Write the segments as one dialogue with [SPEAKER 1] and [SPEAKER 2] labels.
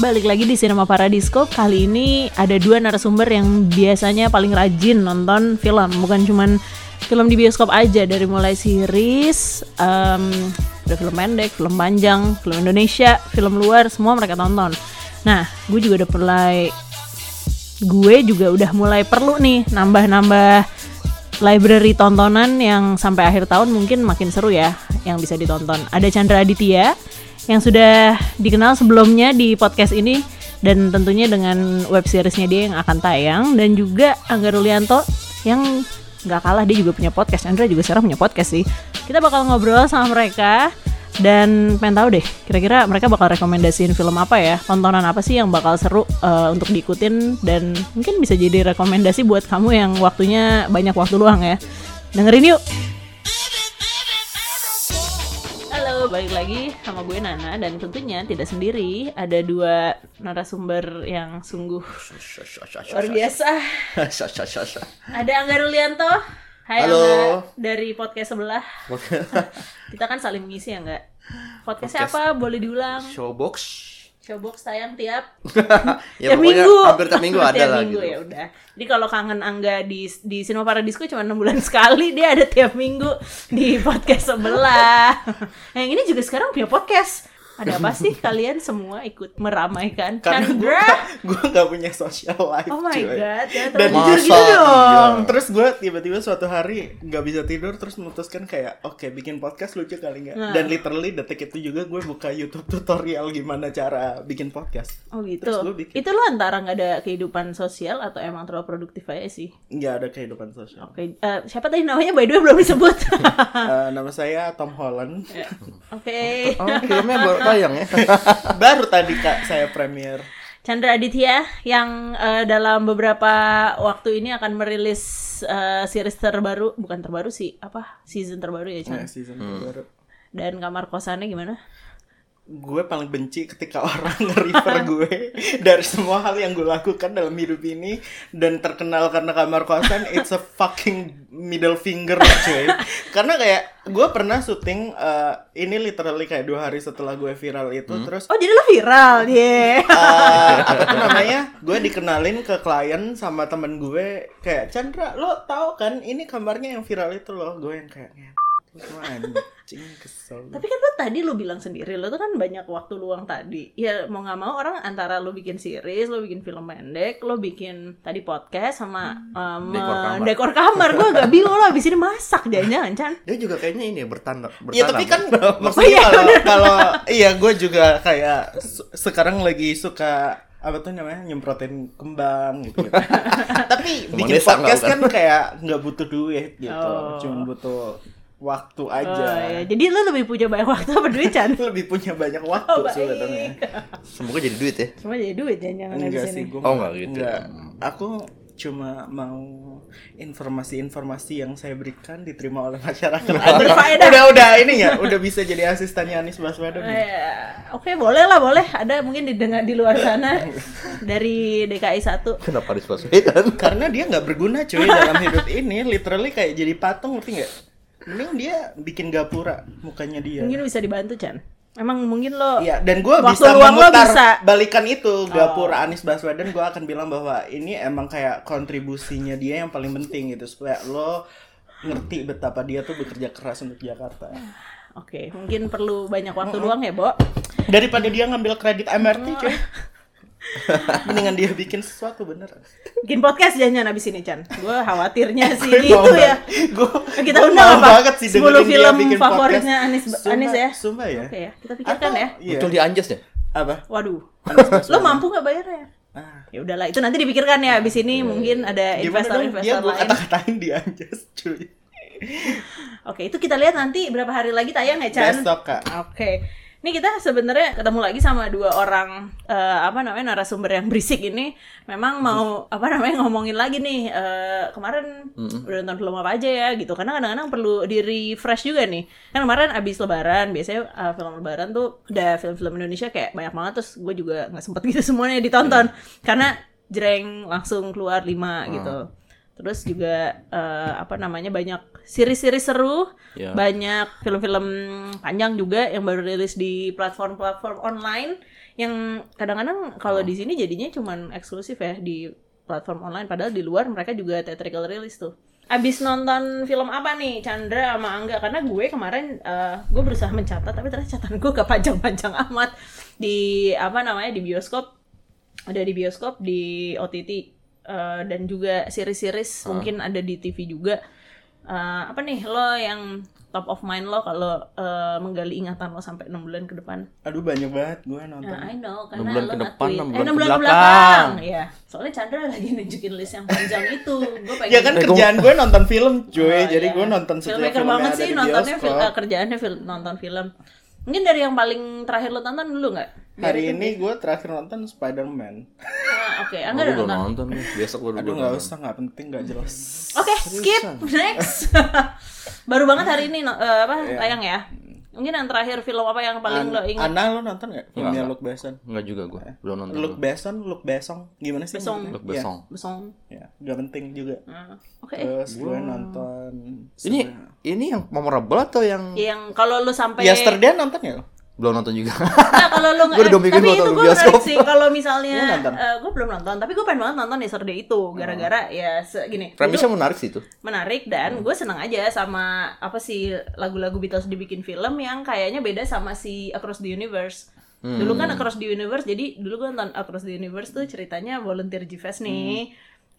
[SPEAKER 1] balik lagi di Cinema Paradisco Kali ini ada dua narasumber yang biasanya paling rajin nonton film Bukan cuman film di bioskop aja Dari mulai series, em, ada film pendek, film panjang, film Indonesia, film luar Semua mereka tonton Nah, gue juga udah mulai Gue juga udah mulai perlu nih nambah-nambah library tontonan yang sampai akhir tahun mungkin makin seru ya yang bisa ditonton. Ada Chandra Aditya yang sudah dikenal sebelumnya di podcast ini dan tentunya dengan web seriesnya dia yang akan tayang dan juga Angga Rulianto yang nggak kalah dia juga punya podcast. Chandra juga sekarang punya podcast sih. Kita bakal ngobrol sama mereka dan pengen tahu deh kira-kira mereka bakal rekomendasiin film apa ya tontonan apa sih yang bakal seru eh, untuk diikutin dan mungkin bisa jadi rekomendasi buat kamu yang waktunya banyak waktu luang ya dengerin yuk Halo, balik lagi sama gue Nana dan tentunya tidak sendiri ada dua narasumber yang sungguh luar biasa ada Angga Rulianto Hai
[SPEAKER 2] Halo.
[SPEAKER 1] Angga dari podcast sebelah kita kan saling mengisi ya nggak podcastnya
[SPEAKER 2] Podcast.
[SPEAKER 1] apa boleh diulang
[SPEAKER 2] Showbox.
[SPEAKER 1] showbox tayang tiap
[SPEAKER 2] ya,
[SPEAKER 1] tiap
[SPEAKER 2] pokoknya
[SPEAKER 1] minggu
[SPEAKER 2] hampir tiap minggu ada
[SPEAKER 1] Tiap
[SPEAKER 2] lah
[SPEAKER 1] minggu,
[SPEAKER 2] gitu.
[SPEAKER 1] ya udah jadi kalau kangen angga di di Cinema Paradisco cuma enam bulan sekali dia ada tiap minggu di podcast sebelah yang ini juga sekarang punya podcast ada apa sih kalian semua ikut meramaikan
[SPEAKER 3] karena gue
[SPEAKER 1] Chandra
[SPEAKER 3] gue gak punya social life
[SPEAKER 1] oh my
[SPEAKER 3] cuy.
[SPEAKER 1] god ya
[SPEAKER 3] dan
[SPEAKER 1] terus-
[SPEAKER 2] Masa?
[SPEAKER 3] jujur gitu dong
[SPEAKER 2] Iya.
[SPEAKER 3] terus gue tiba-tiba suatu hari nggak bisa tidur terus memutuskan kayak oke bikin podcast lucu kali nggak
[SPEAKER 1] Nah.
[SPEAKER 3] dan literally detik itu juga gue buka YouTube tutorial gimana cara bikin podcast
[SPEAKER 1] oh gitu
[SPEAKER 3] terus gue bikin
[SPEAKER 1] itu lo antara nggak ada kehidupan sosial atau emang terlalu produktif aja sih
[SPEAKER 3] nggak ada kehidupan sosial
[SPEAKER 1] oke eh, siapa tadi namanya by the way belum disebut
[SPEAKER 3] Eh, nama saya Tom Holland
[SPEAKER 1] oke
[SPEAKER 2] Oh, filmnya baru tayang ya.
[SPEAKER 3] baru tadi kak saya premier
[SPEAKER 1] Chandra Aditya yang eh, dalam beberapa waktu ini akan merilis eh, series terbaru, bukan terbaru sih, apa season terbaru ya
[SPEAKER 3] nah,
[SPEAKER 1] Chan.
[SPEAKER 2] Hmm.
[SPEAKER 3] season baru
[SPEAKER 1] Dan kamar kosannya gimana?
[SPEAKER 3] gue paling benci ketika orang nge-refer gue dari semua hal yang gue lakukan dalam hidup ini dan terkenal karena kamar kosan it's a fucking middle finger cuy karena kayak gue pernah syuting eh, ini literally kayak dua hari setelah gue viral itu terus
[SPEAKER 1] Oh jadi lo viral, yeah.
[SPEAKER 3] eh, apa tuh namanya gue dikenalin ke klien sama temen gue kayak Chandra lo tau kan ini kamarnya yang viral itu loh gue yang kayak "Ngetik, lu anjing kesel
[SPEAKER 1] Tapi kan lo tadi lo bilang sendiri, lo tuh kan banyak waktu luang tadi. Ya mau nggak mau orang antara lo bikin series, lo bikin film pendek, lo bikin tadi podcast sama em,
[SPEAKER 3] Hmm.
[SPEAKER 2] Dekor kamar.
[SPEAKER 1] dekor kamar. Gue agak bingung lo abis ini masak jangan-jangan Chan.
[SPEAKER 2] Dia juga kayaknya ini ya bertanda, bertanam.
[SPEAKER 3] Ya tapi kan
[SPEAKER 1] Oh,
[SPEAKER 3] maksudnya
[SPEAKER 1] iya,
[SPEAKER 3] kalau kalau iya gue juga kayak se- sekarang lagi suka apa tuh namanya nyemprotin kembang gitu. tapi
[SPEAKER 2] Kembang
[SPEAKER 3] bikin
[SPEAKER 2] desa
[SPEAKER 3] podcast
[SPEAKER 2] nggak,
[SPEAKER 3] kan kayak nggak butuh duit gitu,
[SPEAKER 1] Oh.
[SPEAKER 3] cuma butuh waktu aja.
[SPEAKER 1] Oh, ya. Jadi lo lebih punya banyak waktu apa duit Chan?
[SPEAKER 3] Lebih punya banyak waktu
[SPEAKER 1] Oh, baik.
[SPEAKER 3] sebenarnya.
[SPEAKER 2] semoga jadi duit ya.
[SPEAKER 1] Cuma jadi duit jangan-jangan
[SPEAKER 3] Enggak
[SPEAKER 1] abis
[SPEAKER 3] sih
[SPEAKER 1] ini.
[SPEAKER 3] gue.
[SPEAKER 2] Oh, nggak gitu.
[SPEAKER 3] Aku cuma mau informasi-informasi yang saya berikan diterima oleh masyarakat.
[SPEAKER 1] Berfaedah.
[SPEAKER 3] udah udah ini ya, udah bisa jadi asistennya Anies Baswedan. ya?
[SPEAKER 1] Eh, Oke, boleh lah, boleh. Ada mungkin didengar di luar sana dari DKI 1.
[SPEAKER 2] Kenapa harus Baswedan?
[SPEAKER 3] karena dia nggak berguna cuy dalam hidup ini literally kayak jadi patung ngerti nggak mending dia bikin gapura mukanya dia
[SPEAKER 1] Mungkin bisa dibantu, Chan. Emang mungkin lo
[SPEAKER 3] Iya, dan gue
[SPEAKER 1] Waktu
[SPEAKER 3] bisa
[SPEAKER 1] luang lo
[SPEAKER 3] memutar
[SPEAKER 1] bisa. Oh.
[SPEAKER 3] balikan itu gapura Anies Baswedan gue akan bilang bahwa ini emang kayak kontribusinya dia yang paling penting gitu supaya lo ngerti betapa dia tuh bekerja keras untuk Jakarta
[SPEAKER 1] Oke, mungkin perlu banyak waktu luang ya, Bo.
[SPEAKER 3] daripada dia ngambil kredit MRT cuy mendingan dia bikin sesuatu beneran
[SPEAKER 1] Bikin podcast jangan abis ini, Chan. Gue khawatirnya sih
[SPEAKER 3] Gue
[SPEAKER 1] itu
[SPEAKER 3] mau
[SPEAKER 1] ya.
[SPEAKER 3] banget. Gua-
[SPEAKER 1] Kita
[SPEAKER 3] gua
[SPEAKER 1] undang
[SPEAKER 3] mau
[SPEAKER 1] apa?
[SPEAKER 3] banget sih
[SPEAKER 1] 10
[SPEAKER 3] dengerin dia
[SPEAKER 1] film
[SPEAKER 3] bikin
[SPEAKER 1] favoritnya
[SPEAKER 3] podcast.
[SPEAKER 1] Anies-
[SPEAKER 3] Sumpah-
[SPEAKER 1] Anies ya?
[SPEAKER 3] Sumpah ya.
[SPEAKER 1] Oke ya, kita pikirkan
[SPEAKER 3] Atau-
[SPEAKER 1] ya.
[SPEAKER 3] Iya.
[SPEAKER 2] Betul di Anjas ya?
[SPEAKER 3] Apa?
[SPEAKER 1] Waduh.
[SPEAKER 3] Anies Baswedan.
[SPEAKER 1] Lo mampu nggak bayarnya?
[SPEAKER 3] Ah.
[SPEAKER 1] Ya udahlah, itu nanti dipikirkan ya. Abis ini mungkin ada
[SPEAKER 3] Gimana dong? Dia
[SPEAKER 1] investor-investor
[SPEAKER 3] gue
[SPEAKER 1] Eh, lain.
[SPEAKER 3] kata-katain dia aja cuy.
[SPEAKER 1] Oke, itu kita lihat nanti berapa hari lagi tayang ya, Chan.
[SPEAKER 3] Besok kak.
[SPEAKER 1] Oke. Ini kita sebenarnya ketemu lagi sama dua orang eh, apa namanya narasumber yang berisik ini memang mau apa namanya ngomongin lagi nih eh, kemarin udah nonton film apa aja ya gitu karena kadang-kadang perlu di refresh juga nih kan kemarin abis lebaran biasanya eh, film lebaran tuh udah film-film Indonesia kayak banyak banget terus gue juga nggak sempet gitu semuanya ditonton karena jreng langsung keluar lima gitu Terus juga eh, apa namanya banyak series-series seru,
[SPEAKER 4] Ya.
[SPEAKER 1] banyak film-film panjang juga yang baru rilis di platform-platform online yang kadang-kadang kalau di sini jadinya cuman eksklusif ya di platform online padahal di luar mereka juga theatrical release tuh. Abis nonton film apa nih Chandra sama Angga karena gue kemarin eh, gue berusaha mencatat tapi ternyata catatan gue gak panjang-panjang amat di apa namanya di bioskop ada di bioskop di OTT eh, dan juga series-series
[SPEAKER 2] Ah.
[SPEAKER 1] mungkin ada di TV juga Eh, apa nih lo yang top of mind lo kalau eh, menggali ingatan lo sampai 6 bulan ke depan
[SPEAKER 3] Aduh banyak banget gue nonton.
[SPEAKER 1] Nah, I know karena
[SPEAKER 2] Enam bulan
[SPEAKER 1] lo
[SPEAKER 2] ke depan,
[SPEAKER 1] nge-tweet. Eh,
[SPEAKER 2] enam bulan
[SPEAKER 1] enam
[SPEAKER 2] ke
[SPEAKER 1] bulan ke belakang.
[SPEAKER 2] belakang.
[SPEAKER 1] Iya. Soalnya Chandra lagi nunjukin list yang panjang itu. Gue pengen
[SPEAKER 3] Ya kan
[SPEAKER 2] Eh, gua-
[SPEAKER 3] kerjaan gue nonton film cuy,
[SPEAKER 1] Oh,
[SPEAKER 3] jadi
[SPEAKER 1] iya.
[SPEAKER 3] gue nonton setiap
[SPEAKER 1] filmmaker
[SPEAKER 3] film yang
[SPEAKER 1] banget
[SPEAKER 3] ada
[SPEAKER 1] sih
[SPEAKER 3] di
[SPEAKER 1] nontonnya fil-
[SPEAKER 3] bioskop.
[SPEAKER 1] eh, kerjaannya fil- nonton film. Mungkin dari yang paling terakhir lo tonton dulu nggak? Biar
[SPEAKER 3] Hari
[SPEAKER 1] itu-
[SPEAKER 3] ini gue terakhir nonton Spider-Man.
[SPEAKER 1] Ah, Oke,
[SPEAKER 2] Aku
[SPEAKER 1] Angga udah
[SPEAKER 2] belum
[SPEAKER 1] nonton.
[SPEAKER 2] nonton nih. Besok baru
[SPEAKER 3] Aduh
[SPEAKER 2] gua
[SPEAKER 3] nggak
[SPEAKER 2] nonton.
[SPEAKER 3] usah, nggak penting, nggak jelas.
[SPEAKER 1] Oke, skip next. Baru banget hari ini no- eh, apa tayang ya? Mungkin yang terakhir film apa yang paling lo
[SPEAKER 3] An-
[SPEAKER 1] ingat?
[SPEAKER 3] Ana lo nonton nggak filmnya
[SPEAKER 2] Nggak.
[SPEAKER 3] Luke Besson?
[SPEAKER 2] Enggak juga gue. Belum nonton.
[SPEAKER 3] Luke Besson, Luke Besson, gimana sih?
[SPEAKER 1] Besson.
[SPEAKER 3] maksudnya? Iya.
[SPEAKER 2] Look besong.
[SPEAKER 1] Besong.
[SPEAKER 3] Ya, ya, nggak penting juga.
[SPEAKER 1] Ah, Oke.
[SPEAKER 3] Terus gue nonton.
[SPEAKER 2] Ini ini yang memorable atau yang
[SPEAKER 3] Iya.
[SPEAKER 1] Yang kalau lo sampai
[SPEAKER 3] Yesterday nonton ya? lo?
[SPEAKER 2] belum nonton juga?
[SPEAKER 1] Nah, kalau lu nggak,
[SPEAKER 2] Gua udah mikir
[SPEAKER 1] tapi
[SPEAKER 2] gua
[SPEAKER 1] itu
[SPEAKER 2] nonton
[SPEAKER 1] gue
[SPEAKER 2] bioskop.
[SPEAKER 1] menarik sih kalau misalnya
[SPEAKER 3] Lu nonton?
[SPEAKER 1] eh, gue belum nonton, tapi gue pengen banget nonton Yesterday itu gara-gara ya se- gini
[SPEAKER 2] Premisnya menarik sih itu.
[SPEAKER 1] menarik dan gue seneng aja sama apa sih lagu-lagu Beatles dibikin film yang kayaknya beda sama si Across the Universe. Dulu kan Across the Universe, jadi dulu gue nonton Across the Universe tuh ceritanya volunteer GFest nih.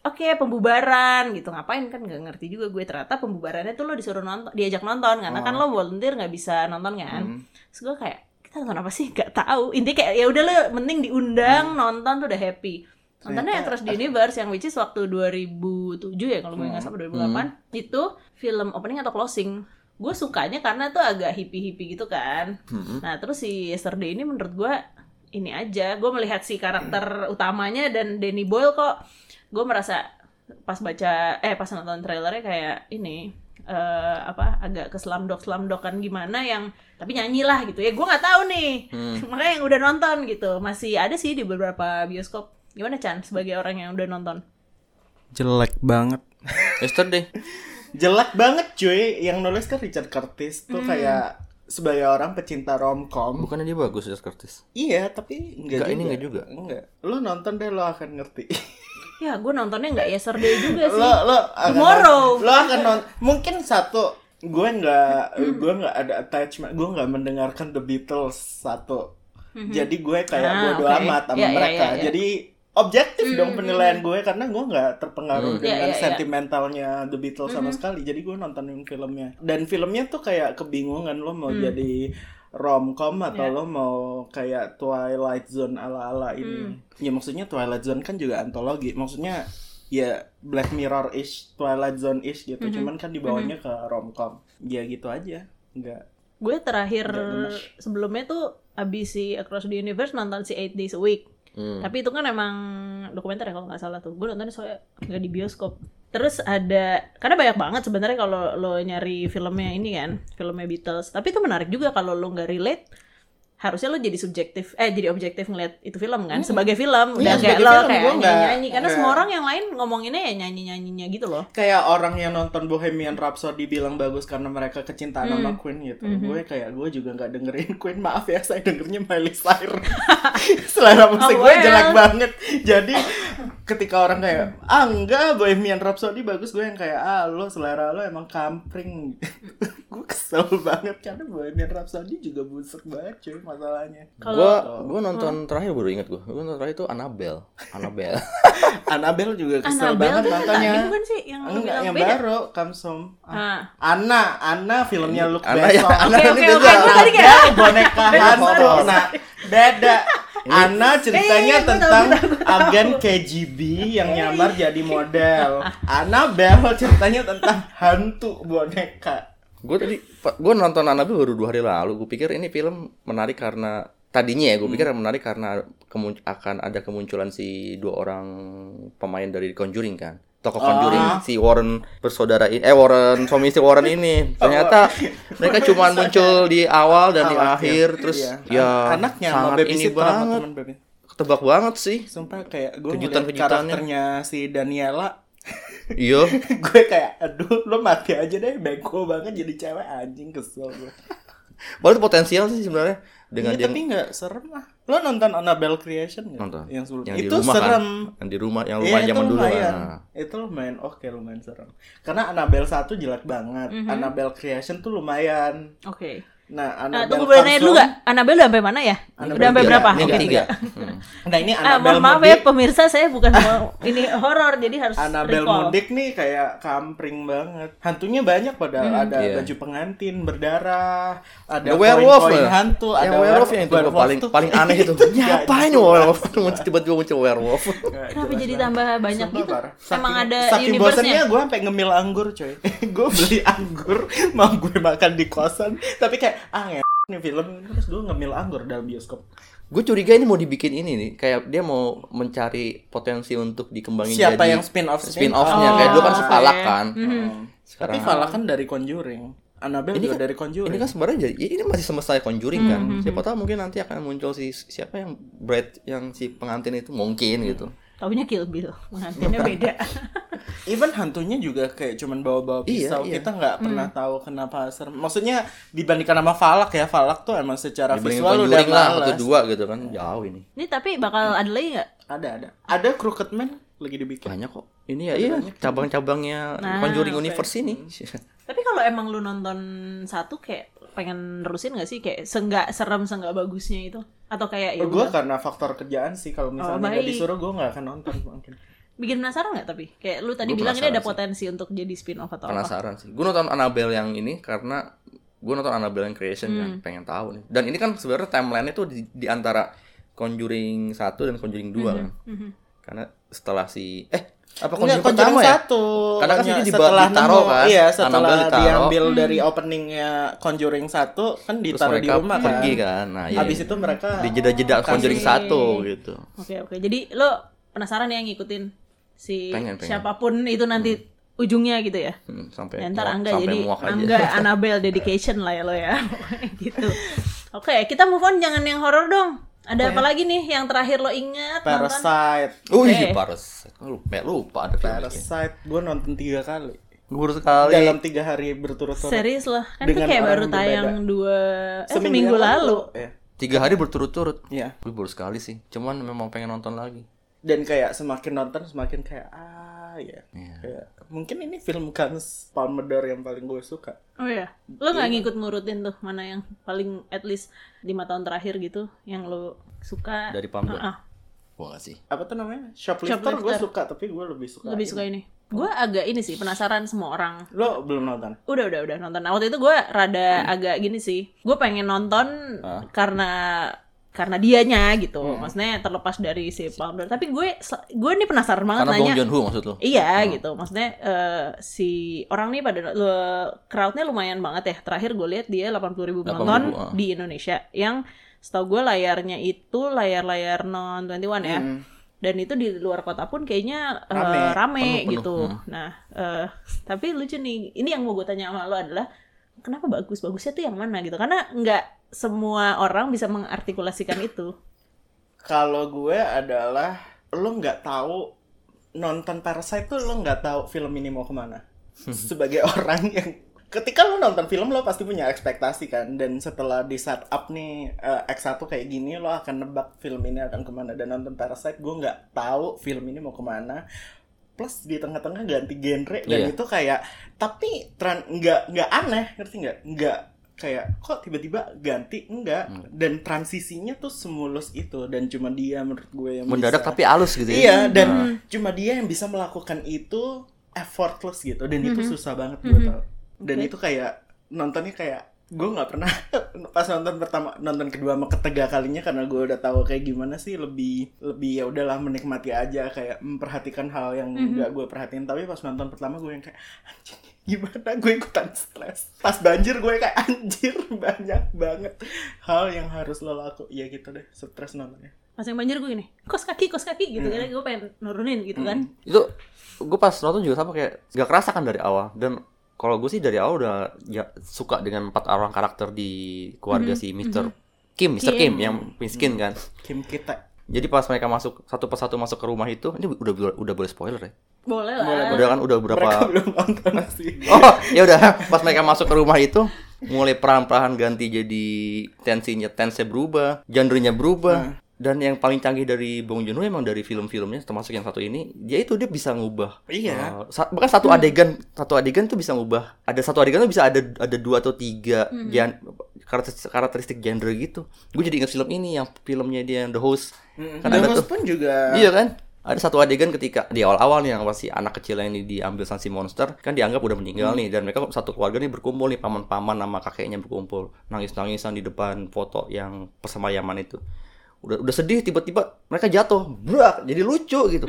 [SPEAKER 1] Oke, pembubaran gitu. Ngapain kan nggak ngerti juga gue ternyata pembubarannya tuh lo disuruh nonton, diajak nonton karena kan lo volunteer nggak bisa nonton kan. Terus gue kayak kita nonton apa sih? Gak tahu. Intinya kayak ya udah lo penting diundang nonton tuh udah happy. Nontonnya ya terus di Universe yang which is waktu 2007 ya kalau gue nggak salah 2008 itu film opening atau closing. Gue sukanya karena tuh agak hippie-hippie gitu kan. Nah, terus si Yesterday ini menurut gue ini aja gue melihat si karakter utamanya dan Danny Boyle kok gue merasa pas baca eh pas nonton trailernya kayak ini eh apa agak ke slumdog slumdogan gimana yang tapi nyanyilah gitu ya gue nggak tahu nih
[SPEAKER 3] Hmm.
[SPEAKER 1] makanya yang udah nonton gitu masih ada sih di beberapa bioskop gimana Chan sebagai orang yang udah nonton
[SPEAKER 3] Jelek banget.
[SPEAKER 2] Yesterday.
[SPEAKER 3] Jelek banget cuy, yang nulis kan Richard Curtis
[SPEAKER 1] Hmm.
[SPEAKER 3] tuh kayak sebagai orang pecinta romcom.
[SPEAKER 2] Bukannya dia bagus ya Curtis?
[SPEAKER 3] Iya, tapi enggak,
[SPEAKER 2] Enggak, ini enggak juga.
[SPEAKER 3] Enggak. Lo nonton deh lo akan ngerti.
[SPEAKER 1] ya gue nontonnya nggak yesterday juga sih
[SPEAKER 3] lo lo akan
[SPEAKER 1] Tomorrow.
[SPEAKER 3] nonton- Lo akan nonton mungkin satu gue nggak
[SPEAKER 1] Hmm.
[SPEAKER 3] gue nggak ada attachment gue nggak mendengarkan The Beatles satu jadi gue kayak
[SPEAKER 1] Hmm. Ah,
[SPEAKER 3] bodo
[SPEAKER 1] oke.
[SPEAKER 3] amat sama
[SPEAKER 1] Ya, ya,
[SPEAKER 3] mereka
[SPEAKER 1] ya, ya.
[SPEAKER 3] jadi objektif dong penilaian gue karena gue nggak terpengaruh
[SPEAKER 1] Ya,
[SPEAKER 3] dengan
[SPEAKER 1] ya, ya.
[SPEAKER 3] sentimentalnya The Beatles sama sekali jadi gue nontonin filmnya dan filmnya tuh kayak kebingungan lo mau jadi romcom atau lo mau kayak Twilight Zone ala-ala ini ya maksudnya Twilight Zone kan juga antologi maksudnya ya Black Mirror ish Twilight Zone ish gitu cuman kan dibawanya ke romcom ya gitu aja nggak
[SPEAKER 1] gue terakhir
[SPEAKER 3] Nggak bener.
[SPEAKER 1] sebelumnya tuh abis si Across the Universe nonton si Eight Days a Week
[SPEAKER 3] Hmm.
[SPEAKER 1] tapi itu kan emang dokumenter ya kalau nggak salah tuh gue nontonnya soalnya nggak di bioskop terus ada karena banyak banget sebenarnya kalau lo nyari filmnya ini kan filmnya Beatles tapi itu menarik juga kalau lo nggak relate harusnya lo jadi subjektif eh jadi objektif ngeliat itu film kan sebagai film udah
[SPEAKER 3] Iya,
[SPEAKER 1] kayak
[SPEAKER 3] sebagai
[SPEAKER 1] lo
[SPEAKER 3] film,
[SPEAKER 1] kayak
[SPEAKER 3] gua nggak-
[SPEAKER 1] nyanyi karena
[SPEAKER 3] nggak-
[SPEAKER 1] semua orang yang lain ngomonginnya ya nyanyi nyanyinya gitu loh
[SPEAKER 3] kayak orang yang nonton Bohemian Rhapsody bilang bagus karena mereka kecintaan sama
[SPEAKER 1] Hmm.
[SPEAKER 3] Queen gitu. Gue kayak gue juga nggak dengerin Queen. Maaf ya, saya dengernya Miley Cyrus. Selera musik
[SPEAKER 1] Oh,
[SPEAKER 3] gue
[SPEAKER 1] well.
[SPEAKER 3] jelek banget. Jadi ketika orang kayak ah enggak Bohemian Rhapsody bagus gue yang kayak ah lo selera lo emang kampring gue kesel banget karena Bohemian Rhapsody juga busuk banget cuy masalahnya
[SPEAKER 2] Gue gue nonton terakhir baru inget gue. Gue nonton terakhir itu Annabelle. Annabelle.
[SPEAKER 3] Annabelle juga kesel
[SPEAKER 1] Annabelle
[SPEAKER 3] banget
[SPEAKER 1] tuh yang tadi
[SPEAKER 3] nontonnya
[SPEAKER 1] bukan sih yang lo
[SPEAKER 3] enggak
[SPEAKER 1] bilang
[SPEAKER 3] yang
[SPEAKER 1] beda?
[SPEAKER 3] baru comes home
[SPEAKER 1] Ah.
[SPEAKER 3] Ana, Ana filmnya Luke
[SPEAKER 2] Ana ya,
[SPEAKER 3] Besson.
[SPEAKER 2] Ana
[SPEAKER 1] Oke,
[SPEAKER 2] ini
[SPEAKER 1] oke,
[SPEAKER 2] beda.
[SPEAKER 1] oke, gue tadi kayak-
[SPEAKER 3] Ada boneka
[SPEAKER 1] Beda,
[SPEAKER 3] hantu.
[SPEAKER 1] sorry,
[SPEAKER 3] Nah, beda. Ana
[SPEAKER 1] Iya, iya,
[SPEAKER 3] ceritanya
[SPEAKER 1] gue tahu,
[SPEAKER 3] tentang
[SPEAKER 1] gue tahu, gue tahu.
[SPEAKER 3] agen KGB yang nyamar jadi model. Annabelle ceritanya tentang hantu boneka.
[SPEAKER 2] gue tadi gue nonton Annabelle baru dua hari lalu gue pikir ini film menarik karena tadinya ya gue
[SPEAKER 3] Hmm.
[SPEAKER 2] pikir menarik karena kemun- akan ada kemunculan si dua orang pemain dari Conjuring kan tokoh Conjuring
[SPEAKER 3] Ah.
[SPEAKER 2] si Warren bersaudara ini eh Warren suami istri Warren ini
[SPEAKER 3] Oh,
[SPEAKER 2] ternyata mereka cuma muncul di awal
[SPEAKER 3] Ah,
[SPEAKER 2] dan di akhir terus ya
[SPEAKER 3] Iya. anaknya sama
[SPEAKER 2] sangat ini
[SPEAKER 3] babysitter sama
[SPEAKER 2] banget
[SPEAKER 3] temen baby.
[SPEAKER 2] ketebak banget sih
[SPEAKER 3] Sumpah kayak gue ngeliat
[SPEAKER 2] Kejutan-kejutannya.
[SPEAKER 3] karakternya si Daniela
[SPEAKER 2] Iya.
[SPEAKER 3] gue kayak aduh lo mati aja deh beko banget jadi cewek anjing kesel gue
[SPEAKER 2] Padahal itu potensial sih sebenarnya dengan
[SPEAKER 3] Iya,
[SPEAKER 2] dia
[SPEAKER 3] tapi nggak serem lah lo nonton Annabelle Creation nggak?
[SPEAKER 2] nonton
[SPEAKER 3] yang, sebelum-
[SPEAKER 2] Yang
[SPEAKER 3] itu
[SPEAKER 2] di rumah
[SPEAKER 3] serem
[SPEAKER 2] kan? yang di rumah yang
[SPEAKER 3] Iya,
[SPEAKER 2] rumah zaman dulu kan? Nah.
[SPEAKER 3] lumayan.
[SPEAKER 2] lah.
[SPEAKER 3] Itu lumayan oke, lumayan serem. Karena Annabelle 1 jelek banget.
[SPEAKER 1] Mhm.
[SPEAKER 3] Annabelle Creation tuh lumayan.
[SPEAKER 1] Oke. Nah,
[SPEAKER 3] Nah, Annabelle
[SPEAKER 1] tunggu boleh nanya
[SPEAKER 3] Carson-
[SPEAKER 1] dulu gak? Anabel udah sampai mana ya?
[SPEAKER 3] Annabelle
[SPEAKER 1] udah sampai
[SPEAKER 3] tiga.
[SPEAKER 1] berapa?
[SPEAKER 2] Ini
[SPEAKER 1] Oke,
[SPEAKER 2] ketiga.
[SPEAKER 1] tiga.
[SPEAKER 2] Hmm.
[SPEAKER 3] Nah, ini
[SPEAKER 1] Ah,
[SPEAKER 3] Annabelle
[SPEAKER 1] mohon maaf
[SPEAKER 3] Modik.
[SPEAKER 1] ya pemirsa, saya bukan mau ini horor jadi harus
[SPEAKER 3] Annabelle
[SPEAKER 1] recall.
[SPEAKER 3] Modik nih kayak kampring banget. Hantunya banyak padahal
[SPEAKER 1] Mhm.
[SPEAKER 3] ada
[SPEAKER 2] Iya.
[SPEAKER 3] baju pengantin berdarah, ada
[SPEAKER 2] Ada werewolf
[SPEAKER 3] poin-poin
[SPEAKER 2] lah.
[SPEAKER 3] hantu,
[SPEAKER 2] yang
[SPEAKER 3] ada
[SPEAKER 2] werewolf Iya, yang itu
[SPEAKER 3] werewolf
[SPEAKER 2] paling
[SPEAKER 3] tuh
[SPEAKER 2] paling aneh itu. Ngapain werewolf? Tiba-tiba muncul werewolf.
[SPEAKER 3] nggak
[SPEAKER 1] Kenapa
[SPEAKER 3] jelas
[SPEAKER 1] jadi
[SPEAKER 3] banget.
[SPEAKER 1] tambah banyak
[SPEAKER 3] Sumpah,
[SPEAKER 1] gitu?
[SPEAKER 3] parah.
[SPEAKER 1] Emang
[SPEAKER 3] Saking-
[SPEAKER 1] ada
[SPEAKER 3] saking bosannya
[SPEAKER 1] universe-nya?
[SPEAKER 3] gue sampai ngemil anggur coy gue beli anggur mau gue makan di kosan tapi kayak ah nge- nih film terus gue ngemil anggur dalam bioskop
[SPEAKER 2] Gue curiga ini mau dibikin ini nih, kayak dia mau mencari potensi untuk dikembangin
[SPEAKER 3] siapa
[SPEAKER 2] jadi
[SPEAKER 3] yang spin off
[SPEAKER 2] spin offnya kayak dulu kan
[SPEAKER 1] oke.
[SPEAKER 2] Falak kan.
[SPEAKER 1] Mm-hmm.
[SPEAKER 3] Hmm. tapi
[SPEAKER 2] Sekarang
[SPEAKER 3] Fala kan dari Conjuring Annabelle
[SPEAKER 2] Ini
[SPEAKER 3] juga
[SPEAKER 2] kan-
[SPEAKER 3] dari Conjuring
[SPEAKER 2] ini kan sebenarnya jadi ini masih semesta Conjuring kan.
[SPEAKER 1] Mm-hmm.
[SPEAKER 2] Siapa tahu mungkin nanti akan muncul si siapa yang Brad yang si pengantin itu mungkin gitu.
[SPEAKER 1] Taunya Kill Bill, pengantinnya beda.
[SPEAKER 3] even hantunya juga kayak cuman bawa-bawa
[SPEAKER 2] Iya,
[SPEAKER 3] pisau
[SPEAKER 2] iya.
[SPEAKER 3] kita nggak pernah tahu kenapa serem maksudnya dibandingkan sama Falak ya Falak tuh emang secara
[SPEAKER 2] Dibandingin
[SPEAKER 3] visual udah
[SPEAKER 2] Conjuring lah
[SPEAKER 3] malas.
[SPEAKER 2] atau dua gitu kan jauh ini.
[SPEAKER 1] ini tapi bakal ada lagi nggak?
[SPEAKER 3] ada ada ada Crooked Man lagi dibikin
[SPEAKER 2] Banyak kok. Ini ya iya cabang-cabangnya
[SPEAKER 1] Nah,
[SPEAKER 2] Conjuring
[SPEAKER 1] oke.
[SPEAKER 2] Universe ini.
[SPEAKER 1] Tapi kalau emang lu nonton satu kayak pengen nerusin gak sih kayak senggak serem senggak bagusnya itu atau kayak ya
[SPEAKER 3] gue
[SPEAKER 1] udah.
[SPEAKER 3] Oh, karena faktor kerjaan sih kalau misalnya nggak
[SPEAKER 1] baik.
[SPEAKER 3] disuruh gue nggak akan nonton mungkin
[SPEAKER 1] bikin penasaran nggak tapi kayak lu tadi
[SPEAKER 2] Gua
[SPEAKER 1] bilang ini ada
[SPEAKER 2] penasaran sih.
[SPEAKER 1] potensi untuk jadi spin off atau apa?
[SPEAKER 2] penasaran sih. Gue nonton Annabelle yang ini karena gue nonton Annabelle yang Creation kan
[SPEAKER 1] Hmm.
[SPEAKER 2] pengen tahu nih. Dan ini kan sebenarnya timelinenya tuh di, di antara Conjuring 1 dan Conjuring 2 kan.
[SPEAKER 1] Mhm.
[SPEAKER 2] Karena setelah si eh apa
[SPEAKER 3] Enggak,
[SPEAKER 2] Conjuring, pertama ya?
[SPEAKER 3] satu
[SPEAKER 2] Karena kan
[SPEAKER 3] Hanya
[SPEAKER 2] itu diba-
[SPEAKER 3] setelah
[SPEAKER 2] ditaruh
[SPEAKER 3] nemu-
[SPEAKER 2] kan?
[SPEAKER 3] iya
[SPEAKER 2] Annabelle
[SPEAKER 3] setelah
[SPEAKER 2] ditaruh. Hmm.
[SPEAKER 3] diambil dari openingnya Conjuring satu kan
[SPEAKER 2] Terus
[SPEAKER 3] ditaruh di
[SPEAKER 2] mereka
[SPEAKER 3] rumah kan
[SPEAKER 2] pergi kan. Nah, iya.
[SPEAKER 3] habis itu mereka
[SPEAKER 2] di jeda-jeda Conjuring
[SPEAKER 1] Kasih.
[SPEAKER 2] 1 gitu.
[SPEAKER 1] Oke oke. Jadi lo penasaran ya ngikutin si
[SPEAKER 2] Pengen, pengen.
[SPEAKER 1] siapapun itu nanti ujungnya gitu ya.
[SPEAKER 2] Hmm, sampai
[SPEAKER 1] Ya, ntar
[SPEAKER 2] muak-
[SPEAKER 1] Angga
[SPEAKER 2] sampai
[SPEAKER 1] jadi
[SPEAKER 2] muak aja.
[SPEAKER 1] Angga Annabelle dedication lah ya lo ya. Pokoknya gitu. Oke, kita move on jangan yang horor dong. Ada apa lagi nih yang terakhir lo ingat nonton?
[SPEAKER 3] Parasite
[SPEAKER 2] Oh
[SPEAKER 1] Oke.
[SPEAKER 2] iya, Paras. Lupa, lupa ada film ini.
[SPEAKER 3] Parasite gue nonton tiga kali
[SPEAKER 2] Gue sekali.
[SPEAKER 3] dalam tiga hari
[SPEAKER 2] eh,
[SPEAKER 3] berturut-turut
[SPEAKER 1] Serius loh, kan itu
[SPEAKER 3] Dengan
[SPEAKER 1] kayak baru
[SPEAKER 3] orang berbeda.
[SPEAKER 1] tayang dua eh, seminggu,
[SPEAKER 3] yang
[SPEAKER 1] lalu.
[SPEAKER 3] ya
[SPEAKER 2] Tiga hari berturut-turut.
[SPEAKER 3] Iya.
[SPEAKER 2] Gue baru sekali sih. Cuman memang pengen nonton lagi.
[SPEAKER 3] dan kayak semakin nonton semakin kayak ah ya
[SPEAKER 2] Iya.
[SPEAKER 3] Kayak, mungkin ini film Cannes Palmador yang paling gue suka
[SPEAKER 1] Oh iya, lo nggak ngikut ngurutin tuh mana yang paling at least lima tahun terakhir gitu yang lo suka
[SPEAKER 2] Dari Palmer.
[SPEAKER 1] Ah, ah,
[SPEAKER 2] Wah sih.
[SPEAKER 3] apa tuh namanya Shoplifter, gue
[SPEAKER 1] Shoplifter.
[SPEAKER 3] suka tapi gue lebih suka
[SPEAKER 1] lebih suka ini. Gue agak ini sih penasaran semua orang
[SPEAKER 3] lo belum nonton
[SPEAKER 1] udah udah udah nonton. Nah, waktu itu gue rada
[SPEAKER 2] Hmm.
[SPEAKER 1] agak gini sih. Gue pengen nonton
[SPEAKER 2] Ah.
[SPEAKER 1] karena karena dianya gitu.
[SPEAKER 2] Hmm.
[SPEAKER 1] Maksudnya terlepas dari si Palmer. Tapi gue se- gue nih penasaran banget
[SPEAKER 2] Karena Bong Hmm.
[SPEAKER 1] nanya.
[SPEAKER 2] Joon Ho maksud lo?
[SPEAKER 1] Iya gitu. Maksudnya eh, si orang nih pada le- crowdnya lumayan banget ya. Terakhir gue lihat dia 80.000 ribu
[SPEAKER 2] 80.000,
[SPEAKER 1] penonton
[SPEAKER 2] ah.
[SPEAKER 1] di Indonesia. Yang setahu gue layarnya itu layar-layar non 21
[SPEAKER 2] Hmm.
[SPEAKER 1] ya.
[SPEAKER 3] Hmm.
[SPEAKER 1] Dan itu di luar kota pun kayaknya eh,
[SPEAKER 3] Rame. Hmm.
[SPEAKER 1] rame,
[SPEAKER 2] Penuh, penuh.
[SPEAKER 1] gitu. Nah, eh, tapi lucu nih. Ini yang mau gue tanya sama lo adalah kenapa bagus-bagusnya tuh yang mana gitu? Karena nggak semua orang bisa mengartikulasikan itu.
[SPEAKER 3] kalau gue adalah lo nggak tahu nonton Parasite tuh lo nggak tahu film ini mau kemana sebagai orang yang ketika lo nonton film lo pasti punya ekspektasi kan dan setelah di setup nih eh, X1 kayak gini lo akan nebak film ini akan kemana dan nonton Parasite gue nggak tahu film ini mau kemana plus di tengah-tengah ganti genre dan
[SPEAKER 2] Iya.
[SPEAKER 3] itu kayak tapi tran nggak nggak aneh ngerti nggak nggak kayak kok tiba-tiba ganti enggak dan transisinya tuh semulus itu dan cuma dia menurut gue yang
[SPEAKER 2] Mendadak
[SPEAKER 3] bisa-
[SPEAKER 2] tapi halus gitu ya.
[SPEAKER 3] iya dan cuma dia yang bisa melakukan itu effortless gitu dan itu susah banget gue tau dan
[SPEAKER 1] Oke.
[SPEAKER 3] itu kayak nontonnya kayak gue nggak pernah pas nonton pertama nonton kedua sama ketiga kalinya karena gue udah tahu kayak gimana sih lebih lebih ya udahlah menikmati aja kayak memperhatikan hal yang nggak gue perhatiin tapi pas nonton pertama gue yang kayak anjing gimana gue ikutan stres pas banjir gue kayak anjir banyak banget hal yang harus lo laku ya gitu deh stres nontonnya
[SPEAKER 1] Pas yang banjir gue gini, kos kaki, kos kaki gitu.
[SPEAKER 3] Hmm.
[SPEAKER 1] Karena gue pengen nurunin gitu kan.
[SPEAKER 2] Itu gue pas nonton juga sama kayak gak kerasa kan dari awal dan kalau gue sih dari awal udah ya, suka dengan empat orang karakter di keluarga si Mr. Kim, Mr.
[SPEAKER 1] Kim.
[SPEAKER 2] Kim. yang miskin kan.
[SPEAKER 3] Kim kita
[SPEAKER 2] Jadi pas mereka masuk satu persatu masuk ke rumah itu, ini udah udah boleh spoiler ya.
[SPEAKER 1] Boleh lah.
[SPEAKER 3] Boleh,
[SPEAKER 2] Udah kan udah berapa
[SPEAKER 3] Mereka belum nonton sih.
[SPEAKER 2] Oh, ya udah pas mereka masuk ke rumah itu mulai peran-peran ganti jadi tensinya tensnya berubah, genrenya berubah. Dan yang paling canggih dari Bong Joon-ho emang dari film-filmnya termasuk yang satu ini, dia itu dia bisa ngubah.
[SPEAKER 3] Iya.
[SPEAKER 2] Uh, sa- bahkan satu adegan, satu adegan tuh bisa ngubah. Ada satu adegan tuh bisa ada ada dua atau tiga gen- karakteristik, karakteristik genre gitu. Gue jadi ingat film ini yang filmnya dia yang The Host.
[SPEAKER 3] Mm-mm.
[SPEAKER 2] Kan
[SPEAKER 3] The
[SPEAKER 2] ada
[SPEAKER 3] Host
[SPEAKER 2] tuh-
[SPEAKER 3] pun juga
[SPEAKER 2] Iya kan? Ada satu adegan ketika di awal-awal nih yang masih anak kecil yang ini diambil sanksi monster kan dianggap udah meninggal
[SPEAKER 3] Hmm.
[SPEAKER 2] nih dan mereka satu keluarga nih berkumpul nih paman-paman sama kakeknya berkumpul nangis-nangisan di depan foto yang persemayaman itu. Udah udah sedih tiba-tiba mereka jatuh, brak, jadi lucu gitu.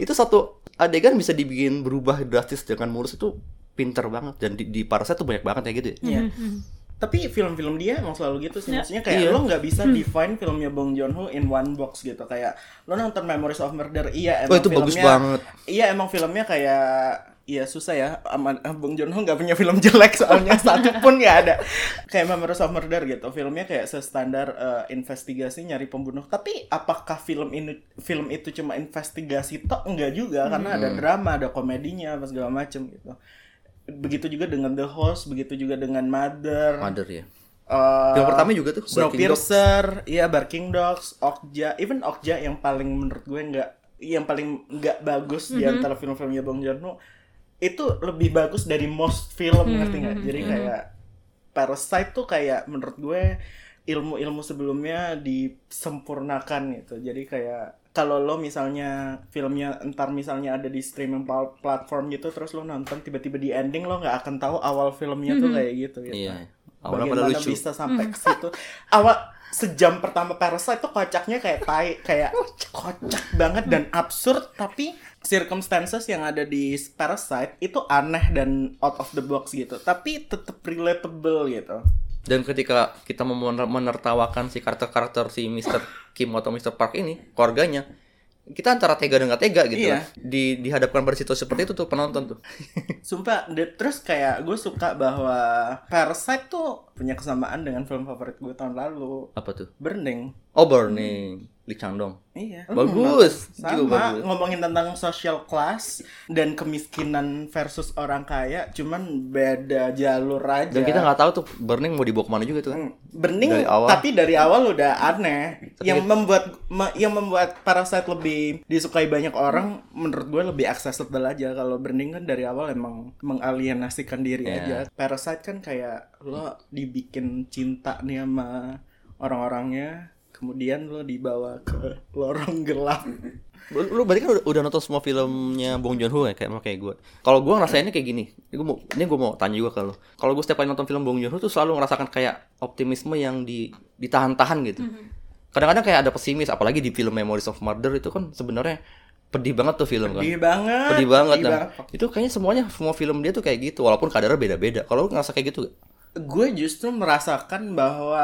[SPEAKER 2] itu satu adegan bisa dibikin berubah drastis dengan mulus itu pinter banget dan di, di Parasite tuh banyak banget ya gitu ya.
[SPEAKER 3] Iya.
[SPEAKER 1] Hmm.
[SPEAKER 3] Tapi film-film dia emang selalu gitu sih.
[SPEAKER 1] Ya.
[SPEAKER 3] Maksudnya kayak
[SPEAKER 2] Iya.
[SPEAKER 3] lo nggak bisa define filmnya Bong Joon-ho in one box gitu. Kayak lo nonton Memories of Murder, iya emang
[SPEAKER 2] Wah, Oh, itu bagus
[SPEAKER 3] filmnya-
[SPEAKER 2] banget.
[SPEAKER 3] Iya emang filmnya kayak Iya susah ya, Ama- Bong Joon Ho nggak punya film jelek soalnya satu pun nggak ada. Kayak Memories of Murder gitu, filmnya kayak sestandar eh, investigasi nyari pembunuh. Tapi apakah film ini film itu cuma investigasi tok nggak
[SPEAKER 2] Hmm.
[SPEAKER 3] juga? Karena ada drama, ada komedinya, apa segala macem gitu. Begitu juga dengan The Host, begitu juga dengan Mother.
[SPEAKER 2] Mother ya.
[SPEAKER 3] Eh,
[SPEAKER 2] Film pertama juga tuh Breaking Dog.
[SPEAKER 3] Snowpiercer, iya Barking Dogs, Okja, even Okja yang paling menurut gue nggak yang paling nggak bagus di antara film-filmnya Bong Joon Ho itu lebih bagus dari most film ngerti nggak? Jadi kayak Parasite tuh kayak menurut gue ilmu-ilmu sebelumnya disempurnakan gitu. Jadi kayak kalau lo misalnya filmnya entar misalnya ada di streaming pal- platform gitu terus lo nonton tiba-tiba di ending lo nggak akan tahu awal filmnya tuh kayak gitu gitu
[SPEAKER 2] Iya. Awalnya pada
[SPEAKER 3] bagaimana
[SPEAKER 2] lucu.
[SPEAKER 3] bisa sampai ke situ awal sejam pertama Parasite tuh kocaknya kayak tai kayak kocak banget dan absurd tapi circumstances yang ada di Parasite itu aneh dan out of the box gitu tapi tetap relatable gitu
[SPEAKER 2] Dan ketika kita mau mener- menertawakan si karakter-karakter si Mr. Kim atau Mr. Park ini, keluarganya, kita antara tega dan nggak tega gitu.
[SPEAKER 3] Iya.
[SPEAKER 2] lah. Di, dihadapkan pada situasi seperti itu tuh penonton tuh.
[SPEAKER 3] sumpah de- terus kayak gue suka bahwa Parasite tuh punya kesamaan dengan film favorit gue tahun lalu
[SPEAKER 2] Apa tuh?
[SPEAKER 3] Burning
[SPEAKER 2] Oh, Burning. Lee Chang Dong.
[SPEAKER 3] Iya.
[SPEAKER 2] Bagus.
[SPEAKER 3] Sama,
[SPEAKER 2] Juga bagus.
[SPEAKER 3] ngomongin tentang social class dan kemiskinan versus orang kaya, cuman beda jalur aja. Hmm.
[SPEAKER 2] Dan kita nggak tahu tuh Burning mau dibawa kemana juga tuh kan.
[SPEAKER 3] Bening,
[SPEAKER 2] Dari awal.
[SPEAKER 3] tapi dari awal udah aneh.
[SPEAKER 2] Tapi-
[SPEAKER 3] yang membuat me- yang membuat Parasite lebih disukai banyak orang, menurut gue lebih accessible aja. Kalau Bening kan dari awal emang mengalienasikan diri
[SPEAKER 2] Iya.
[SPEAKER 3] aja. Parasite kan kayak lo dibikin cinta nih sama orang-orangnya, kemudian lo dibawa ke lorong gelap.
[SPEAKER 2] Lu, lu berarti kan udah, udah nonton semua filmnya Bong Joon Ho ya kayak kayak gue. Kalau gue ngerasainnya kayak gini. Ini gue mau ini gue mau tanya juga ke lu. Kalau gue setiap kali nonton film Bong Joon Ho tuh selalu ngerasakan kayak optimisme yang di ditahan-tahan gitu.
[SPEAKER 1] Mhm.
[SPEAKER 2] Kadang-kadang kayak ada pesimis apalagi di film Memories of Murder itu kan sebenarnya pedih banget tuh film
[SPEAKER 3] Pedih
[SPEAKER 2] kan.
[SPEAKER 3] Iya banget.
[SPEAKER 2] Pedih banget.
[SPEAKER 3] pedih
[SPEAKER 2] nah. Itu kayaknya semuanya semua film dia tuh kayak gitu walaupun kadarnya beda-beda. Kalau lu ngerasa kayak gitu gak?
[SPEAKER 3] Gue justru merasakan bahwa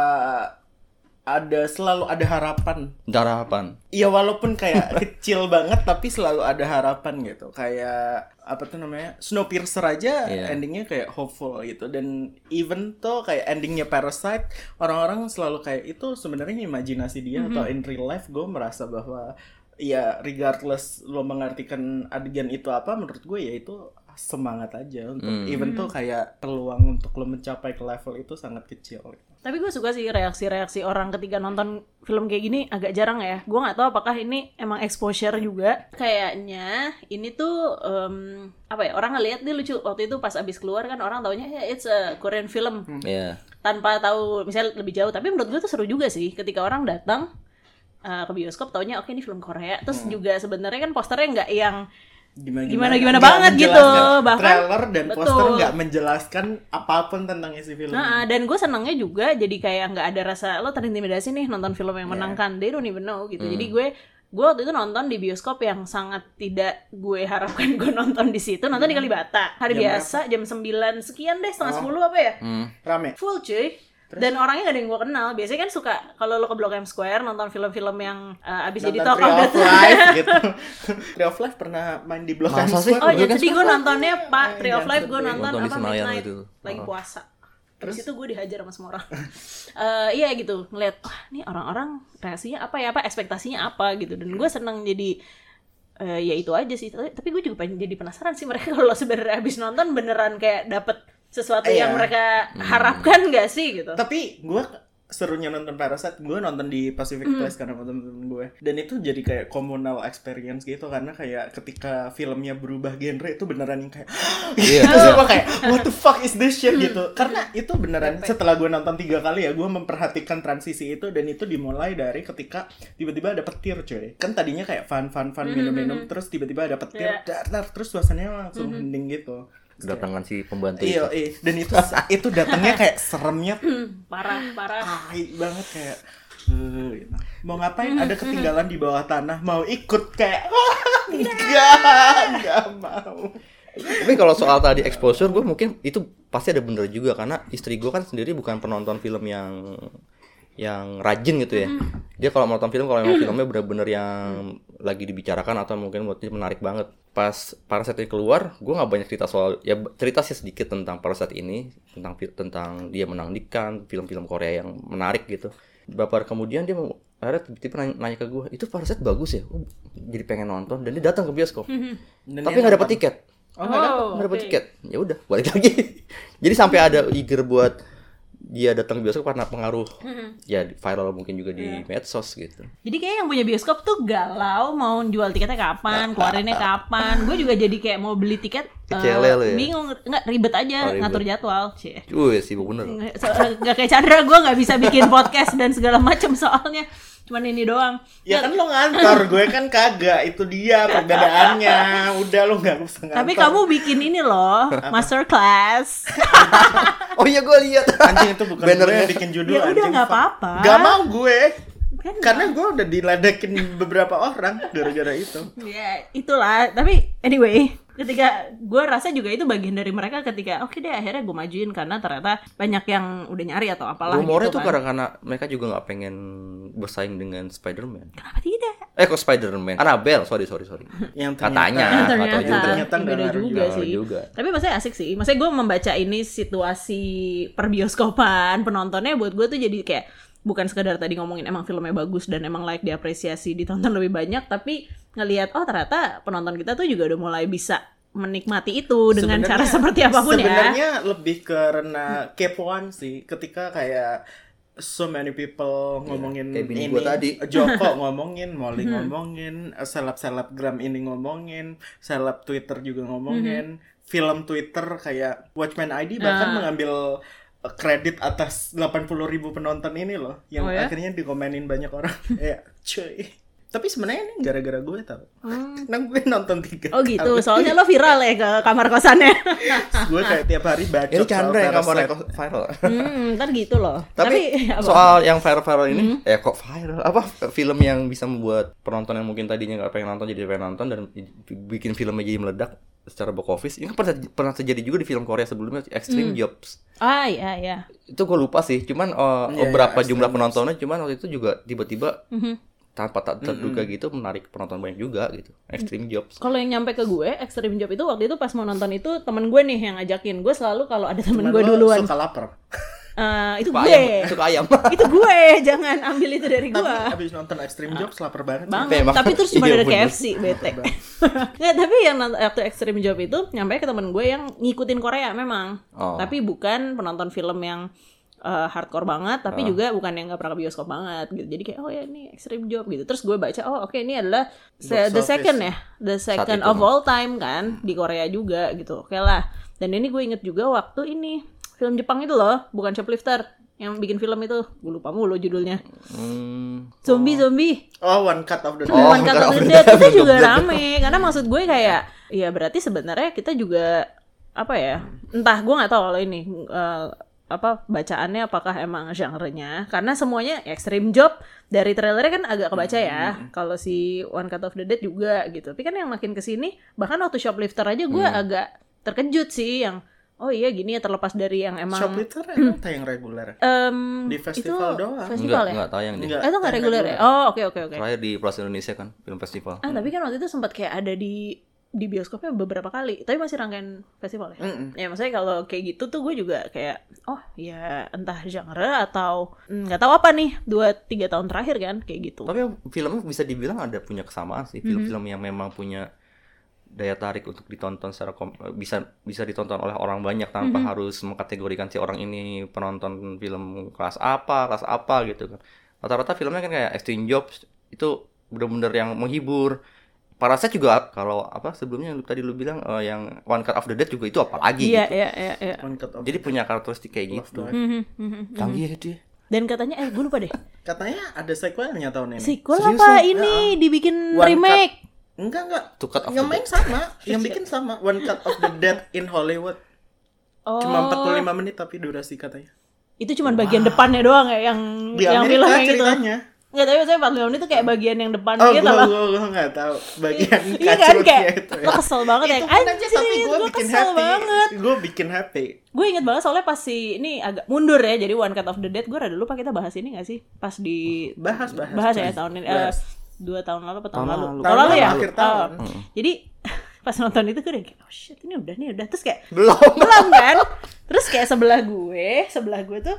[SPEAKER 3] ada selalu ada harapan.
[SPEAKER 2] Darah apaan?
[SPEAKER 3] Ya walaupun kayak kecil banget tapi selalu ada harapan gitu. Kayak apa tuh namanya? Snowpiercer aja
[SPEAKER 2] Iya.
[SPEAKER 3] endingnya kayak hopeful gitu dan even tuh kayak endingnya Parasite orang-orang selalu kayak itu sebenarnya imajinasi dia atau in real life gue merasa bahwa ya regardless lo mengartikan adegan itu apa menurut gue ya itu semangat aja untuk
[SPEAKER 2] Hmm.
[SPEAKER 3] even tuh kayak peluang untuk lo mencapai ke level itu sangat kecil gitu.
[SPEAKER 1] Tapi gue suka sih reaksi-reaksi orang ketika nonton film kayak gini agak jarang ya. Gue nggak tahu apakah ini emang exposure juga. Kayaknya ini tuh em, apa ya orang ngelihat dia lucu waktu itu pas abis keluar kan orang taunya ya it's a Korean film
[SPEAKER 2] Iya.
[SPEAKER 1] tanpa tahu misalnya lebih jauh. Tapi menurut gue tuh seru juga sih ketika orang datang eh, ke bioskop taunya oke ini film Korea. Terus juga sebenarnya kan posternya nggak yang
[SPEAKER 3] Gimana
[SPEAKER 1] Gimana-gimana banget gitu. Bahkan-
[SPEAKER 3] trailer dan poster
[SPEAKER 1] Betul.
[SPEAKER 3] nggak menjelaskan apapun tentang isi film.
[SPEAKER 1] Nah, dan gue senangnya juga jadi kayak nggak ada rasa lo terintimidasi nih nonton film yang menangkan. They don't even know gitu. Jadi gue gue waktu itu nonton di bioskop yang sangat tidak gue harapkan gue nonton di situ. Nonton di Kalibata. Hari
[SPEAKER 3] Jam
[SPEAKER 1] biasa jam 9 sekian deh, setengah 10 apa ya?
[SPEAKER 2] Hmm.
[SPEAKER 3] Rame.
[SPEAKER 1] Full cuy. Dan orangnya gak ada yang gue kenal. Biasanya kan suka kalau lo ke Blok M Square nonton film-film yang eh, abis jadi tokoh
[SPEAKER 3] Nonton Tree of
[SPEAKER 1] gitu.
[SPEAKER 3] Life gitu. Tree of Life pernah main di Blok M
[SPEAKER 2] Masa sih?
[SPEAKER 3] Square.
[SPEAKER 1] Oh,
[SPEAKER 2] Blok M
[SPEAKER 1] jadi gue nontonnya Pak Tree of
[SPEAKER 3] Jangan
[SPEAKER 1] Life gue
[SPEAKER 3] sedih.
[SPEAKER 1] nonton
[SPEAKER 2] Nonton di
[SPEAKER 1] apa
[SPEAKER 2] Senayan
[SPEAKER 1] Midnight
[SPEAKER 2] gitu.
[SPEAKER 1] lagi
[SPEAKER 2] Oh.
[SPEAKER 1] puasa. Terus itu gue dihajar sama semua orang. Eh, iya gitu, ngeliat wah nih orang-orang reaksinya apa ya apa ekspektasinya apa gitu dan gue seneng jadi eh, ya itu aja sih tapi gue juga pengen jadi penasaran sih mereka kalau sebenarnya abis nonton beneran kayak dapet sesuatu
[SPEAKER 3] Iya.
[SPEAKER 1] yang mereka harapkan gak sih gitu
[SPEAKER 3] Tapi gue serunya nonton Parasite, gue nonton di Pacific Place karena sama temen-temen gue. Dan itu jadi kayak communal experience gitu karena kayak ketika filmnya berubah genre itu beneran yang kayak gitu
[SPEAKER 2] Iya, iya.
[SPEAKER 3] semua kayak what the fuck is this shit gitu. Karena itu beneran setelah gue nonton tiga kali ya gue memperhatikan transisi itu dan itu dimulai dari ketika tiba-tiba ada petir cuy. Kan tadinya kayak fun fun fun minum-minum terus tiba-tiba ada petir
[SPEAKER 1] Iya.
[SPEAKER 3] dar, dar, terus suasananya langsung hening gitu. Terus kayak,
[SPEAKER 2] Kedatangan si pembantu
[SPEAKER 3] Iya,
[SPEAKER 2] itu.
[SPEAKER 3] iya. Dan itu itu datangnya kayak seremnya
[SPEAKER 1] parah parah
[SPEAKER 3] tai banget kayak "Eh, gitu. mau ngapain ada ketinggalan di bawah tanah mau ikut kayak enggak enggak mau
[SPEAKER 2] Tapi kalau soal tadi exposure, gue mungkin itu pasti ada bener juga karena istri gue kan sendiri bukan penonton film yang yang rajin gitu ya. Dia kalau menonton film kalau memang filmnya bener-bener yang lagi dibicarakan atau mungkin buat dia menarik banget. Pas Parasite ini keluar, gue nggak banyak cerita soal ya b- cerita sih sedikit tentang Parasite ini tentang fil- tentang dia menang di Cannes, film-film Korea yang menarik gitu. Baper kemudian dia mau- akhirnya tiba-tiba nanya, nanya ke gue, itu Parasite bagus ya? Gua jadi pengen nonton dan dia datang ke bioskop,
[SPEAKER 3] Dan
[SPEAKER 2] tapi
[SPEAKER 3] dia
[SPEAKER 2] nggak dapet
[SPEAKER 3] nonton.
[SPEAKER 2] tiket
[SPEAKER 3] oh, nggak ada.
[SPEAKER 2] nggak dapat
[SPEAKER 1] oke.
[SPEAKER 2] tiket ya udah balik lagi jadi sampai ada eager buat dia datang bioskop karena pengaruh ya viral mungkin juga di medsos gitu
[SPEAKER 1] Jadi kayak yang punya bioskop tuh galau mau jual tiketnya kapan, keluarinnya kapan. Gue juga jadi kayak mau beli tiket eh,
[SPEAKER 2] Kecele lu ya?
[SPEAKER 1] bingung, nggak ribet aja
[SPEAKER 2] Oh, ribet.
[SPEAKER 1] ngatur jadwal. Cie.
[SPEAKER 2] cuy sibuk bener
[SPEAKER 1] Nggak- so- nggak kayak Chandra, gue nggak bisa bikin podcast dan segala macam soalnya. Cuman ini doang.
[SPEAKER 3] ya kan lo ngantor gue kan kagak itu dia perbedaannya udah lo nggak usah ngantor
[SPEAKER 1] Tapi kamu bikin ini loh, masterclass.
[SPEAKER 2] oh iya gue lihat
[SPEAKER 3] anjing itu bukan gue
[SPEAKER 2] Bannernya.
[SPEAKER 3] yang bikin judul
[SPEAKER 1] Ya udah,
[SPEAKER 3] anjing
[SPEAKER 1] nggak
[SPEAKER 3] fuck.
[SPEAKER 1] apa-apa.
[SPEAKER 3] nggak mau gue
[SPEAKER 1] Kan
[SPEAKER 3] karena gue udah diledekin beberapa orang gara-gara itu
[SPEAKER 1] Ya itulah. Tapi anyway, ketika gue rasa juga itu bagian dari mereka ketika oke deh akhirnya gue majuin karena ternyata banyak yang udah nyari atau apalah.
[SPEAKER 2] rumornya
[SPEAKER 1] gitu
[SPEAKER 2] tuh
[SPEAKER 1] kan.
[SPEAKER 2] karena karena mereka juga nggak pengen bersaing dengan Spider-Man
[SPEAKER 1] Kenapa tidak?
[SPEAKER 2] eh kok Spider-Man Annabelle sorry sorry sorry
[SPEAKER 3] yang
[SPEAKER 2] katanya
[SPEAKER 3] ternyata-
[SPEAKER 2] nggak tahu
[SPEAKER 1] Nah, ternyata,
[SPEAKER 2] juga.
[SPEAKER 3] Ternyata
[SPEAKER 1] Ih,
[SPEAKER 3] nggak
[SPEAKER 1] beda
[SPEAKER 3] ngaruh
[SPEAKER 1] juga
[SPEAKER 2] juga.
[SPEAKER 1] sih
[SPEAKER 2] juga.
[SPEAKER 1] tapi maksudnya asik sih maksudnya gue membaca ini situasi perbioskopan penontonnya buat gue tuh jadi kayak bukan sekedar tadi ngomongin emang filmnya bagus dan emang layak diapresiasi ditonton lebih banyak tapi ngelihat oh ternyata penonton kita tuh juga udah mulai bisa menikmati itu dengan cara
[SPEAKER 3] Sebenarnya-
[SPEAKER 1] seperti apapun ya
[SPEAKER 3] Sebenarnya lebih karena kepoan sih. Ketika kayak so many people ngomongin
[SPEAKER 2] Iya, kayak bini
[SPEAKER 3] ini,
[SPEAKER 2] gua tadi.
[SPEAKER 3] Joko ngomongin, Molly
[SPEAKER 1] Hmm.
[SPEAKER 3] ngomongin, seleb-selebgram ini ngomongin, seleb Twitter juga ngomongin,
[SPEAKER 1] Hmm.
[SPEAKER 3] film Twitter kayak Watchmen ID
[SPEAKER 1] Ah.
[SPEAKER 3] bahkan mengambil eh, kredit atas 80.000 ribu penonton ini loh yang
[SPEAKER 1] Oh ya?
[SPEAKER 3] akhirnya dikomenin banyak orang ya cuy tapi sebenarnya ini gara-gara gue tau karena gue nonton tiga
[SPEAKER 1] oh gitu
[SPEAKER 3] kali.
[SPEAKER 1] soalnya lo viral ya ke kamar kosannya
[SPEAKER 3] gue kayak tiap hari baca
[SPEAKER 2] ini Chandra yang
[SPEAKER 3] soal
[SPEAKER 2] kamarnya
[SPEAKER 3] Parasite.
[SPEAKER 2] kok viral
[SPEAKER 1] hmm, ntar gitu loh
[SPEAKER 2] tapi
[SPEAKER 1] apa? Mhm.
[SPEAKER 2] soal yang viral-viral ini eh kok viral apa film yang bisa membuat penonton yang mungkin tadinya nggak pengen nonton jadi pengen nonton dan bikin filmnya jadi meledak secara box office ini kan pernah pernah terjadi juga di film Korea sebelumnya Extreme Jobs
[SPEAKER 1] ah ya ya
[SPEAKER 2] itu gue lupa sih cuman eh,
[SPEAKER 3] Iya,
[SPEAKER 2] beberapa
[SPEAKER 3] iya,
[SPEAKER 2] jumlah
[SPEAKER 3] Extreme
[SPEAKER 2] penontonnya cuman waktu itu juga tiba-tiba
[SPEAKER 1] Mhm.
[SPEAKER 2] tanpa tak terduga
[SPEAKER 3] Mhm.
[SPEAKER 2] gitu menarik penonton banyak juga gitu Extreme
[SPEAKER 1] Mhm.
[SPEAKER 2] Jobs
[SPEAKER 1] Kalau yang nyampe ke gue, Extreme Job itu waktu itu pas mau nonton itu temen gue nih yang ngajakin. Gue selalu kalau ada temen
[SPEAKER 3] Cuman
[SPEAKER 1] gue
[SPEAKER 3] lo
[SPEAKER 1] duluan.
[SPEAKER 3] suka lapar
[SPEAKER 1] Eh, itu
[SPEAKER 2] suka
[SPEAKER 1] gue.
[SPEAKER 2] ayam suka ayam
[SPEAKER 1] itu gue, jangan ambil itu dari
[SPEAKER 3] tapi
[SPEAKER 1] gue.
[SPEAKER 3] abis nonton Extreme Jobs lapar banget
[SPEAKER 1] Banget.
[SPEAKER 2] Memang.
[SPEAKER 1] Tapi terus cuma
[SPEAKER 2] Iya,
[SPEAKER 1] ada
[SPEAKER 2] bener.
[SPEAKER 1] KFC, bete. Nggak, tapi yang nont- waktu Extreme Job itu nyampe ke temen gue yang ngikutin Korea memang.
[SPEAKER 2] Oh.
[SPEAKER 1] Tapi bukan penonton film yang eh, hardcore banget, tapi juga bukan yang nggak pernah ke bioskop banget gitu. Jadi kayak oh ya ini Extreme Job gitu. Terus gue baca oh oke ini adalah se-
[SPEAKER 3] Box
[SPEAKER 1] the
[SPEAKER 3] office.
[SPEAKER 1] second ya, the second
[SPEAKER 2] itu,
[SPEAKER 1] of
[SPEAKER 2] Mam.
[SPEAKER 1] all time kan di Korea juga gitu. Oke lah. Dan ini gue inget juga waktu ini film Jepang itu loh, bukan shoplifter yang bikin film itu. Gue lupa mulu judulnya.
[SPEAKER 2] Hmm.
[SPEAKER 1] Zombie zombie.
[SPEAKER 3] oh one cut of the day
[SPEAKER 2] Oh,
[SPEAKER 1] One Cut of the Dead itu juga rame karena maksud gue kayak ya berarti sebenarnya kita juga apa ya entah gue nggak tahu kalau ini eh, apa bacaannya apakah emang genre-nya karena semuanya extreme job dari trailernya kan agak kebaca ya
[SPEAKER 3] Hmm.
[SPEAKER 1] kalau si One Cut of the Dead juga gitu tapi kan yang makin kesini bahkan waktu shoplifter aja gue
[SPEAKER 3] Hmm.
[SPEAKER 1] agak terkejut sih yang oh iya gini ya terlepas dari yang emang Hmm.
[SPEAKER 3] shop itu emang tayang reguler
[SPEAKER 1] em,
[SPEAKER 3] Di festival doang.
[SPEAKER 1] festival
[SPEAKER 2] Enggak,
[SPEAKER 1] ya
[SPEAKER 2] enggak tayang deh.
[SPEAKER 1] Eh, itu nggak reguler ya oh oke oke oke
[SPEAKER 2] Terakhir di Plaza Indonesia kan, film festival.
[SPEAKER 1] Ah, tapi kan waktu itu sempat kayak ada di di bioskopnya beberapa kali tapi masih rangkaian festival ya
[SPEAKER 3] Mm-mm.
[SPEAKER 1] ya maksudnya kalau kayak gitu tuh gue juga kayak oh ya entah genre atau mm, nggak tahu apa nih dua tiga tahun terakhir kan kayak gitu
[SPEAKER 3] Oh,
[SPEAKER 2] Tapi filmnya bisa dibilang ada punya kesamaan
[SPEAKER 1] Mhm.
[SPEAKER 2] sih. Film-film yang memang punya daya tarik untuk ditonton secara kom- bisa bisa ditonton oleh orang banyak
[SPEAKER 1] Mhm.
[SPEAKER 2] tanpa harus mengkategorikan si orang ini penonton film kelas apa, kelas apa gitu kan. Rata-rata filmnya kan kayak Exchange Jobs itu bener-bener yang menghibur. Parasite juga kalau apa sebelumnya yang tadi lu bilang eh, yang One Cut of the Dead juga itu apalagi
[SPEAKER 1] iya
[SPEAKER 2] gitu.
[SPEAKER 1] iya iya iya
[SPEAKER 3] One cut off.
[SPEAKER 2] Jadi punya karakteristik kayak
[SPEAKER 3] Love
[SPEAKER 2] gitu.
[SPEAKER 3] Dive.
[SPEAKER 1] Mhm, mhm.
[SPEAKER 2] Canggih ya dia.
[SPEAKER 1] dan katanya eh gue lupa deh
[SPEAKER 3] Katanya ada sequelnya tahun ini.
[SPEAKER 1] sequel
[SPEAKER 2] Serius
[SPEAKER 1] apa
[SPEAKER 2] ya?
[SPEAKER 1] ini dibikin
[SPEAKER 3] One
[SPEAKER 1] remake
[SPEAKER 3] Enggak enggak.
[SPEAKER 2] Two Cut of the
[SPEAKER 3] Yang main sama, yang bikin sama One Cut of the Dead in Hollywood.
[SPEAKER 1] oh
[SPEAKER 3] Cuma 45 menit tapi durasi katanya.
[SPEAKER 1] itu cuman bagian depannya doang ya yang
[SPEAKER 3] Di
[SPEAKER 1] yang
[SPEAKER 3] Amerika
[SPEAKER 1] filmnya gitu
[SPEAKER 3] ceritanya.
[SPEAKER 1] nggak tapi saya 45 menit itu kayak bagian yang depan
[SPEAKER 3] Oh,
[SPEAKER 1] gitu
[SPEAKER 3] gue
[SPEAKER 1] loh
[SPEAKER 3] gue gue nggak tahu bagian
[SPEAKER 1] Iya kan
[SPEAKER 3] kacurnya
[SPEAKER 1] kayak
[SPEAKER 3] itu.
[SPEAKER 1] lo
[SPEAKER 3] Ya.
[SPEAKER 1] kesel banget ya.
[SPEAKER 3] Itu pun aja
[SPEAKER 1] Anjir,
[SPEAKER 3] tapi gue
[SPEAKER 1] gua
[SPEAKER 3] bikin
[SPEAKER 1] kesel
[SPEAKER 3] happy.
[SPEAKER 1] banget.
[SPEAKER 3] Gue bikin happy.
[SPEAKER 1] Gue inget banget soalnya pas si ini agak mundur ya. Jadi One Cut of the Dead gue rada lupa kita bahas ini gak sih? Pas di
[SPEAKER 3] Bahas bahas.
[SPEAKER 1] bahas ya tahun ini eh,
[SPEAKER 3] Bahas.
[SPEAKER 1] dua tahun lalu atau tahun
[SPEAKER 2] Oh, Tahun Hmm.
[SPEAKER 1] lalu.
[SPEAKER 2] lalu.
[SPEAKER 1] Tahun lalu ya.
[SPEAKER 3] Akhir
[SPEAKER 1] Oh.
[SPEAKER 3] tahun.
[SPEAKER 1] Jadi pas nonton itu gue udah kayak oh shit ini udah nih udah terus kayak
[SPEAKER 2] Belum.
[SPEAKER 1] belum kan terus kayak sebelah gue sebelah gue tuh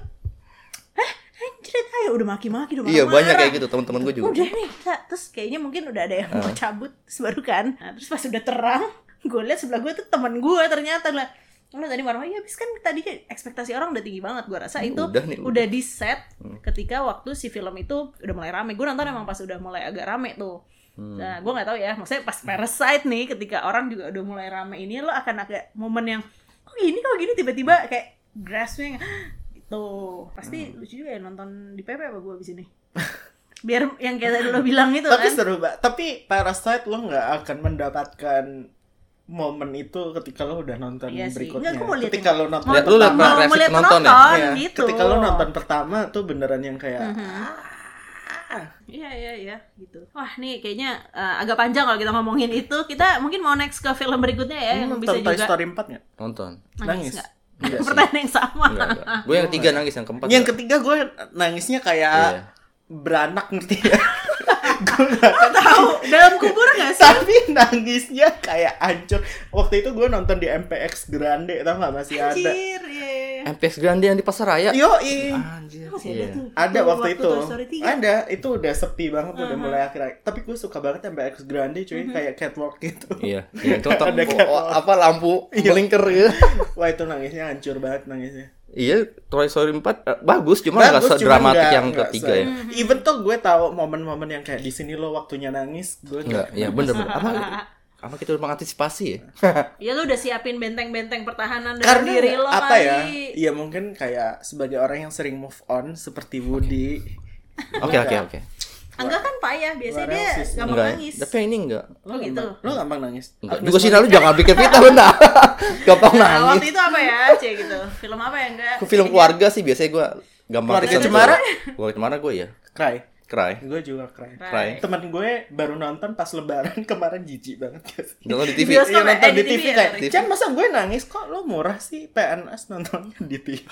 [SPEAKER 1] hah anjir ayo udah maki-maki udah
[SPEAKER 2] Iya, banyak
[SPEAKER 1] marah-marah."
[SPEAKER 2] kayak gitu teman-teman gue juga. Ah.
[SPEAKER 1] udah nih Kak. terus kayaknya mungkin udah ada yang mau cabut terus baru kan nah, terus pas udah terang gue lihat sebelah gue tuh teman gue ternyata lah lo tadi marah ya habis kan tadinya ekspektasi orang udah tinggi banget gue rasa itu
[SPEAKER 2] udah nih, udah. Hmm.
[SPEAKER 1] di set ketika waktu si film itu udah mulai rame gue nonton emang pas udah mulai agak rame tuh
[SPEAKER 3] Hmm.
[SPEAKER 1] nah gue nggak tahu ya maksudnya pas Parasite nih ketika orang juga udah mulai rame ini lo akan agak momen yang kok gini kok gini tiba-tiba kayak graspnya yang, "Hah," gitu
[SPEAKER 3] Hmm.
[SPEAKER 1] pasti lucu juga ya nonton di PP apa gue abis ini biar yang kayak tadi lo bilang itu kan
[SPEAKER 3] Tapi seru banget. Tapi Parasite lo nggak akan mendapatkan momen itu ketika lo udah nonton
[SPEAKER 1] Iya sih.
[SPEAKER 3] berikutnya.
[SPEAKER 1] Nggak, gua mau liatin.
[SPEAKER 3] ketika lo nonton
[SPEAKER 2] Lihat dulu, lihat
[SPEAKER 3] pertama,
[SPEAKER 1] mau
[SPEAKER 2] reaksi
[SPEAKER 1] melihat
[SPEAKER 2] penonton
[SPEAKER 1] penonton
[SPEAKER 2] ya?
[SPEAKER 3] ya,
[SPEAKER 1] gitu Mm-hmm.
[SPEAKER 3] ketika lo nonton pertama tuh beneran yang kayak
[SPEAKER 1] Iya iya iya gitu. Wah nih kayaknya eh, agak panjang kalau kita ngomongin itu. Kita mungkin mau next ke film berikutnya ya yang
[SPEAKER 3] "Hmm,
[SPEAKER 1] bisa
[SPEAKER 3] nonton Toy
[SPEAKER 1] juga
[SPEAKER 3] Story 4 nggak?
[SPEAKER 2] Nonton.
[SPEAKER 1] nangis
[SPEAKER 3] Nangis.
[SPEAKER 1] nggak?
[SPEAKER 3] Iya sih.
[SPEAKER 1] Pertanyaan yang sama.
[SPEAKER 2] Enggak, enggak. Gue yang ketiga nangis, yang keempat.
[SPEAKER 3] Yang
[SPEAKER 2] enggak.
[SPEAKER 3] ketiga gue nangisnya kayak
[SPEAKER 2] Iya.
[SPEAKER 3] beranak ngerti ya. gue nggak
[SPEAKER 1] Tahu dalam kubur nggak sih?
[SPEAKER 3] tapi nangisnya kayak hancur. Waktu itu gue nonton di MPX Grande tau nggak masih ada.
[SPEAKER 1] Anjir, iya.
[SPEAKER 2] MPS Grande yang di pasar raya.
[SPEAKER 3] Yo,
[SPEAKER 2] Anjir.
[SPEAKER 1] Masih ada
[SPEAKER 2] Iya.
[SPEAKER 1] tuh.
[SPEAKER 3] ada
[SPEAKER 1] Tuh,
[SPEAKER 3] waktu, itu.
[SPEAKER 1] Toy Story Uh-huh. 3.
[SPEAKER 3] Ada, itu udah sepi banget udah mulai akhir-akhir. Tapi gue suka banget MPX Grande cuy
[SPEAKER 1] Uh-huh.
[SPEAKER 3] kayak catwalk gitu.
[SPEAKER 2] Iya. Iya, itu atau
[SPEAKER 3] Ada kan? Iya.
[SPEAKER 2] apa lampu blinker gitu.
[SPEAKER 3] Wah, itu nangisnya hancur banget nangisnya.
[SPEAKER 2] Iya, Toy Story 4 eh, bagus, cuma enggak
[SPEAKER 3] Bagus, cuman
[SPEAKER 2] sedramatik
[SPEAKER 3] nggak-
[SPEAKER 2] yang
[SPEAKER 3] nggak
[SPEAKER 2] ketiga
[SPEAKER 3] se-
[SPEAKER 2] ya.
[SPEAKER 1] Uh-huh.
[SPEAKER 3] Even tuh gue tahu momen-momen yang kayak di sini lo waktunya nangis, gue
[SPEAKER 2] Enggak, ya bener bener. Apa apa kita udah mengantisipasi ya?
[SPEAKER 1] Ya lu udah siapin benteng-benteng pertahanan dari
[SPEAKER 3] karena
[SPEAKER 1] diri lo
[SPEAKER 3] apa ya?
[SPEAKER 1] kali.
[SPEAKER 3] Iya mungkin kayak sebagai orang yang sering move on seperti Woody.
[SPEAKER 2] Oke, oke, oke.
[SPEAKER 1] Angga kan payah, biasanya
[SPEAKER 3] What
[SPEAKER 1] dia
[SPEAKER 3] else is-
[SPEAKER 1] gampang
[SPEAKER 2] Enggak. ya?
[SPEAKER 1] nangis.
[SPEAKER 2] Tapi yang ini enggak.
[SPEAKER 1] Oh gitu.
[SPEAKER 3] Lo gampang nangis.
[SPEAKER 2] Enggak
[SPEAKER 3] Agnes
[SPEAKER 2] juga sih
[SPEAKER 3] Mo-
[SPEAKER 2] lalu jangan bikin kita benar. Gampang
[SPEAKER 1] Nah,
[SPEAKER 2] nangis.
[SPEAKER 1] waktu itu apa ya, Cie gitu? Film apa ya enggak?
[SPEAKER 2] Ke film keluarga sih biasanya gue gampang
[SPEAKER 3] Iya. Keluarga
[SPEAKER 2] kesentuh.
[SPEAKER 3] Cemara?
[SPEAKER 2] Keluarga Cemara gue ya.
[SPEAKER 3] Cry.
[SPEAKER 2] Cry.
[SPEAKER 3] Gue juga cry.
[SPEAKER 2] Cry.
[SPEAKER 3] Temen gue baru nonton pas lebaran kemarin jijik banget.
[SPEAKER 2] Nonton di
[SPEAKER 1] Di
[SPEAKER 2] TV.
[SPEAKER 1] bioskop
[SPEAKER 3] Iya
[SPEAKER 1] ya?
[SPEAKER 3] nonton
[SPEAKER 1] Eh,
[SPEAKER 3] di TV
[SPEAKER 1] ya?
[SPEAKER 3] kayak, gitu.
[SPEAKER 1] Rick?
[SPEAKER 3] Chan masa gue nangis kok lo murah sih PNS nontonnya di TV.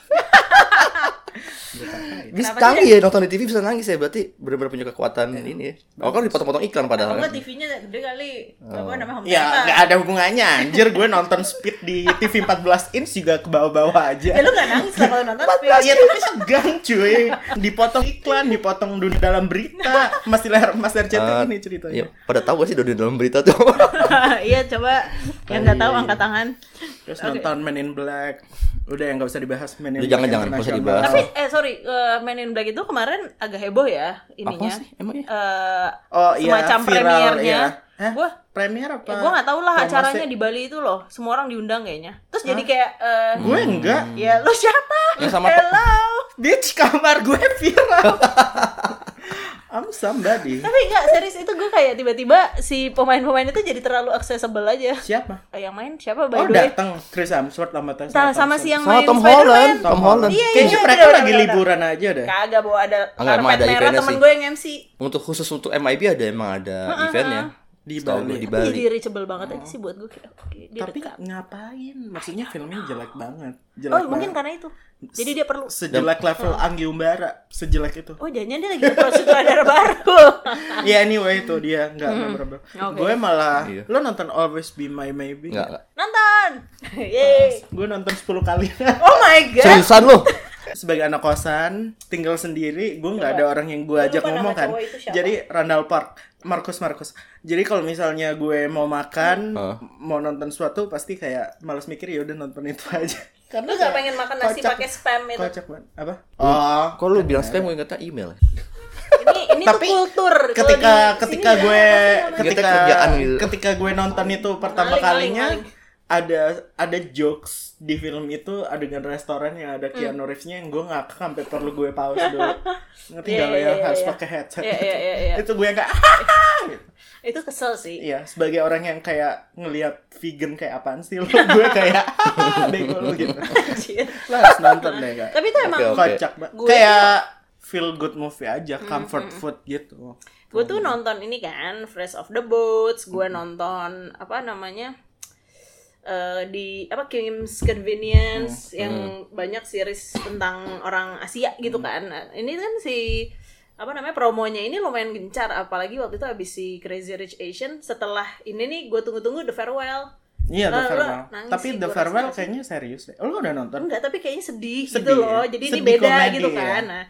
[SPEAKER 2] Bisa
[SPEAKER 1] Kenapa
[SPEAKER 2] canggih ya nonton di TV bisa nangis ya berarti benar-benar punya kekuatan
[SPEAKER 1] Iya.
[SPEAKER 2] ini ya. Oh kan dipotong-potong iklan
[SPEAKER 1] Kalau
[SPEAKER 2] padahal.
[SPEAKER 1] enggak
[SPEAKER 2] kan?
[SPEAKER 1] TV-nya gede kali. Apa namanya home
[SPEAKER 3] ya
[SPEAKER 1] theater.
[SPEAKER 3] nggak ada hubungannya anjir gue nonton speed di TV 14 inch juga ke bawah-bawah
[SPEAKER 1] Ya
[SPEAKER 3] aja.
[SPEAKER 1] lu gak nangis lah kalau nonton film.
[SPEAKER 3] Ya tapi segang cuy Dipotong iklan, dipotong dunia dalam berita Masih leher, mas leher cetek
[SPEAKER 2] Eh,
[SPEAKER 3] ini ceritanya
[SPEAKER 2] Iya, pada tahu gak sih dari dalam berita tuh.
[SPEAKER 1] Iya coba yang nggak
[SPEAKER 3] Iya.
[SPEAKER 1] tahu angkat tangan.
[SPEAKER 3] Terus nonton Men in Black Udah yang gak usah dibahas Men in
[SPEAKER 2] Udah,
[SPEAKER 3] Black
[SPEAKER 2] jangan, jangan, nggak usah
[SPEAKER 3] International.
[SPEAKER 1] Tapi eh sorry, eh, Men in Black itu kemarin agak heboh ya ininya.
[SPEAKER 2] Apa sih? Emang
[SPEAKER 3] iya?
[SPEAKER 2] ya?
[SPEAKER 1] Eh,
[SPEAKER 3] Oh iya,
[SPEAKER 1] semacam
[SPEAKER 3] viral,
[SPEAKER 1] premiernya.
[SPEAKER 3] iya. Hah?
[SPEAKER 1] Gua
[SPEAKER 3] Premier apa?
[SPEAKER 1] ya, gua nggak tahu lah
[SPEAKER 3] Promosi?
[SPEAKER 1] acaranya di Bali itu loh. Semua orang diundang kayaknya. Terus jadi kayak eh,
[SPEAKER 3] Gue enggak
[SPEAKER 2] Hmm.
[SPEAKER 1] ya lu siapa?
[SPEAKER 2] Yang sama-
[SPEAKER 1] Hello.
[SPEAKER 3] Bitch kamar gue viral I'm somebody
[SPEAKER 1] Tapi enggak serius itu gue kayak tiba-tiba si pemain-pemain itu jadi terlalu accessible aja.
[SPEAKER 3] Siapa?
[SPEAKER 1] Eh, Yang main siapa by
[SPEAKER 3] Oh
[SPEAKER 1] the way?
[SPEAKER 3] datang Chris Hemsworth sama Tessa
[SPEAKER 1] Sama, sama
[SPEAKER 3] Thompson.
[SPEAKER 1] si yang
[SPEAKER 2] Sama
[SPEAKER 1] main
[SPEAKER 2] Tom
[SPEAKER 1] Spider-Man.
[SPEAKER 2] Holland.
[SPEAKER 3] Tom
[SPEAKER 2] Tom
[SPEAKER 3] Holland
[SPEAKER 2] Holland.
[SPEAKER 1] Iya,
[SPEAKER 3] Kayaknya
[SPEAKER 1] iya,
[SPEAKER 3] mereka
[SPEAKER 1] udah,
[SPEAKER 3] lagi
[SPEAKER 1] udah, udah.
[SPEAKER 3] liburan aja deh
[SPEAKER 1] Kagak bawa ada
[SPEAKER 2] Enggak, emang
[SPEAKER 1] karpet
[SPEAKER 2] ada
[SPEAKER 1] merah
[SPEAKER 2] eventnya
[SPEAKER 1] temen
[SPEAKER 2] sih.
[SPEAKER 1] gue yang MC.
[SPEAKER 2] Untuk khusus untuk MIB ada emang ada eventnya.
[SPEAKER 3] di
[SPEAKER 2] ya? Setahu
[SPEAKER 3] Bali.
[SPEAKER 2] gua di
[SPEAKER 1] Tapi
[SPEAKER 2] Bali.
[SPEAKER 1] jadi reachable banget aja sih buat gue kayak oke dia
[SPEAKER 3] Tapi
[SPEAKER 1] dekat.
[SPEAKER 3] ngapain? Maksudnya filmnya jelek banget. Jelek
[SPEAKER 1] Oh, mungkin
[SPEAKER 3] banget.
[SPEAKER 1] karena itu. Jadi dia perlu
[SPEAKER 3] sejelek level Anggi Umbara, sejelek itu.
[SPEAKER 1] Oh, jangan dia lagi nge-approach sutradara baru.
[SPEAKER 3] Ya anyway itu dia nggak memorable.
[SPEAKER 1] Oke.
[SPEAKER 3] Gue malah
[SPEAKER 2] Iya.
[SPEAKER 3] lo nonton Always Be My Maybe.
[SPEAKER 2] Enggak, enggak.
[SPEAKER 1] Nonton. Yeay.
[SPEAKER 3] Gue nonton 10 kali.
[SPEAKER 1] Oh my god.
[SPEAKER 2] Seriusan lo?
[SPEAKER 3] Sebagai anak kosan, tinggal sendiri, gue nggak ada orang yang gue
[SPEAKER 1] Gua Iya.
[SPEAKER 3] ajak
[SPEAKER 1] lupa nama
[SPEAKER 3] ngomong kan.
[SPEAKER 1] cowok itu siapa.
[SPEAKER 3] Jadi Randall Park, Markus Markus. Jadi kalau misalnya gue mau makan,
[SPEAKER 2] Heeh.
[SPEAKER 3] mau nonton suatu pasti kayak males mikir ya udah nonton itu aja.
[SPEAKER 1] Lu gak pengen makan nasi
[SPEAKER 3] Kocak.
[SPEAKER 1] pakai spam itu.
[SPEAKER 3] Kocak banget. Apa? Oh,
[SPEAKER 2] Kok lu bilang spam gue ingetnya email ya?
[SPEAKER 1] Ini ini tuh
[SPEAKER 3] Tapi
[SPEAKER 1] kultur. Kalau
[SPEAKER 3] ketika
[SPEAKER 1] di sini
[SPEAKER 3] ketika
[SPEAKER 1] ya,
[SPEAKER 3] gue
[SPEAKER 1] ada apa sih namanya?
[SPEAKER 3] ketika
[SPEAKER 2] kerjaan gitu.
[SPEAKER 3] ketika gue nonton itu pertama
[SPEAKER 1] Maling,
[SPEAKER 3] kalinya
[SPEAKER 1] maling,
[SPEAKER 3] ada ada jokes di film itu adegan restoran yang
[SPEAKER 1] Hmm.
[SPEAKER 3] ada Keanu Reeves-nya yang gue ngakak sampai perlu gue pause dulu ngerti
[SPEAKER 1] Iya,
[SPEAKER 3] gak lo
[SPEAKER 1] iya,
[SPEAKER 3] yang
[SPEAKER 1] iya,
[SPEAKER 3] harus
[SPEAKER 1] iya.
[SPEAKER 3] pakai headset
[SPEAKER 1] Iya, iya, iya, iya.
[SPEAKER 3] itu gue yang kayak gitu.
[SPEAKER 1] itu kesel sih.
[SPEAKER 3] Iya, sebagai orang yang kayak ngelihat vegan kayak apaan sih lo gue kayak "Ah, bego lo gitu
[SPEAKER 1] Anjir.
[SPEAKER 3] lo harus nonton deh kayak
[SPEAKER 1] Tapi itu emang
[SPEAKER 2] Oke, oke.
[SPEAKER 3] kocak banget
[SPEAKER 1] Gue Hmm,
[SPEAKER 3] kayak feel good movie aja comfort food gitu
[SPEAKER 1] gue tuh nonton ini kan Fresh of the Boats, gue nonton apa namanya eh, di apa Kim's Convenience yang banyak series tentang orang Asia gitu kan. Nah, Ini kan si apa namanya promonya ini lumayan gencar apalagi waktu itu abis si Crazy Rich Asian setelah ini nih gue tunggu-tunggu The Farewell
[SPEAKER 3] Iya
[SPEAKER 1] Lo-
[SPEAKER 3] The
[SPEAKER 1] lo
[SPEAKER 3] Farewell.
[SPEAKER 1] Nah, nangis
[SPEAKER 3] Tapi
[SPEAKER 1] sih,
[SPEAKER 3] The
[SPEAKER 1] gua
[SPEAKER 3] Farewell
[SPEAKER 1] rasa.
[SPEAKER 3] kayaknya serius deh. Lo udah nonton?
[SPEAKER 1] enggak tapi kayaknya sedih, gitu
[SPEAKER 3] Sedih ya?
[SPEAKER 1] loh jadi ini
[SPEAKER 3] Sedih
[SPEAKER 1] beda
[SPEAKER 3] komedi
[SPEAKER 1] gitu
[SPEAKER 3] ya?
[SPEAKER 1] kan nah,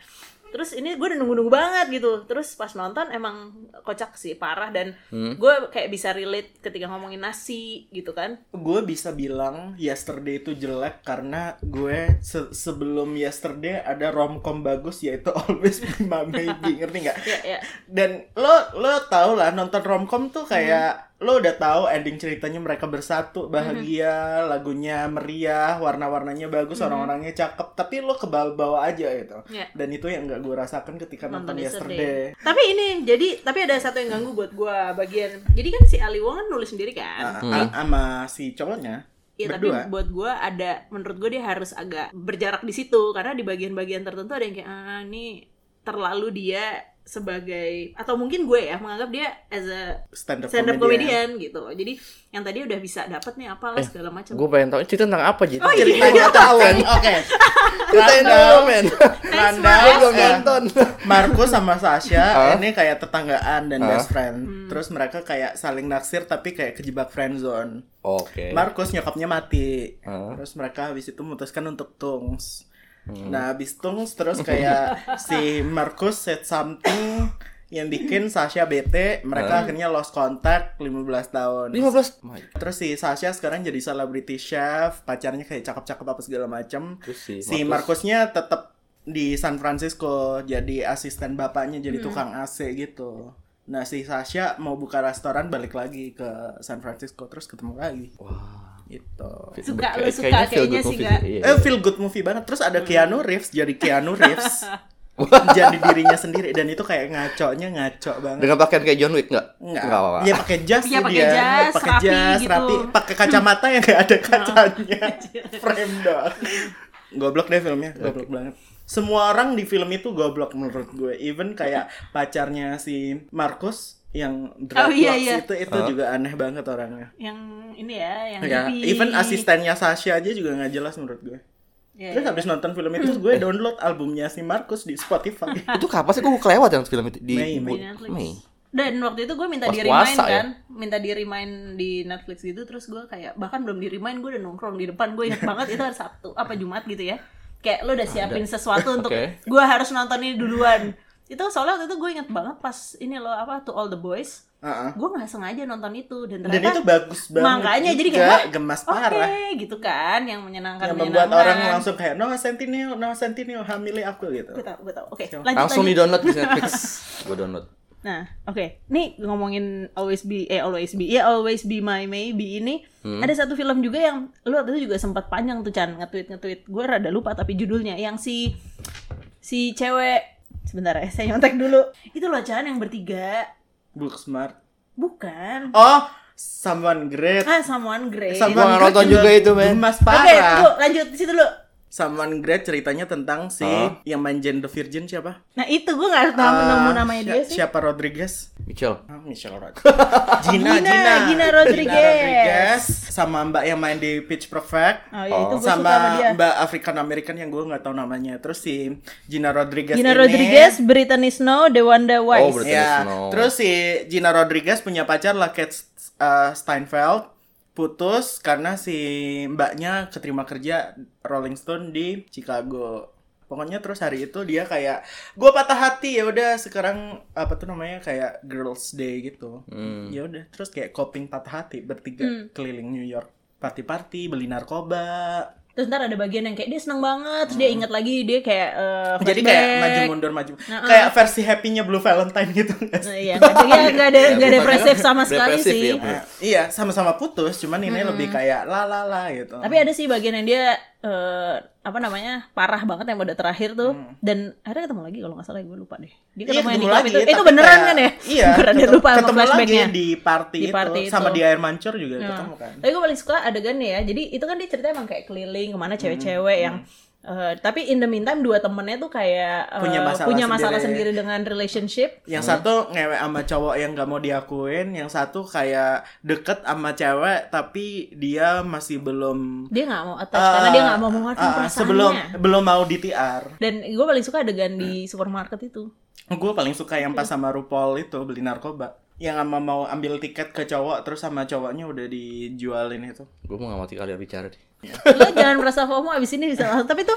[SPEAKER 1] terus ini gue udah nunggu-nunggu banget gitu terus pas nonton emang kocak sih parah dan
[SPEAKER 3] Hmm.
[SPEAKER 1] gue kayak bisa relate ketika ngomongin nasi gitu kan
[SPEAKER 3] Gue bisa bilang Yesterday itu jelek karena gue se- sebelum Yesterday ada romcom bagus yaitu Always Be My Maybe. Ngerti nggak?
[SPEAKER 1] ya ya
[SPEAKER 3] Dan lo lo tau lah nonton romcom tuh
[SPEAKER 1] Hmm.
[SPEAKER 3] kayak lo udah tahu ending ceritanya mereka bersatu
[SPEAKER 1] Hmm.
[SPEAKER 3] bahagia, lagunya meriah, warna-warnanya bagus, orang-orangnya cakep. Tapi lo kebawa-bawa aja gitu.
[SPEAKER 1] Iya.
[SPEAKER 3] Dan itu yang nggak gue rasakan ketika
[SPEAKER 1] nonton
[SPEAKER 3] nonton, Yesterday.
[SPEAKER 1] yesterday. Tapi ini jadi tapi ada satu yang ganggu buat gue bagian. Jadi kan si Ali Wong kan nulis sendiri kan.
[SPEAKER 3] A- a- sama si cowoknya
[SPEAKER 1] Iya tapi
[SPEAKER 3] Ah, berdua
[SPEAKER 1] buat gue ada menurut gue dia harus agak berjarak di situ karena di bagian-bagian tertentu ada yang kayak ah ini terlalu dia sebagai atau mungkin gue ya menganggap dia as a
[SPEAKER 3] stand up,
[SPEAKER 1] stand up
[SPEAKER 3] comedian.
[SPEAKER 1] comedian gitu. Jadi yang tadi udah bisa dapat nih apalah segala macam.
[SPEAKER 2] Gue pengen tahu cerita tentang apa Jit?
[SPEAKER 1] Oh, iya.
[SPEAKER 2] Ceritanya tahu
[SPEAKER 3] Oke,
[SPEAKER 2] kan?
[SPEAKER 3] oke.
[SPEAKER 2] Ceritain
[SPEAKER 3] Randall.
[SPEAKER 2] dulu men.
[SPEAKER 3] Randall
[SPEAKER 2] Gue belum
[SPEAKER 3] eh,
[SPEAKER 2] nonton.
[SPEAKER 3] Marco sama
[SPEAKER 2] Hah?
[SPEAKER 3] Sasha ini kayak tetanggaan dan
[SPEAKER 2] Hah?
[SPEAKER 3] best friend. Terus mereka kayak saling naksir tapi kayak kejebak friend zone.
[SPEAKER 2] Oke.
[SPEAKER 3] Markus nyokapnya mati.
[SPEAKER 2] Hah? Hmm.
[SPEAKER 3] Terus mereka habis itu memutuskan untuk tungs. Nah, habis tungs terus kayak si Markus said something yang bikin Sasha bete, mereka akhirnya lost contact 15 tahun.
[SPEAKER 2] 15 My
[SPEAKER 3] Terus si Sasha sekarang jadi selebriti chef, pacarnya kayak cakep-cakep apa segala macem.
[SPEAKER 2] Terus si
[SPEAKER 3] si
[SPEAKER 2] Marcus-
[SPEAKER 3] Markusnya tetap di San Francisco jadi asisten bapaknya, jadi tukang AC gitu. Nah si Sasha mau buka restoran balik lagi ke San Francisco terus ketemu lagi
[SPEAKER 2] Wah.
[SPEAKER 3] gitu.
[SPEAKER 1] Suka, lu
[SPEAKER 2] Kayak-
[SPEAKER 1] suka, kayaknya
[SPEAKER 2] feel good
[SPEAKER 1] sih,
[SPEAKER 2] movie
[SPEAKER 1] Kak.
[SPEAKER 2] Iya,
[SPEAKER 3] Eh
[SPEAKER 2] iya.
[SPEAKER 3] feel good movie banget. Terus ada Keanu Reeves jadi Keanu Reeves jadi dirinya sendiri dan itu kayak ngaconya ngaco banget.
[SPEAKER 2] Dengan pakaian kayak John Wick nggak?
[SPEAKER 3] Enggak.
[SPEAKER 2] Nggak apa-apa.
[SPEAKER 3] Dia pakai jas
[SPEAKER 1] Iya,
[SPEAKER 3] tuh
[SPEAKER 1] pakai
[SPEAKER 3] dia.
[SPEAKER 1] jas,
[SPEAKER 3] pakai
[SPEAKER 1] rapi
[SPEAKER 3] jas,
[SPEAKER 1] gitu.
[SPEAKER 3] rapi, pakai kacamata yang gak ada kacanya. Frame doang. Goblok deh filmnya, goblok banget. Semua orang di film itu goblok menurut gue. Even kayak pacarnya si Markus yang dreadlocks
[SPEAKER 1] iya, iya.
[SPEAKER 3] itu itu juga aneh banget orangnya.
[SPEAKER 1] Yang ini ya, yang
[SPEAKER 3] Ya,
[SPEAKER 1] hippie.
[SPEAKER 3] even asistennya Sasha aja juga nggak jelas menurut gue.
[SPEAKER 1] Iya,
[SPEAKER 3] Terus
[SPEAKER 1] iya.
[SPEAKER 3] habis nonton film itu gue download albumnya si Markus di Spotify.
[SPEAKER 2] Ah, Itu kapan sih gue kelewat yang film itu di
[SPEAKER 3] Mei,
[SPEAKER 2] bu-
[SPEAKER 3] Mei.
[SPEAKER 1] Di Netflix.
[SPEAKER 2] Mei.
[SPEAKER 1] Dan waktu itu gue minta
[SPEAKER 2] Pas
[SPEAKER 1] di remind
[SPEAKER 2] puasa ya?
[SPEAKER 1] kan, minta di remind di Netflix gitu, terus gue kayak bahkan belum di remind gue udah nongkrong di depan gue inget banget itu hari Sabtu apa Jumat gitu ya, kayak lo udah siapin sesuatu untuk
[SPEAKER 2] Oke.
[SPEAKER 1] gue harus nonton ini duluan. Itu soalnya waktu itu gue inget banget pas ini loh apa To All the Boys,
[SPEAKER 3] Heeh.
[SPEAKER 1] gue nggak sengaja nonton itu dan
[SPEAKER 3] Dan
[SPEAKER 1] ternyata
[SPEAKER 3] itu bagus banget.
[SPEAKER 1] Makanya jadi
[SPEAKER 3] juga.
[SPEAKER 1] kayak "Hah,
[SPEAKER 3] gemas
[SPEAKER 1] oke,"
[SPEAKER 3] parah.
[SPEAKER 1] gitu kan yang menyenangkan
[SPEAKER 3] yang membuat
[SPEAKER 1] menyenangkan.
[SPEAKER 3] orang langsung kayak Noah Centineo, Noah Centineo hamili aku gitu.
[SPEAKER 1] gue tau gue tau oke lanjut
[SPEAKER 2] Langsung di
[SPEAKER 1] lanjut.
[SPEAKER 2] download di Netflix. Gue download.
[SPEAKER 1] nah oke nih ngomongin always be eh always be ya always be my maybe ini
[SPEAKER 3] Hmm.
[SPEAKER 1] ada satu film juga yang lu waktu itu juga sempat panjang tuh Chan nge-tweet nge-tweet gue rada lupa tapi judulnya yang si si cewek sebentar ya saya nyontek dulu itu loh Chan yang bertiga
[SPEAKER 3] Book smart.
[SPEAKER 1] bukan
[SPEAKER 3] Oh, someone great.
[SPEAKER 1] ah someone great
[SPEAKER 2] Gua
[SPEAKER 3] Someone
[SPEAKER 2] nggak nonton juga itu, men.
[SPEAKER 3] Gemas
[SPEAKER 1] Oke,
[SPEAKER 3] parah.
[SPEAKER 1] lu lanjut di situ dulu.
[SPEAKER 3] Saman Great ceritanya tentang si yang main Jane the Virgin siapa?
[SPEAKER 1] Nah itu gue gak tahu
[SPEAKER 3] Ah,
[SPEAKER 1] nemu namanya
[SPEAKER 3] Sia-
[SPEAKER 1] dia sih.
[SPEAKER 3] Siapa Rodriguez?
[SPEAKER 2] Michelle.
[SPEAKER 3] Ah, Michelle Rodriguez. Gina,
[SPEAKER 1] Gina, Gina Rodriguez.
[SPEAKER 3] Rodriguez. Sama mbak yang main di Pitch Perfect.
[SPEAKER 1] Oh, ya, itu gue suka
[SPEAKER 3] sama
[SPEAKER 1] sama dia.
[SPEAKER 3] mbak African American yang gue nggak tahu namanya. Terus si Gina Rodriguez
[SPEAKER 1] Gina
[SPEAKER 3] ini-
[SPEAKER 1] Rodriguez, Brittany Snow, Dewanda
[SPEAKER 2] Oh,
[SPEAKER 1] Wise.
[SPEAKER 2] Brittany
[SPEAKER 3] Ya,
[SPEAKER 2] Snow.
[SPEAKER 3] terus si Gina Rodriguez punya pacar lah Kate uh, Steinfeld putus karena si mbaknya keterima kerja Rolling Stone di Chicago. Pokoknya terus hari itu dia kayak gua patah hati ya udah sekarang apa tuh namanya kayak Girls Day gitu. Ya udah terus kayak coping patah hati bertiga keliling New York party-party beli narkoba.
[SPEAKER 1] Terus ntar ada bagian yang kayak dia seneng banget, terus dia ingat lagi dia kayak eh,
[SPEAKER 3] Jadi kayak
[SPEAKER 1] flashback.
[SPEAKER 3] maju mundur maju kayak versi happy-nya Blue Valentine gitu. nggak sih?
[SPEAKER 1] Nah, Iya, nggak ada, ya, nggak ada,
[SPEAKER 2] Ya,
[SPEAKER 1] nggak
[SPEAKER 2] bukan-
[SPEAKER 1] depresif sama sekali
[SPEAKER 2] depresif,
[SPEAKER 1] sih.
[SPEAKER 2] ya, bener.
[SPEAKER 3] Nah, iya, sama-sama putus, cuman ini lebih kayak la la la gitu.
[SPEAKER 1] Hmm. Tapi ya, ada sih bagian yang dia eh, apa namanya parah banget yang pada terakhir tuh dan akhirnya ketemu lagi kalau nggak salah gue lupa deh. Dia
[SPEAKER 3] Hmm. Iya,
[SPEAKER 1] ketemu yang di
[SPEAKER 3] ketemu
[SPEAKER 1] klub
[SPEAKER 3] lagi,
[SPEAKER 1] itu. Itu
[SPEAKER 3] tapi
[SPEAKER 1] beneran
[SPEAKER 3] kayak-
[SPEAKER 1] kan ya?
[SPEAKER 3] Iya,
[SPEAKER 1] beneran dia
[SPEAKER 3] ketemu-
[SPEAKER 1] lupa sama
[SPEAKER 3] ketemu lagi
[SPEAKER 1] flashbacknya.
[SPEAKER 3] di party,
[SPEAKER 1] Di party
[SPEAKER 3] itu, sama
[SPEAKER 1] itu. Nah.
[SPEAKER 3] di air mancur juga ketemu kan.
[SPEAKER 1] Tapi gue paling suka adegannya ya. Jadi itu kan dia cerita emang kayak keliling kemana
[SPEAKER 3] Hmm.
[SPEAKER 1] cewek-cewek yang eh, tapi in the meantime dua temennya tuh kayak eh,
[SPEAKER 3] Punya masalah
[SPEAKER 1] masalah sendiri
[SPEAKER 3] sendiri.
[SPEAKER 1] dengan relationship.
[SPEAKER 3] Yang satu ngewe sama cowok yang gak mau diakuin, yang satu kayak deket sama cewek tapi dia masih belum
[SPEAKER 1] Dia nggak mau attach karena dia nggak mau mengeluarkan
[SPEAKER 3] Ah, ah,
[SPEAKER 1] perasaannya.
[SPEAKER 3] Eh, sebelum belum mau di TR.
[SPEAKER 1] Dan gue paling suka adegan di supermarket itu.
[SPEAKER 3] Gue paling suka yang pas
[SPEAKER 1] Hmm.
[SPEAKER 3] sama RuPaul itu beli narkoba. Yang sama mau ambil tiket ke cowok terus sama cowoknya udah dijualin itu.
[SPEAKER 2] Gue mau ngamati kalian bicara deh.
[SPEAKER 1] lo jangan merasa FOMO abis ini bisa langsung tapi itu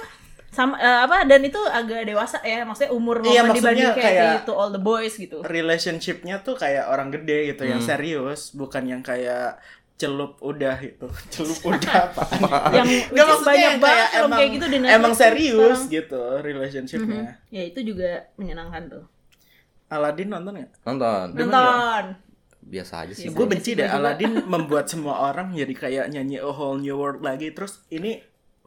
[SPEAKER 1] sama eh, apa dan itu agak dewasa ya maksudnya umur lo
[SPEAKER 3] Iya,
[SPEAKER 1] dibanding
[SPEAKER 3] maksudnya
[SPEAKER 1] kayak,
[SPEAKER 3] kayak-
[SPEAKER 1] itu all the boys gitu
[SPEAKER 3] relationshipnya tuh kayak orang gede gitu yang serius bukan yang kayak celup udah gitu celup udah apa
[SPEAKER 1] Yang- which is banyak
[SPEAKER 3] yang
[SPEAKER 1] banget film kayak gitu di Netflix
[SPEAKER 3] emang
[SPEAKER 1] tuh
[SPEAKER 3] serius
[SPEAKER 1] sekarang.
[SPEAKER 3] gitu relationshipnya
[SPEAKER 1] ya itu juga menyenangkan tuh
[SPEAKER 3] Aladin nonton nggak? ya?
[SPEAKER 2] Nonton. Iya.
[SPEAKER 1] nonton
[SPEAKER 2] Biasa
[SPEAKER 1] Iya,
[SPEAKER 2] aja sih.
[SPEAKER 3] Gue benci deh Aladin membuat semua orang jadi kayak nyanyi a whole new world lagi terus ini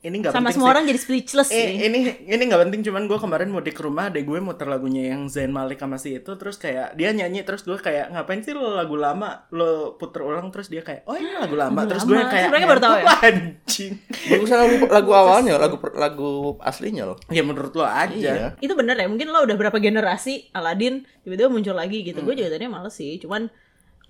[SPEAKER 3] ini nggak
[SPEAKER 1] sama
[SPEAKER 3] penting
[SPEAKER 1] semua
[SPEAKER 3] sih.
[SPEAKER 1] orang jadi speechless
[SPEAKER 3] Eh,
[SPEAKER 1] sih
[SPEAKER 3] ini ini nggak penting cuman gue kemarin mau di ke rumah adek gue muter lagunya yang Zayn Malik sama si itu terus kayak dia nyanyi terus gue kayak ngapain sih lo lagu lama lo puter ulang terus dia kayak oh ini lagu lama
[SPEAKER 1] Lagu
[SPEAKER 3] terus
[SPEAKER 1] lama.
[SPEAKER 3] gue kayak
[SPEAKER 1] Sebenarnya baru tahu ya?
[SPEAKER 3] "Ngentot lah, anjing
[SPEAKER 2] Bagusan lagu, lagu awalnya, lagu per- lagu aslinya loh.
[SPEAKER 3] ya menurut lo aja
[SPEAKER 2] Iya.
[SPEAKER 1] itu bener ya mungkin lo udah berapa generasi Aladin tiba-tiba muncul lagi gitu
[SPEAKER 3] Hmm.
[SPEAKER 1] gue juga tadinya males sih cuman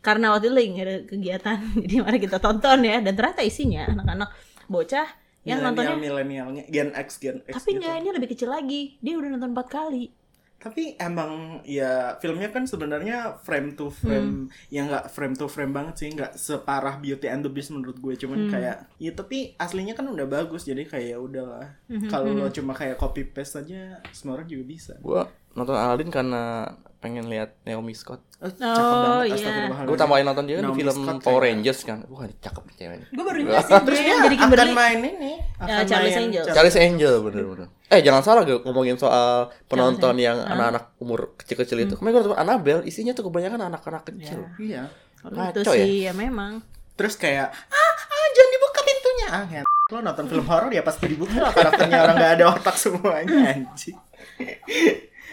[SPEAKER 1] karena waktu itu lagi nggak ada kegiatan jadi mari kita tonton ya dan ternyata isinya anak-anak bocah yang
[SPEAKER 3] milenial
[SPEAKER 1] nontonnya
[SPEAKER 3] milenialnya Gen X Gen Iya, X
[SPEAKER 1] tapi
[SPEAKER 3] gitu.
[SPEAKER 1] enggak ini lebih kecil lagi dia udah nonton empat kali
[SPEAKER 3] tapi emang ya filmnya kan sebenarnya frame
[SPEAKER 1] Hmm.
[SPEAKER 3] to frame yang nggak frame to frame banget sih nggak separah Beauty and the Beast menurut gue
[SPEAKER 1] Hmm.
[SPEAKER 3] cuman kayak ya tapi aslinya kan udah bagus jadi kayak ya udahlah
[SPEAKER 1] Hmm,
[SPEAKER 3] kalau lo cuma kayak copy paste aja semua orang juga bisa
[SPEAKER 2] Gue nonton Aladdin karena pengen lihat Naomi Scott.
[SPEAKER 3] oh,
[SPEAKER 1] Oh, iya.
[SPEAKER 2] Gue tambahin nonton dia kan
[SPEAKER 3] Naomi
[SPEAKER 2] di film
[SPEAKER 3] Scott ya.
[SPEAKER 2] Power
[SPEAKER 3] kayak-
[SPEAKER 2] Rangers kan. Wah, cakep nih cewek ini.
[SPEAKER 1] gue baru ingat Iya sih
[SPEAKER 3] terus dia
[SPEAKER 1] jadi
[SPEAKER 3] akan
[SPEAKER 1] Kimberly
[SPEAKER 3] main ini akan
[SPEAKER 1] Charlie's
[SPEAKER 3] main-
[SPEAKER 1] Angels.
[SPEAKER 2] Charlie's Angel bener-bener. Eh jangan salah gue ngomongin soal penonton yang anak-anak umur kecil-kecil
[SPEAKER 3] Hmm.
[SPEAKER 2] itu. Kemarin gue nonton Annabelle, isinya tuh kebanyakan anak-anak kecil.
[SPEAKER 3] iya
[SPEAKER 1] Oh, itu
[SPEAKER 2] Ngaco ya?
[SPEAKER 1] sih ya memang
[SPEAKER 3] terus kayak ah, ah jangan dibuka pintunya ah ngen- lo nonton film horor ya pasti dibuka lah karakternya orang nggak ada otak semuanya anjing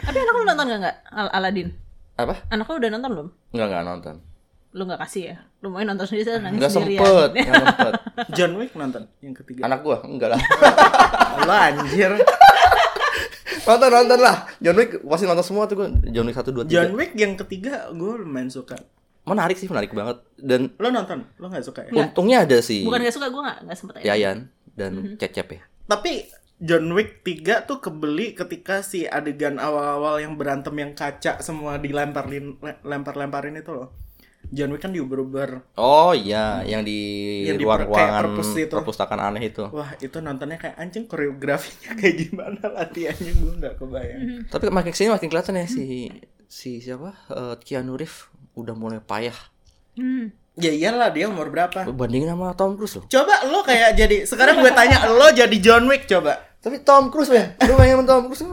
[SPEAKER 1] tapi anak lu nonton gak nggak Al- Aladin
[SPEAKER 3] Ya.
[SPEAKER 2] Apa?
[SPEAKER 1] anak lu udah nonton belum
[SPEAKER 2] Enggak enggak nonton.
[SPEAKER 1] lu nggak kasih ya lu mau nonton sendiri saya nangis
[SPEAKER 2] Enggak
[SPEAKER 1] sendirian
[SPEAKER 2] sempet, enggak sempet.
[SPEAKER 3] John Wick nonton yang ketiga
[SPEAKER 2] Anak gue enggak lah.
[SPEAKER 3] lo anjir
[SPEAKER 2] nonton nonton lah. John Wick pasti nonton semua tuh gue. John Wick satu dua tiga.
[SPEAKER 3] John Wick yang ketiga gue lumayan suka.
[SPEAKER 2] Menarik sih menarik banget. Dan
[SPEAKER 3] Lo nonton? Lo gak suka ya?
[SPEAKER 2] untungnya ada si
[SPEAKER 1] bukan gak suka gue nggak nggak sempet aja
[SPEAKER 2] Yayan
[SPEAKER 3] Mm-hmm.
[SPEAKER 2] dan Cecep ya.
[SPEAKER 3] Tapi John Wick 3 tuh kebeli ketika si adegan awal-awal yang berantem yang kaca semua dilemparin le- lempar-lemparin itu loh. John Wick kan diuber-uber.
[SPEAKER 2] Oh iya, yang di
[SPEAKER 3] Yang di per- kayak
[SPEAKER 2] ruang-ruangan
[SPEAKER 3] perpus itu.
[SPEAKER 2] perpustakaan aneh itu.
[SPEAKER 3] Wah itu nontonnya kayak anjing koreografinya kayak gimana latihannya gue gak kebayang.
[SPEAKER 2] Tapi makin kesini makin kelihatan ya si si siapa Eh, Keanu Reeves udah mulai payah.
[SPEAKER 1] hmm.
[SPEAKER 3] Ya iyalah dia umur berapa?
[SPEAKER 2] Bandingin sama Tom Cruise loh.
[SPEAKER 3] Coba lo kayak jadi sekarang gue tanya lo jadi John Wick coba.
[SPEAKER 2] Tapi Tom Cruise ya, lu main sama Tom Cruise.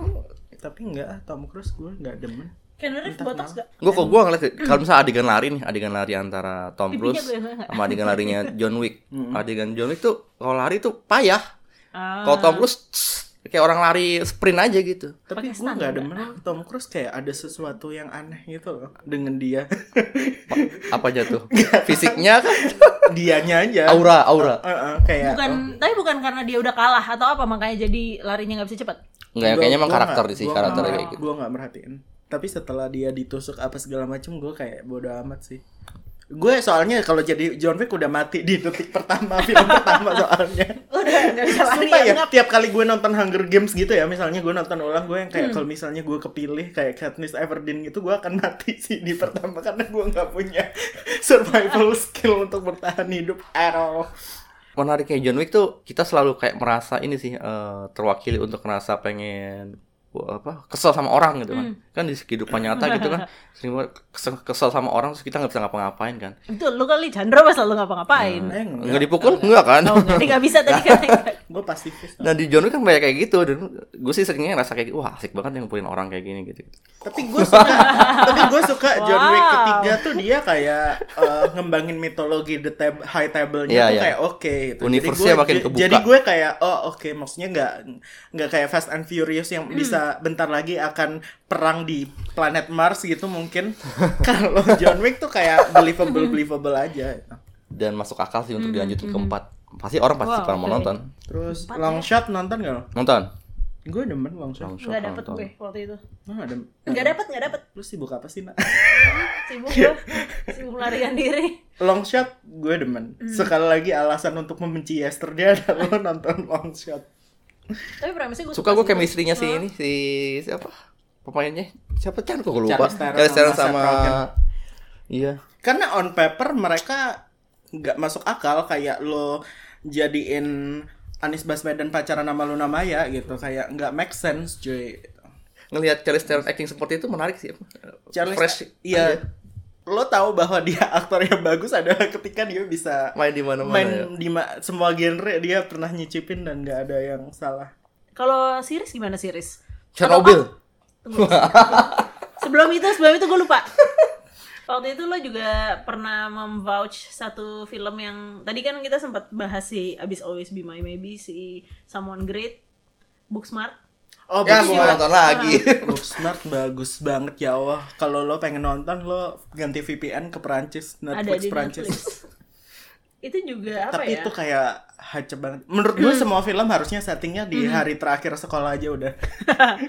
[SPEAKER 3] Tapi enggak ah, Tom Cruise gue nggak demen.
[SPEAKER 1] Keanu Reeves botox gak
[SPEAKER 2] Gue kok gue ngeliat kalau misalnya adegan lari nih, adegan lari antara Tom
[SPEAKER 1] Pipinya
[SPEAKER 2] Cruise
[SPEAKER 1] gue nggak.
[SPEAKER 2] sama adegan
[SPEAKER 1] Ah,
[SPEAKER 2] larinya John Wick. Adegan John Wick tuh kalau lari tuh payah. Kalau Tom Cruise tss, kayak orang lari sprint aja gitu
[SPEAKER 1] Pakai
[SPEAKER 3] Tapi gue
[SPEAKER 1] standar. Ah.
[SPEAKER 3] gak demen Tom Cruise kayak ada sesuatu yang aneh gitu loh dengan dia.
[SPEAKER 2] Ma- apa aja tuh fisiknya kan
[SPEAKER 3] Dianya aja.
[SPEAKER 2] aura aura
[SPEAKER 3] Eh, eh, kayak
[SPEAKER 2] Iya,
[SPEAKER 1] bukan tapi bukan karena dia udah kalah atau apa makanya jadi larinya nggak bisa cepat
[SPEAKER 2] nggak kayaknya emang karakter di sih karakter kayak gitu
[SPEAKER 3] Gue gak merhatiin. Tapi setelah dia ditusuk apa segala macem gue kayak bodo amat sih. Gue soalnya kalau jadi John Wick udah mati di detik pertama film pertama soalnya.
[SPEAKER 1] udah nggak bisa lari
[SPEAKER 3] Sumpah ya,
[SPEAKER 1] ya, ngap.
[SPEAKER 3] tiap kali gue nonton Hunger Games gitu ya, misalnya gue nonton ulang, gue yang kayak kalau misalnya gue kepilih kayak Katniss Everdeen gitu, gue akan mati sih di pertama karena gue nggak punya survival skill untuk bertahan hidup at all.
[SPEAKER 2] menariknya ya, John Wick tuh kita selalu kayak merasa ini sih eh, terwakili untuk ngerasa pengen wah, apa kesel sama orang gitu kan kan di kehidupan nyata gitu kan sering banget kesel, kesel sama orang terus kita nggak bisa ngapa-ngapain kan
[SPEAKER 1] Betul, lu kali Chandra pas lu ngapa-ngapain
[SPEAKER 3] Eh,
[SPEAKER 2] nggak dipukul nggak kan
[SPEAKER 1] Oh, jadi nggak bisa tadi katanya.
[SPEAKER 3] Gue pasifis.
[SPEAKER 2] nah di John Wick kan banyak kayak gitu dan gue sih seringnya ngerasa kayak wah asik banget yang ngumpulin orang kayak gini gitu
[SPEAKER 3] tapi gue suka tapi gue suka John Wick
[SPEAKER 1] Wow.
[SPEAKER 3] ketiga tuh dia kayak eh, ngembangin mitologi the tab- high table-nya
[SPEAKER 2] Iya,
[SPEAKER 3] tuh
[SPEAKER 2] iya.
[SPEAKER 3] kayak oke gitu.
[SPEAKER 2] Universe-nya
[SPEAKER 3] gue-
[SPEAKER 2] makin
[SPEAKER 3] j-
[SPEAKER 2] kebuka.
[SPEAKER 3] jadi gue kayak oh oke maksudnya nggak nggak kayak Fast and Furious
[SPEAKER 1] Hmm.
[SPEAKER 3] yang bisa bentar lagi akan perang di planet Mars gitu mungkin kalau John Wick tuh kayak believable believable aja
[SPEAKER 2] dan masuk akal sih untuk dilanjutin keempat pasti orang
[SPEAKER 1] Wow,
[SPEAKER 2] pasti bakal mau
[SPEAKER 1] oke.
[SPEAKER 2] nonton
[SPEAKER 3] terus
[SPEAKER 1] Empat ya?
[SPEAKER 3] long shot nonton gak lo?
[SPEAKER 2] nonton
[SPEAKER 3] gue demen long shot
[SPEAKER 2] Langsung
[SPEAKER 1] Nggak dapet
[SPEAKER 2] nonton.
[SPEAKER 1] gue waktu itu.
[SPEAKER 3] Nah, ada
[SPEAKER 1] Nggak
[SPEAKER 2] Iya.
[SPEAKER 1] dapet, nggak dapet.
[SPEAKER 3] lu sibuk apa sih nak?
[SPEAKER 1] Hmm, Sibuk gue, sibuk larian diri.
[SPEAKER 3] long shot gue demen sekali lagi alasan untuk membenci yesterday adalah nonton long shot
[SPEAKER 1] Tapi premisnya gue
[SPEAKER 2] suka gue chemistry-nya si ini si siapa pemainnya siapa Chan kok gue lupa
[SPEAKER 3] Charles Theron
[SPEAKER 2] Charles Theron
[SPEAKER 3] sama kan?
[SPEAKER 2] sama
[SPEAKER 3] Seth Rogen.
[SPEAKER 2] iya
[SPEAKER 3] karena on paper mereka nggak masuk akal kayak lo jadiin Anies Baswedan pacaran sama Luna Maya gitu kayak nggak make sense cuy
[SPEAKER 2] ngelihat Charles Theron acting seperti itu menarik sih
[SPEAKER 3] Charles
[SPEAKER 2] fresh
[SPEAKER 3] Hmm. iya lo tahu bahwa dia aktor yang bagus adalah ketika dia bisa
[SPEAKER 2] aja. main di ya. mana
[SPEAKER 3] main
[SPEAKER 2] mana
[SPEAKER 3] di ma- semua genre dia pernah nyicipin dan nggak ada yang salah
[SPEAKER 1] Kalau series gimana series?
[SPEAKER 2] Chernobyl
[SPEAKER 1] Tunggu. sebelum itu, sebelum itu gue lupa. Waktu itu lo juga pernah memvouch satu film yang tadi kan kita sempat bahas si abis Always Be My Maybe si Someone Great, Booksmart.
[SPEAKER 3] oh
[SPEAKER 2] ya
[SPEAKER 3] bagus
[SPEAKER 2] gue nonton lagi
[SPEAKER 3] Booksmart bagus banget ya Allah. Kalau lo pengen nonton lo ganti VPN ke Perancis,
[SPEAKER 1] ada
[SPEAKER 3] Netflix
[SPEAKER 1] di
[SPEAKER 3] Perancis.
[SPEAKER 1] Netflix. itu juga apa
[SPEAKER 3] Tapi
[SPEAKER 1] ya? Hmm.
[SPEAKER 3] itu kayak hacep banget. Menurut gue semua film harusnya settingnya di hari terakhir sekolah aja udah.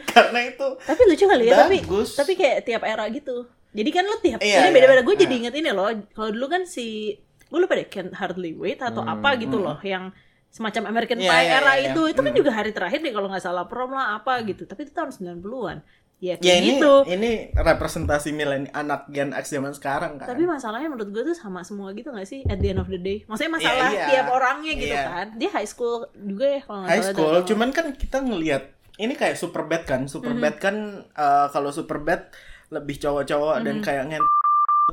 [SPEAKER 3] Karena itu
[SPEAKER 1] Tapi lucu kali ya, tapi
[SPEAKER 3] Bagus.
[SPEAKER 1] tapi kayak tiap era gitu. Jadi kan lo tiap
[SPEAKER 3] Iya,
[SPEAKER 1] ini
[SPEAKER 3] iya.
[SPEAKER 1] beda-beda. Gue jadi inget ini loh. Kalau dulu kan si gue lupa deh Can't Hardly Wait atau apa gitu loh yang semacam American
[SPEAKER 3] Iya,
[SPEAKER 1] Pie
[SPEAKER 3] iya,
[SPEAKER 1] era
[SPEAKER 3] iya, iya.
[SPEAKER 1] itu. Itu kan juga hari terakhir deh kalau nggak salah prom lah apa gitu. Tapi itu tahun 90-an. Ya kayak
[SPEAKER 3] ya ini
[SPEAKER 1] gitu.
[SPEAKER 3] ini representasi milenial anak Gen X zaman sekarang kan.
[SPEAKER 1] Tapi masalahnya menurut gue tuh sama semua gitu gak sih at the end of the day. Maksudnya masalah
[SPEAKER 3] iya.
[SPEAKER 1] tiap orangnya gitu
[SPEAKER 3] Iya.
[SPEAKER 1] kan. Dia high school juga ya kalau nggak
[SPEAKER 3] High
[SPEAKER 1] salah.
[SPEAKER 3] school,
[SPEAKER 1] dari-
[SPEAKER 3] cuman kan kita ngelihat ini kayak Superbad kan.
[SPEAKER 1] Mm-hmm.
[SPEAKER 3] Superbad kan eh, kalau Superbad lebih cowok-cowok dan
[SPEAKER 1] Mm-hmm.
[SPEAKER 3] kayak ngent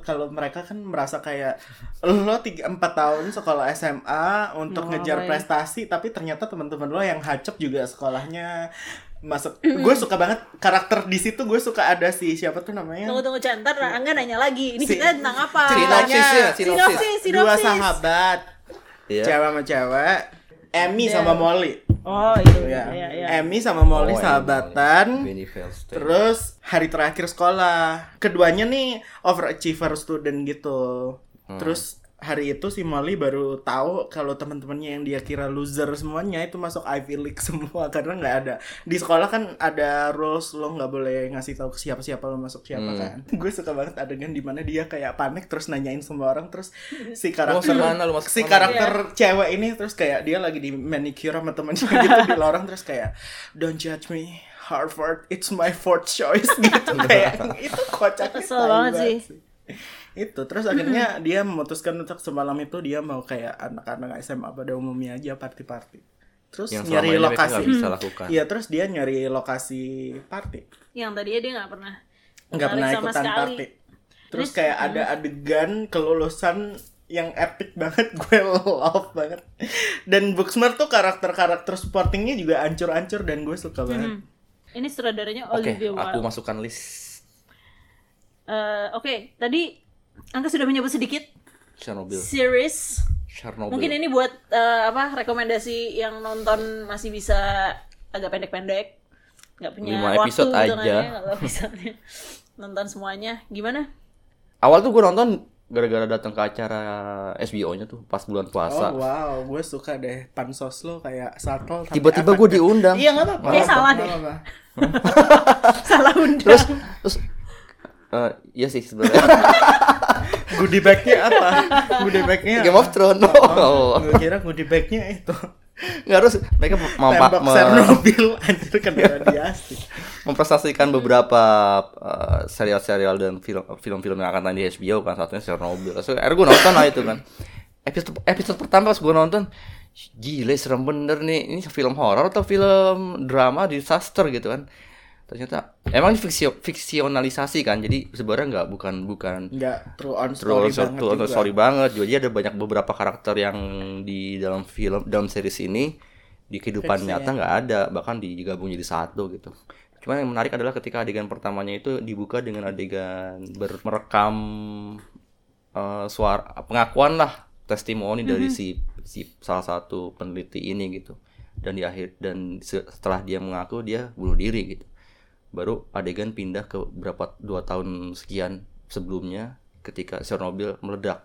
[SPEAKER 3] kalau mereka kan merasa kayak lo 3 4 tahun sekolah SMA untuk
[SPEAKER 1] Mau
[SPEAKER 3] ngejar
[SPEAKER 1] ngapain?
[SPEAKER 3] prestasi tapi ternyata teman-teman lo yang hacep juga sekolahnya masuk
[SPEAKER 1] Mm-hmm.
[SPEAKER 3] gue suka banget karakter di situ gue suka ada si siapa tuh namanya
[SPEAKER 1] Tunggu tunggu Chan, ntar Angga nanya lagi. Ini
[SPEAKER 3] Si-
[SPEAKER 1] ceritanya tentang apa?
[SPEAKER 3] Ceritanya-
[SPEAKER 2] sinopsis sinopsis
[SPEAKER 1] Sinopsis,
[SPEAKER 3] dua
[SPEAKER 1] sinopsis.
[SPEAKER 3] sahabat
[SPEAKER 2] Iya.
[SPEAKER 3] cewek sama cewek
[SPEAKER 1] Iya.
[SPEAKER 3] Emmy sama Molly
[SPEAKER 1] Oh itu
[SPEAKER 3] ya,
[SPEAKER 1] ya, ya,
[SPEAKER 3] Emmy sama Molly
[SPEAKER 2] Oh, Emmy,
[SPEAKER 3] sahabatan
[SPEAKER 2] Benny Feldstein.
[SPEAKER 3] Terus hari terakhir sekolah, keduanya nih overachiever student gitu. Terus hari itu si Molly baru tahu kalau teman-temannya yang dia kira loser semuanya itu masuk Ivy League semua karena nggak ada di sekolah kan ada rules lo nggak boleh ngasih tahu ke siapa siapa lo masuk siapa
[SPEAKER 2] Hmm.
[SPEAKER 3] kan. Gue suka banget adegan dimana dia kayak panik terus nanyain semua orang terus si
[SPEAKER 2] Lu masuk
[SPEAKER 3] karakter
[SPEAKER 2] mana lu masuk ya.
[SPEAKER 3] si
[SPEAKER 2] mana?
[SPEAKER 3] karakter cewek ini terus kayak dia lagi di manicure sama temennya gitu di lorong terus kayak don't judge me Harvard it's my fourth choice gitu kayak itu kocak
[SPEAKER 1] Kesel banget sih.
[SPEAKER 3] itu terus akhirnya dia memutuskan untuk semalam itu dia mau kayak anak-anak SMA pada umumnya aja party-party terus
[SPEAKER 2] yang selama
[SPEAKER 3] nyari
[SPEAKER 2] ini mereka
[SPEAKER 3] lokasi
[SPEAKER 2] nggak bisa lakukan
[SPEAKER 3] Iya terus dia nyari lokasi party
[SPEAKER 1] Yang tadinya dia nggak pernah
[SPEAKER 3] nggak
[SPEAKER 1] tertarik
[SPEAKER 3] pernah
[SPEAKER 1] sama
[SPEAKER 3] ikutan
[SPEAKER 1] sekali. Hmm.
[SPEAKER 3] party. Terus kayak ada adegan kelulusan yang epic banget gue love banget dan Booksmart tuh karakter-karakter supportingnya juga ancur-ancur dan gue
[SPEAKER 1] Hmm.
[SPEAKER 3] suka banget
[SPEAKER 1] Ini sutradaranya Oh,
[SPEAKER 2] oke
[SPEAKER 1] Olivia
[SPEAKER 2] aku
[SPEAKER 1] Wilde.
[SPEAKER 2] masukkan list
[SPEAKER 1] Eh, Oke, tadi Angga sudah menyebut sedikit
[SPEAKER 2] Chernobyl
[SPEAKER 1] series.
[SPEAKER 2] Chernobyl
[SPEAKER 1] Mungkin ini buat eh, apa rekomendasi yang nonton masih bisa eh, agak pendek-pendek nggak punya
[SPEAKER 2] Lima
[SPEAKER 1] waktu
[SPEAKER 2] episode
[SPEAKER 1] gitu kan
[SPEAKER 2] aja.
[SPEAKER 1] ya, kalau episodenya. nonton semuanya gimana
[SPEAKER 2] Awal tuh gue nonton gara-gara datang ke acara SBO-nya tuh pas bulan puasa.
[SPEAKER 3] Oh wow, gue suka deh pansos lo kayak satel. tapi
[SPEAKER 2] Tiba-tiba
[SPEAKER 3] efek-
[SPEAKER 2] gue diundang.
[SPEAKER 3] Iya nggak apa-apa.
[SPEAKER 1] Kayaknya salah deh.
[SPEAKER 3] Nggak apa-apa.
[SPEAKER 1] salah undang
[SPEAKER 2] Terus terus eh, iya sih sebenarnya
[SPEAKER 3] Goodie bagnya apa? Goodie bagnya.
[SPEAKER 2] Game of Thrones. Oh.
[SPEAKER 3] Gue kira goodie bagnya itu.
[SPEAKER 2] Nggak harus mereka mem-
[SPEAKER 3] Tembak
[SPEAKER 2] me-
[SPEAKER 3] Chernobyl anjir kena radiasi.
[SPEAKER 2] mempresentasikan beberapa eh, serial-serial dan film- film-film yang akan tayang di HBO kan satunya Chernobyl. So, akhirnya gue nonton lah itu kan. Episode episode pertama pas gue nonton gile serem bener nih. Ini film horor atau film drama disaster gitu kan. Ternyata emang ini fiksi fiksionalisasi kan. Jadi sebenarnya nggak bukan bukan
[SPEAKER 3] Nggak true on story
[SPEAKER 2] Terus
[SPEAKER 3] banget
[SPEAKER 2] story,
[SPEAKER 3] juga.
[SPEAKER 2] story banget. Jadi ada banyak beberapa karakter yang di dalam film dalam series ini di kehidupan
[SPEAKER 3] Fiksi,
[SPEAKER 2] nyata nggak ada, bahkan digabung jadi satu gitu. Cuma yang menarik adalah ketika adegan pertamanya itu dibuka dengan adegan ber- merekam eh, suara pengakuan lah testimoni dari si
[SPEAKER 3] Mm-hmm.
[SPEAKER 2] si salah satu peneliti ini gitu. Dan di akhir dan se- setelah dia mengaku dia bunuh diri gitu baru adegan pindah ke berapa dua tahun sekian sebelumnya ketika Chernobyl meledak.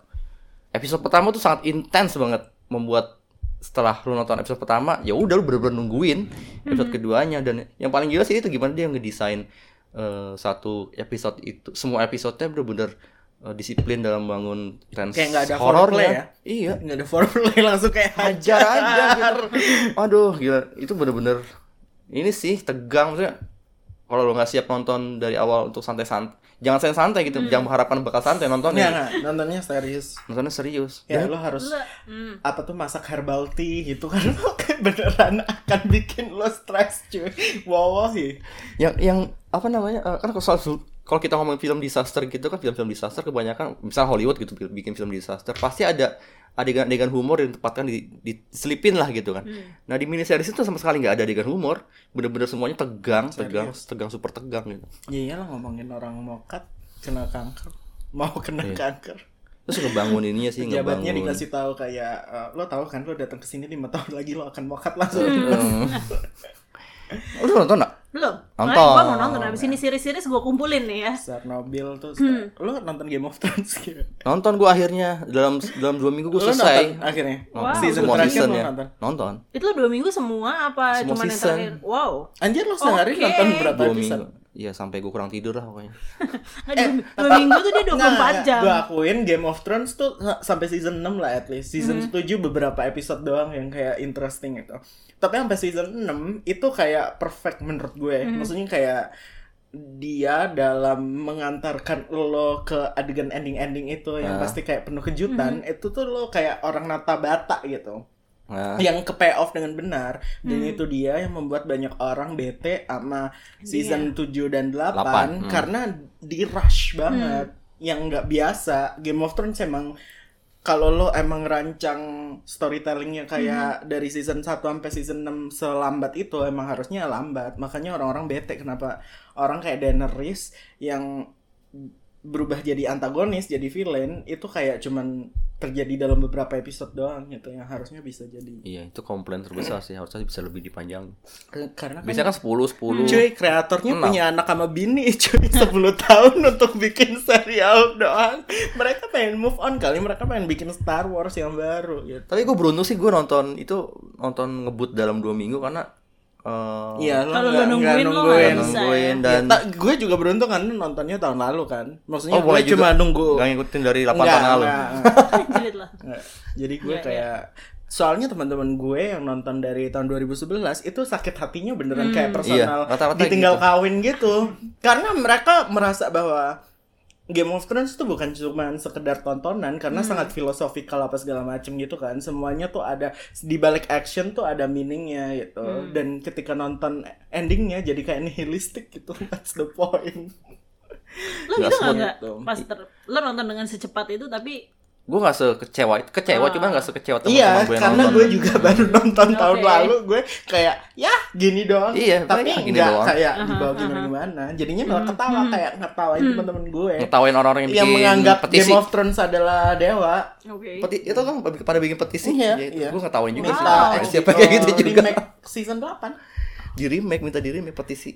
[SPEAKER 2] Episode pertama tuh sangat intens banget membuat setelah lu nonton episode pertama ya udah lu bener-bener nungguin episode
[SPEAKER 3] Mm-hmm.
[SPEAKER 2] keduanya dan yang paling gila sih itu gimana dia ngedesain eh, satu episode itu semua episodenya bener-bener eh, disiplin dalam bangun trans
[SPEAKER 3] Kayak nggak ada foreplay ya?
[SPEAKER 2] iya
[SPEAKER 3] Nggak ada foreplay langsung kayak
[SPEAKER 2] hajar aja gitu. Aduh, gila. Itu bener-bener ini sih tegang maksudnya. Kalau lo nggak siap nonton dari awal untuk santai-santai, jangan santai-santai gitu, jangan mengharapkan bakal santai
[SPEAKER 3] Hmm. Nggak,
[SPEAKER 2] nontonnya.
[SPEAKER 3] nggak. Nontonnya serius.
[SPEAKER 2] Nontonnya serius.
[SPEAKER 3] Ya
[SPEAKER 2] Dan
[SPEAKER 3] lo harus
[SPEAKER 1] Hmm.
[SPEAKER 3] apa tuh masak herbal tea gitu kan lo kayak beneran akan bikin lo stres cuy wawahi
[SPEAKER 2] yang yang apa namanya? eh, kan kalau soal su- kalau kita ngomongin film disaster gitu kan film-film disaster kebanyakan misal Hollywood gitu bi- bikin film disaster pasti ada adegan-adegan humor yang ditempatkan di, diselipin lah gitu
[SPEAKER 3] Hmm.
[SPEAKER 2] kan. Nah di mini series itu sama sekali nggak ada adegan humor, bener-bener semuanya tegang, tegang, tegang super tegang gitu.
[SPEAKER 3] ya iyalah ngomongin orang mau cut kena kanker mau kena kanker
[SPEAKER 2] Terus ngebangun ininya sih
[SPEAKER 3] Jabatnya
[SPEAKER 2] ngebangun.
[SPEAKER 3] dikasih tahu kayak eh, lo tahu kan lo datang ke sini lima tahun lagi lo akan mokat langsung.
[SPEAKER 1] Hmm.
[SPEAKER 2] Lu udah nonton gak?
[SPEAKER 1] belum
[SPEAKER 2] Nonton.
[SPEAKER 1] Makanya gua mau nonton abis ini series-series gue kumpulin nih ya
[SPEAKER 3] Chernobyl tuh
[SPEAKER 1] Hmm.
[SPEAKER 3] lo nonton Game of Thrones gitu.
[SPEAKER 2] Nonton gua akhirnya dalam dalam dua minggu
[SPEAKER 3] Lo
[SPEAKER 2] gua
[SPEAKER 3] nonton
[SPEAKER 2] selesai.
[SPEAKER 3] akhirnya.
[SPEAKER 1] Wow.
[SPEAKER 3] Season
[SPEAKER 2] ya. semua
[SPEAKER 3] terakhir
[SPEAKER 2] season
[SPEAKER 3] lo
[SPEAKER 2] ya.
[SPEAKER 3] nonton.
[SPEAKER 2] Nonton.
[SPEAKER 1] itu lo dua minggu semua apa
[SPEAKER 2] Semua
[SPEAKER 1] cuman yang
[SPEAKER 2] season.
[SPEAKER 1] terakhir wow
[SPEAKER 3] Anjir lo sehari
[SPEAKER 1] Oke.
[SPEAKER 3] nonton berapa
[SPEAKER 2] Dua
[SPEAKER 3] episode?
[SPEAKER 2] minggu. Iya sampai gua kurang tidur lah pokoknya.
[SPEAKER 1] Nggak,
[SPEAKER 3] Eh,
[SPEAKER 1] dua, dua minggu tuh
[SPEAKER 3] Nah,
[SPEAKER 1] dia 24 jam
[SPEAKER 3] Gue akuin Game of Thrones tuh nggak- sampai season 6 lah at least. Season
[SPEAKER 1] Hmm.
[SPEAKER 3] 7 beberapa episode doang yang kayak interesting itu. Tapi sampai season 6 itu kayak perfect menurut gue.
[SPEAKER 1] Hmm.
[SPEAKER 3] Maksudnya kayak dia dalam mengantarkan lo ke adegan ending-ending itu yang
[SPEAKER 2] Ah.
[SPEAKER 3] pasti kayak penuh kejutan,
[SPEAKER 1] Hmm.
[SPEAKER 3] itu tuh lo kayak orang nata bata gitu
[SPEAKER 2] Nah,
[SPEAKER 3] yang ke pay off dengan benar dan itu dia yang membuat banyak orang bete sama season 7 dan 8,
[SPEAKER 2] Delapan, hmm.
[SPEAKER 3] karena di rush banget yang nggak biasa Game of Thrones emang kalau lo emang rancang storytellingnya kayak dari season 1 sampai season 6 selambat itu emang harusnya lambat makanya orang-orang bete kenapa orang kayak Daenerys yang berubah jadi antagonis jadi villain itu kayak cuman terjadi dalam beberapa episode doang gitu yang harusnya bisa jadi
[SPEAKER 2] iya itu komplain terbesar sih harusnya bisa lebih dipanjang.
[SPEAKER 3] Ke- karena kan,
[SPEAKER 2] Biasanya kan 10 10.
[SPEAKER 3] cuy kreatornya
[SPEAKER 2] Enam.
[SPEAKER 3] punya anak sama bini cuy 10 tahun untuk bikin serial doang mereka pengen move on kali mereka pengen bikin Star Wars yang baru gitu
[SPEAKER 2] Tapi gua beruntung sih gua nonton itu nonton ngebut dalam dua minggu karena eh,
[SPEAKER 3] Iya, lo
[SPEAKER 1] Kalau lo
[SPEAKER 3] nggak- nggak
[SPEAKER 1] nungguin, lo
[SPEAKER 3] nungguin.
[SPEAKER 1] nggak bisa
[SPEAKER 2] nungguin dan
[SPEAKER 3] Ya, ta- gue juga beruntung kan nontonnya tahun lalu kan. Maksudnya
[SPEAKER 2] Oh, boleh
[SPEAKER 3] gue cuma nunggu.
[SPEAKER 2] Gak ngikutin dari 8
[SPEAKER 3] Nggak,
[SPEAKER 2] tahun lalu.
[SPEAKER 3] nggak, nggak.
[SPEAKER 1] Jilid lah
[SPEAKER 3] Nggak. Nah, Jadi gue
[SPEAKER 1] Iya, iya.
[SPEAKER 3] kayak soalnya teman-teman gue yang nonton dari tahun 2011 itu sakit hatinya beneran
[SPEAKER 1] Hmm.
[SPEAKER 3] kayak personal
[SPEAKER 2] Iya, rata-rata
[SPEAKER 3] ditinggal
[SPEAKER 2] gitu.
[SPEAKER 3] kawin gitu. Karena mereka merasa bahwa Game of Thrones itu bukan cuma sekedar tontonan karena
[SPEAKER 1] Hmm.
[SPEAKER 3] sangat filosofikal apa segala macem gitu kan. Semuanya tuh ada di balik action tuh ada meaningnya gitu.
[SPEAKER 1] Hmm.
[SPEAKER 3] Dan ketika nonton endingnya jadi kayak nihilistik gitu. That's the point.
[SPEAKER 1] lo gitu nggak
[SPEAKER 2] semua
[SPEAKER 1] nggak
[SPEAKER 3] gitu.
[SPEAKER 1] pas ter- lo nonton dengan secepat itu tapi
[SPEAKER 2] Gue gak sekecewa itu kecewa cuman gak sekecewa teman-teman
[SPEAKER 3] Ah. Iya,
[SPEAKER 2] gue yang
[SPEAKER 3] karena
[SPEAKER 2] nonton.
[SPEAKER 3] gue juga baru nonton
[SPEAKER 1] Oke.
[SPEAKER 3] tahun lalu gue kayak ya gini doang.
[SPEAKER 2] Iya,
[SPEAKER 3] tapi
[SPEAKER 2] paling gini
[SPEAKER 3] nggak
[SPEAKER 2] doang.
[SPEAKER 3] kayak dibawa gimana gimana. Jadinya
[SPEAKER 1] Hmm,
[SPEAKER 3] malah ketawa kayak ngetawain teman-teman gue
[SPEAKER 2] ngetawain orang-orang yang,
[SPEAKER 3] yang
[SPEAKER 2] bikin
[SPEAKER 3] menganggap
[SPEAKER 2] petisi.
[SPEAKER 3] Game of Thrones adalah dewa.
[SPEAKER 1] oke
[SPEAKER 2] Peti, itu kan pada bikin petisi
[SPEAKER 3] Iya, iya.
[SPEAKER 2] ya,
[SPEAKER 3] gitu. Oh,
[SPEAKER 2] Gue ngetawain juga
[SPEAKER 1] Wow.
[SPEAKER 2] sih. Ada siapa kayak gitu juga.
[SPEAKER 3] remake season 8
[SPEAKER 2] di remake minta di remake petisi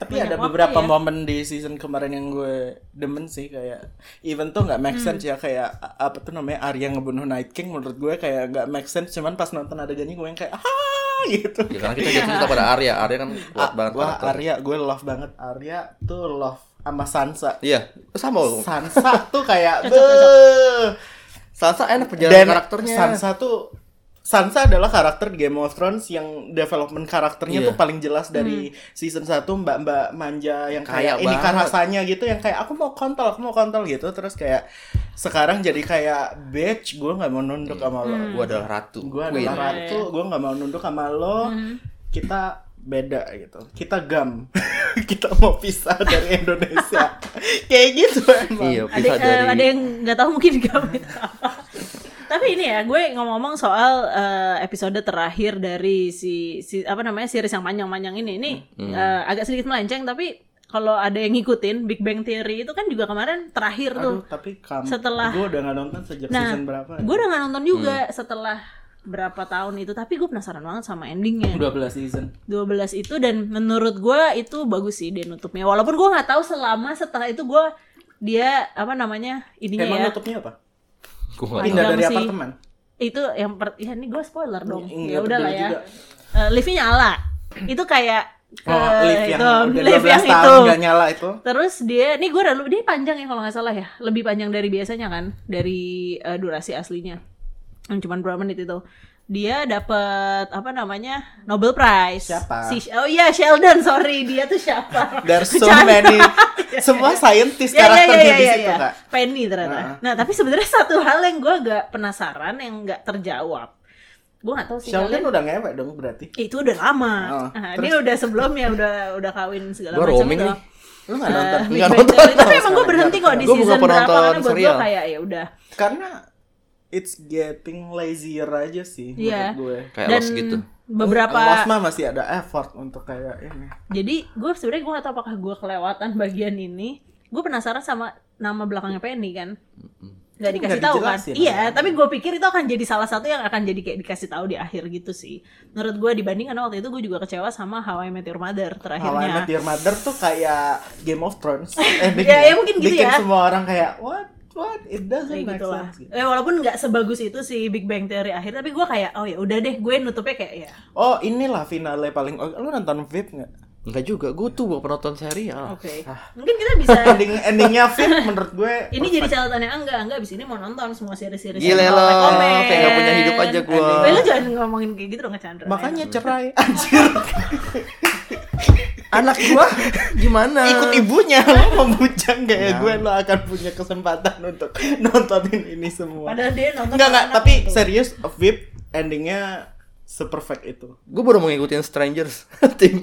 [SPEAKER 3] Tapi
[SPEAKER 1] Banyak
[SPEAKER 3] ada
[SPEAKER 1] waktu
[SPEAKER 3] beberapa
[SPEAKER 1] ya.
[SPEAKER 3] momen di season kemarin yang gue demen sih kayak even tuh nggak make
[SPEAKER 1] Hmm.
[SPEAKER 3] sense ya kayak a- apa tuh namanya Arya ngebunuh Night King menurut gue kayak nggak make sense cuman pas nonton adegannya gue yang kayak ah gitu.
[SPEAKER 2] ya, karena kita jadi cerita pada Arya Arya kan kuat banget
[SPEAKER 3] Ah, Wah
[SPEAKER 2] karakter.
[SPEAKER 3] Arya gue love banget Arya tuh love sama Sansa.
[SPEAKER 2] iya sama loh
[SPEAKER 3] Sansa tuh kayak "Beuh."
[SPEAKER 2] Sansa enak perjalanan
[SPEAKER 3] dan
[SPEAKER 2] karakternya
[SPEAKER 3] Sansa tuh Sansa adalah karakter di Game of Thrones yang development karakternya
[SPEAKER 2] Iya.
[SPEAKER 3] tuh paling jelas dari season 1 mbak-mbak manja yang
[SPEAKER 2] Kaya
[SPEAKER 3] kayak ini kan
[SPEAKER 2] banget."
[SPEAKER 3] rasanya gitu yang kayak aku mau kontol aku mau kontol gitu terus kayak sekarang jadi kayak bitch gue nggak mau nunduk sama lo
[SPEAKER 2] gue Iya. adalah ratu
[SPEAKER 3] gue
[SPEAKER 2] queen.
[SPEAKER 3] adalah ratu gue nggak mau nunduk sama lo
[SPEAKER 1] Mm-hmm.
[SPEAKER 3] kita beda gitu kita gam kita mau pisah dari Indonesia kayak gitu emang
[SPEAKER 2] iya
[SPEAKER 1] ada
[SPEAKER 2] bisa
[SPEAKER 1] eh,
[SPEAKER 2] dari
[SPEAKER 1] ada yang nggak tahu mungkin kamu itu apa. Tapi ini ya, gue ngomong-ngomong soal eh, episode terakhir dari si, si apa namanya series yang panjang-panjang ini. Ini
[SPEAKER 2] Hmm.
[SPEAKER 1] eh, agak sedikit melenceng tapi kalau ada yang ngikutin Big Bang Theory itu kan juga kemarin terakhir tuh.
[SPEAKER 3] Aduh, tapi kamu
[SPEAKER 1] Setelah-
[SPEAKER 3] gue udah gak nonton sejak
[SPEAKER 1] Nah,
[SPEAKER 3] season berapa? ya?
[SPEAKER 1] gue udah gak nonton juga
[SPEAKER 2] Hmm.
[SPEAKER 1] setelah berapa tahun itu, tapi gue penasaran banget sama endingnya.
[SPEAKER 3] 12 season.
[SPEAKER 1] 12 itu dan menurut gua itu bagus sih dia nutupnya walaupun gua nggak tahu selama setelah itu gua dia apa namanya ininya
[SPEAKER 3] Emang
[SPEAKER 1] ya
[SPEAKER 3] nutupnya apa?
[SPEAKER 2] Gua nggak
[SPEAKER 1] Paling
[SPEAKER 3] Pindah dari
[SPEAKER 1] sih.
[SPEAKER 3] apartemen.
[SPEAKER 1] itu yang per ya ini gua spoiler dong
[SPEAKER 3] Nggak
[SPEAKER 1] ya udah lah
[SPEAKER 3] peduli
[SPEAKER 1] ya
[SPEAKER 3] Iya, juga.
[SPEAKER 1] Eh, liftnya nyala itu kayak
[SPEAKER 3] Oh,
[SPEAKER 1] eh,
[SPEAKER 3] lift yang
[SPEAKER 1] itu,
[SPEAKER 3] udah
[SPEAKER 1] lift
[SPEAKER 3] 12
[SPEAKER 1] yang
[SPEAKER 3] tahun
[SPEAKER 1] itu.
[SPEAKER 3] gak nyala itu.
[SPEAKER 1] terus dia ini gua udah lu- dia panjang ya kalau nggak salah ya lebih panjang dari biasanya kan dari eh, durasi aslinya yang cuman berapa menit itu dia dapat apa namanya Nobel Prize
[SPEAKER 3] Siapa?
[SPEAKER 1] Si- oh iya Sheldon sorry dia tuh siapa
[SPEAKER 3] There's so
[SPEAKER 1] Bercanda.
[SPEAKER 3] many semua scientist
[SPEAKER 1] Ya, ya, ya,
[SPEAKER 3] karakter
[SPEAKER 1] ya,
[SPEAKER 3] di
[SPEAKER 1] ya,
[SPEAKER 3] situ,
[SPEAKER 1] ya.
[SPEAKER 3] Kak.
[SPEAKER 1] Penny ternyata.
[SPEAKER 3] Heeh.
[SPEAKER 1] Nah, tapi sebenarnya satu hal yang gue agak penasaran yang nggak terjawab. Gue nggak tahu sih
[SPEAKER 3] Sheldon
[SPEAKER 1] kalian-
[SPEAKER 3] udah ngewek dong berarti.
[SPEAKER 1] itu udah lama.
[SPEAKER 3] Oh,
[SPEAKER 1] Nah,
[SPEAKER 3] terus-
[SPEAKER 1] ini udah sebelumnya udah udah kawin segala
[SPEAKER 2] Gua
[SPEAKER 1] macam.
[SPEAKER 2] roaming
[SPEAKER 1] udah.
[SPEAKER 2] nih.
[SPEAKER 3] Lu gak nonton?
[SPEAKER 1] Eh, Big
[SPEAKER 2] Nggak
[SPEAKER 1] Bang
[SPEAKER 2] nonton.
[SPEAKER 1] Theory. Tapi emang gue
[SPEAKER 3] Sekarang
[SPEAKER 1] berhenti kok di
[SPEAKER 2] jarang. Gua bukan
[SPEAKER 1] season berapa
[SPEAKER 2] penonton
[SPEAKER 1] karena buat gue
[SPEAKER 2] serial.
[SPEAKER 1] kayak ya udah.
[SPEAKER 3] Karena it's getting lazier aja sih
[SPEAKER 1] Iya.
[SPEAKER 3] menurut gue.
[SPEAKER 2] kayak
[SPEAKER 1] Dan
[SPEAKER 2] los gitu
[SPEAKER 1] beberapa
[SPEAKER 3] Lost mah masih ada effort untuk kayak ini.
[SPEAKER 1] jadi gue sebenarnya gue gak tau apakah gue kelewatan bagian ini gue penasaran sama nama belakangnya Penny kan nggak dikasih
[SPEAKER 3] Nggak
[SPEAKER 1] tahu kan
[SPEAKER 3] dijelasin.
[SPEAKER 1] iya tapi gue pikir itu akan jadi salah satu yang akan jadi kayak dikasih tahu di akhir gitu sih menurut gue dibandingkan waktu itu gue juga kecewa sama How I Met Your Mother
[SPEAKER 3] How I Met
[SPEAKER 1] terakhirnya
[SPEAKER 3] Your Mother tuh kayak Game of Thrones. Eh,
[SPEAKER 1] Ya, ya mungkin gitu
[SPEAKER 3] bikin
[SPEAKER 1] ya.
[SPEAKER 3] semua orang kayak what what it doesn't
[SPEAKER 1] Kayak
[SPEAKER 3] make
[SPEAKER 1] gitu lah.
[SPEAKER 3] sense. gitu.
[SPEAKER 1] Eh, walaupun nggak sebagus itu si Big Bang Theory akhir, tapi gue kayak oh ya udah deh, gue nutupnya kayak ya.
[SPEAKER 3] Oh inilah finale paling oke. Lu nonton VIP nggak?
[SPEAKER 2] Enggak juga, gue tuh bukan penonton serial.
[SPEAKER 1] Oke, mungkin kita bisa.
[SPEAKER 3] Ending endingnya VIP menurut gue.
[SPEAKER 1] ini jadi catatannya "Ah, enggak enggak, abis ini mau nonton semua seri-seri.
[SPEAKER 2] Gile
[SPEAKER 1] yang
[SPEAKER 2] lo,
[SPEAKER 1] komen-komen.
[SPEAKER 2] kayak gak punya hidup aja gue.
[SPEAKER 1] Weh, eh, lu jangan ngomongin kayak gitu dong ke Chandra.
[SPEAKER 3] makanya cerai anjir
[SPEAKER 2] Anak gua gimana?
[SPEAKER 3] ikut ibunya lo membujang kayak ya?
[SPEAKER 1] Iya.
[SPEAKER 3] gue lo akan punya kesempatan untuk nontonin ini semua
[SPEAKER 1] Padahal dia nonton
[SPEAKER 3] nggak nggak
[SPEAKER 1] anak
[SPEAKER 3] tapi
[SPEAKER 1] gitu.
[SPEAKER 3] serius VIP endingnya seperfect itu
[SPEAKER 2] Gue baru mau ngikutin Strangers Thing.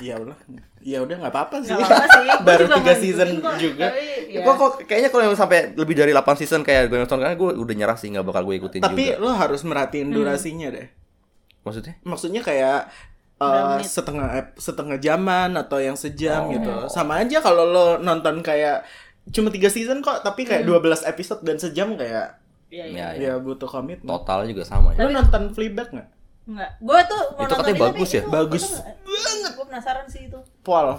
[SPEAKER 3] Iya udah, ya udah nggak apa-apa sih.
[SPEAKER 1] Nggak apa-apa sih, gua juga
[SPEAKER 3] Baru tiga
[SPEAKER 1] nggak
[SPEAKER 3] season
[SPEAKER 1] ngikutin kok,
[SPEAKER 3] juga.
[SPEAKER 1] Tapi, ya.
[SPEAKER 2] Gua kok kayaknya kalau yang sampai lebih dari 8 season kayak gue nonton karena gue kan, udah nyerah sih nggak bakal gue ikutin
[SPEAKER 3] Tapi
[SPEAKER 2] juga.
[SPEAKER 3] lo harus merhatiin
[SPEAKER 1] Hmm.
[SPEAKER 3] durasinya deh.
[SPEAKER 2] Maksudnya?
[SPEAKER 3] Maksudnya kayak
[SPEAKER 1] Berapa
[SPEAKER 3] eh,
[SPEAKER 1] menit? Oh.
[SPEAKER 3] setengah ep- setengah jaman atau yang sejam gitu. Sama aja kalau lo nonton kayak cuma tiga season kok, tapi
[SPEAKER 1] Hmm.
[SPEAKER 3] kayak 12 episode dan sejam kayak
[SPEAKER 1] Iya, iya.
[SPEAKER 2] Ya, ya.
[SPEAKER 3] ya butuh komitmen.
[SPEAKER 2] Total juga sama ya.
[SPEAKER 3] Lo nonton Fleabag nggak?
[SPEAKER 1] Enggak. Gue tuh mau
[SPEAKER 2] Itu
[SPEAKER 1] nonton
[SPEAKER 2] katanya
[SPEAKER 1] ini,
[SPEAKER 2] bagus
[SPEAKER 1] tapi
[SPEAKER 2] ya?
[SPEAKER 1] itu-
[SPEAKER 3] Bagus
[SPEAKER 1] itu nggak- Gue penasaran sih itu.
[SPEAKER 3] Paul.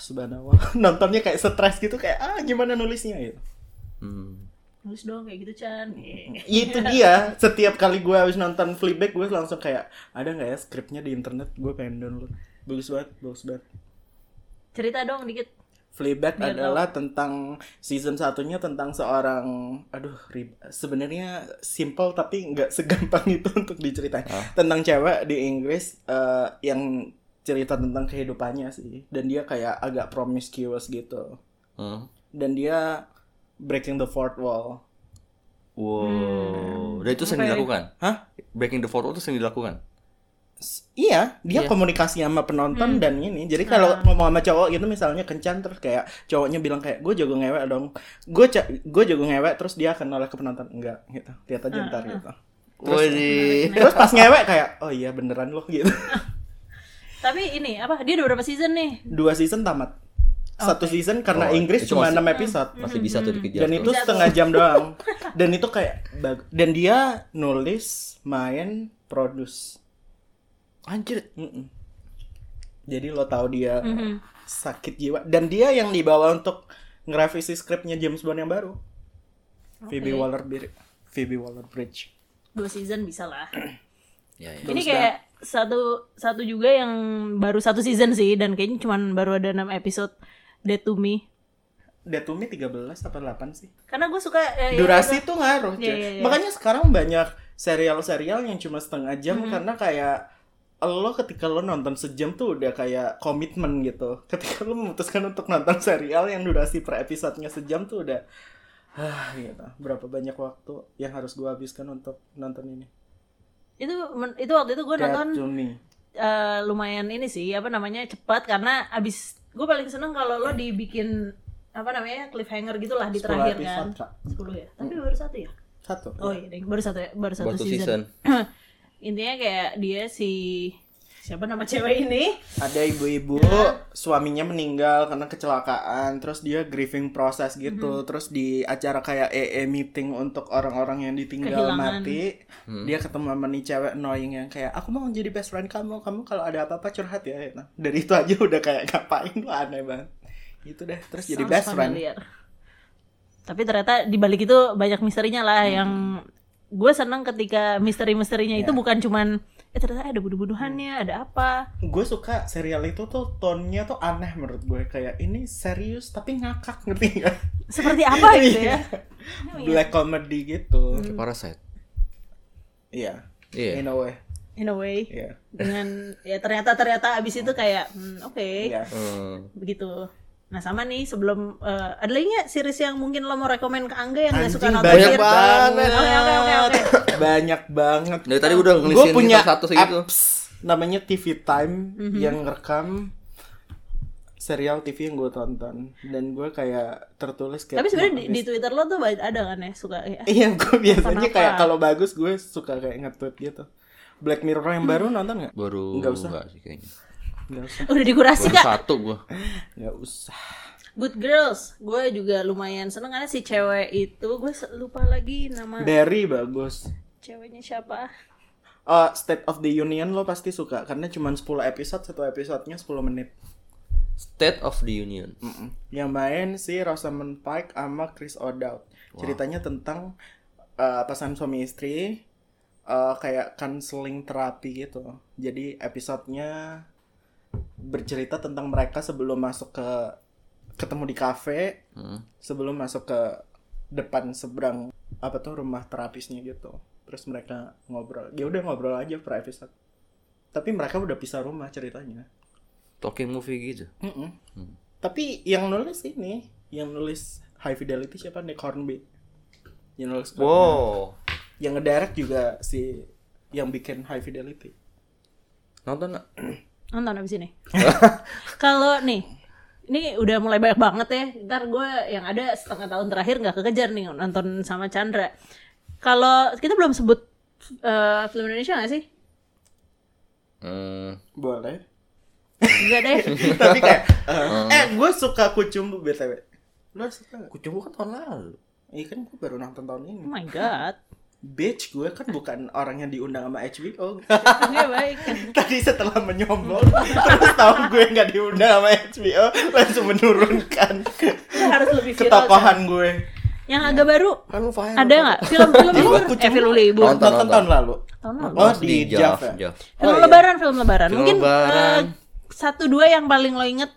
[SPEAKER 3] Subhanallah. Nontonnya kayak stres gitu kayak ah gimana nulisnya gitu.
[SPEAKER 2] Hmm.
[SPEAKER 1] Bagus dong kayak gitu Chan. Iya.
[SPEAKER 3] itu dia setiap kali gue habis nonton Fleabag gue langsung kayak ada nggak ya skripnya di internet gue pengen download bagus banget bagus banget
[SPEAKER 1] Cerita dong dikit.
[SPEAKER 3] Fleabag
[SPEAKER 1] Biar
[SPEAKER 3] adalah tentang season satunya tentang seorang aduh rib- sebenarnya simple tapi nggak segampang itu untuk diceritain tentang cewek di Inggris eh, yang cerita tentang kehidupannya sih dan dia kayak agak promiscuous gitu
[SPEAKER 2] Hmm.
[SPEAKER 3] dan dia breaking the fourth wall
[SPEAKER 2] Wow. Dan itu
[SPEAKER 1] Oke.
[SPEAKER 2] sering dilakukan.
[SPEAKER 3] Hah?
[SPEAKER 2] Breaking the fourth wall itu sering dilakukan.
[SPEAKER 3] S- Iya, dia
[SPEAKER 2] Iya.
[SPEAKER 3] komunikasi sama penonton dan ini. Jadi kalau ngomong sama cowok gitu misalnya kencan terus kayak cowoknya bilang kayak gue jago ngewek dong. Gue ca- gue jago ngewek terus dia akan nolak ke penonton enggak gitu. Lihat aja ntar gitu.
[SPEAKER 2] Wih.
[SPEAKER 3] Terus pas ngewek kayak oh iya beneran loh gitu.
[SPEAKER 1] Tapi ini apa? Dia udah berapa season nih?
[SPEAKER 3] Dua season tamat. Satu season karena
[SPEAKER 2] Oh,
[SPEAKER 3] Inggris
[SPEAKER 2] itu
[SPEAKER 3] cuma
[SPEAKER 2] masih- Hmm.
[SPEAKER 3] 6 episode.
[SPEAKER 2] Masih bisa tuh dikejar.
[SPEAKER 3] Dan
[SPEAKER 2] tuh.
[SPEAKER 3] itu setengah jam doang. Dan itu kayak bag- dan dia nulis, main, produce.
[SPEAKER 2] Anjir.
[SPEAKER 3] Mm-mm. Jadi lo tahu dia sakit jiwa dan dia yang dibawa untuk ngerevisi skripnya James Bond yang baru. Phoebe Waller Phoebe Waller Bridge.
[SPEAKER 1] dua season bisa lah
[SPEAKER 2] Ya, ya.
[SPEAKER 1] ini kayak satu satu juga yang baru satu season sih dan kayaknya cuman baru ada enam episode Dead to Me
[SPEAKER 3] Datumi 13 apa 8 sih?
[SPEAKER 1] karena gue suka eh,
[SPEAKER 3] Durasi tuh ngaruh, cuy.
[SPEAKER 1] Iya, iya, iya.
[SPEAKER 3] Makanya sekarang banyak serial-serial yang cuma setengah jam
[SPEAKER 1] Mm-hmm.
[SPEAKER 3] karena kayak lo ketika lo nonton sejam tuh udah kayak komitmen gitu. Ketika lo memutuskan untuk nonton serial yang durasi per episodenya sejam tuh udah ah gitu. Berapa banyak waktu yang harus gua habiskan untuk nonton ini?
[SPEAKER 1] itu men- itu waktu itu gue nonton
[SPEAKER 3] Datumi.
[SPEAKER 1] eh, lumayan ini sih apa namanya cepat karena abis gue paling seneng kalau lo dibikin apa namanya cliffhanger gitulah di
[SPEAKER 3] Sepuluh
[SPEAKER 1] terakhir kan
[SPEAKER 3] episode, Kak.
[SPEAKER 1] 10 ya tapi baru satu ya
[SPEAKER 3] Satu.
[SPEAKER 1] oh iya deh, baru satu baru satu
[SPEAKER 2] Baru satu
[SPEAKER 1] season, intinya kayak dia si siapa nama cewek ini
[SPEAKER 3] Ada ibu-ibu
[SPEAKER 1] Ya.
[SPEAKER 3] suaminya meninggal karena kecelakaan, terus dia grieving proses
[SPEAKER 1] Mhm.
[SPEAKER 3] gitu, terus di acara kayak EE meeting untuk orang-orang yang ditinggal
[SPEAKER 1] Kehilangan.
[SPEAKER 3] mati, dia ketemu sama nih cewek annoying yang kayak aku mau jadi best friend kamu, kamu kalau ada apa-apa curhat ya. Nah, dari itu aja udah kayak ngapain lu aneh banget. Gitu deh, terus jadi
[SPEAKER 1] Sounds
[SPEAKER 3] best friend.
[SPEAKER 1] familiar. tapi ternyata di balik itu banyak misterinya lah
[SPEAKER 3] Hmm.
[SPEAKER 1] yang gue seneng ketika misteri-misterinya
[SPEAKER 3] Iya.
[SPEAKER 1] itu bukan cuman eh ternyata ada bunuh-bunuhannya
[SPEAKER 3] Hmm.
[SPEAKER 1] ada apa
[SPEAKER 3] gue suka serial itu tuh tonnya tuh aneh menurut gue kayak ini serius tapi ngakak ngerti nggak? Iya.
[SPEAKER 1] seperti apa gitu ya Hmm.
[SPEAKER 3] Black comedy gitu.
[SPEAKER 2] Kayak Parasite.
[SPEAKER 3] Iya.
[SPEAKER 2] Iya.
[SPEAKER 3] In a way.
[SPEAKER 1] in a way
[SPEAKER 3] Iya.
[SPEAKER 1] dengan ya ternyata ternyata abis itu kayak hmm, oke
[SPEAKER 3] Iya.
[SPEAKER 2] Hmm.
[SPEAKER 1] begitu nah sama nih sebelum eh, ada lagi nggak series yang mungkin lo mau rekomen ke Angga yang nggak suka
[SPEAKER 3] Anjing,
[SPEAKER 1] nonton
[SPEAKER 3] banyak
[SPEAKER 1] series?
[SPEAKER 3] banget.
[SPEAKER 1] oke oke oke oke
[SPEAKER 3] banyak banget.
[SPEAKER 2] Dari tadi udah
[SPEAKER 3] Gue
[SPEAKER 2] ngelisin
[SPEAKER 3] punya
[SPEAKER 2] satu segitu.
[SPEAKER 3] apps namanya TV Time
[SPEAKER 1] Mhm.
[SPEAKER 3] yang rekam serial TV yang gue tonton dan gue kayak tertulis kayak
[SPEAKER 1] tapi sebenarnya di, di Twitter lo tuh ba- ada kan ya suka ya
[SPEAKER 3] iya gue biasanya
[SPEAKER 1] Kenapa?
[SPEAKER 3] kayak kalau bagus gue suka kayak nge-tweet gitu Black Mirror yang baru nonton nggak
[SPEAKER 2] Baru
[SPEAKER 3] Nggak usah.
[SPEAKER 2] enggak sih kayaknya.
[SPEAKER 3] nggak usah
[SPEAKER 1] udah dikurasi
[SPEAKER 2] Baru
[SPEAKER 1] kak
[SPEAKER 2] satu gua.
[SPEAKER 3] nggak usah
[SPEAKER 1] Good Girls gue juga lumayan seneng karena si cewek itu gue se- lupa lagi nama
[SPEAKER 3] Barry bagus
[SPEAKER 1] ceweknya siapa
[SPEAKER 3] Eh, State of the Union lo pasti suka karena cuma 10 episode satu episodenya 10 menit
[SPEAKER 2] State of the Union.
[SPEAKER 3] Yang main si Rosamund Pike sama Chris O'Dowd. Ceritanya tentang uh, pasangan suami istri uh, kayak counseling terapi gitu. Jadi episodenya bercerita tentang mereka sebelum masuk ke ketemu di kafe,
[SPEAKER 2] Hmm.
[SPEAKER 3] sebelum masuk ke depan seberang apa tuh rumah terapisnya gitu. Terus mereka ngobrol. Ya udah ngobrol aja per episode. Tapi mereka udah pisah rumah ceritanya.
[SPEAKER 2] Talking movie gitu.
[SPEAKER 3] Mm-mm.
[SPEAKER 2] Hmm.
[SPEAKER 3] Tapi yang nulis ini, yang nulis High Fidelity siapa? Nick Hornby. Yang nulis scriptnya.
[SPEAKER 2] Wow.
[SPEAKER 3] Yang ngedirect juga si yang bikin High Fidelity.
[SPEAKER 2] Nonton nggak?
[SPEAKER 1] nonton abis ini kalau nih ini udah mulai banyak banget ya ntar gue yang ada setengah tahun terakhir nggak kekejar nih nonton sama Chandra kalau kita belum sebut eh, film Indonesia nggak sih
[SPEAKER 2] Hmm.
[SPEAKER 3] Boleh.
[SPEAKER 1] enggak deh
[SPEAKER 3] Tapi kayak eh,
[SPEAKER 2] Uh.
[SPEAKER 3] eh gue suka Kucumbu BTW. Lo suka nggak?
[SPEAKER 2] Aku coba kan tahun lalu.
[SPEAKER 3] Iya kan gue baru nonton tahun ini.
[SPEAKER 1] oh my god
[SPEAKER 3] Bitch, gue kan bukan orang yang diundang sama HBO.
[SPEAKER 1] oke baik
[SPEAKER 3] Tadi setelah menyombong, terus tahu gue nggak diundang sama HBO, langsung menurunkan
[SPEAKER 1] Ini harus lebih viral Chan.
[SPEAKER 3] ketokohan gue.
[SPEAKER 1] yang agak baru
[SPEAKER 2] Kan lu viral.
[SPEAKER 1] kan? ada nggak film-film libur eh film libur
[SPEAKER 3] Iya.
[SPEAKER 2] Nonton,
[SPEAKER 3] Nonton
[SPEAKER 2] nonton.
[SPEAKER 3] tahun lalu.
[SPEAKER 1] tahun lalu
[SPEAKER 3] Oh, di Jav ya?
[SPEAKER 2] Jav.
[SPEAKER 1] film
[SPEAKER 3] Oh, iya.
[SPEAKER 1] lebaran film lebaran
[SPEAKER 2] Film
[SPEAKER 1] mungkin
[SPEAKER 2] lebaran.
[SPEAKER 1] eh, satu dua yang paling lo inget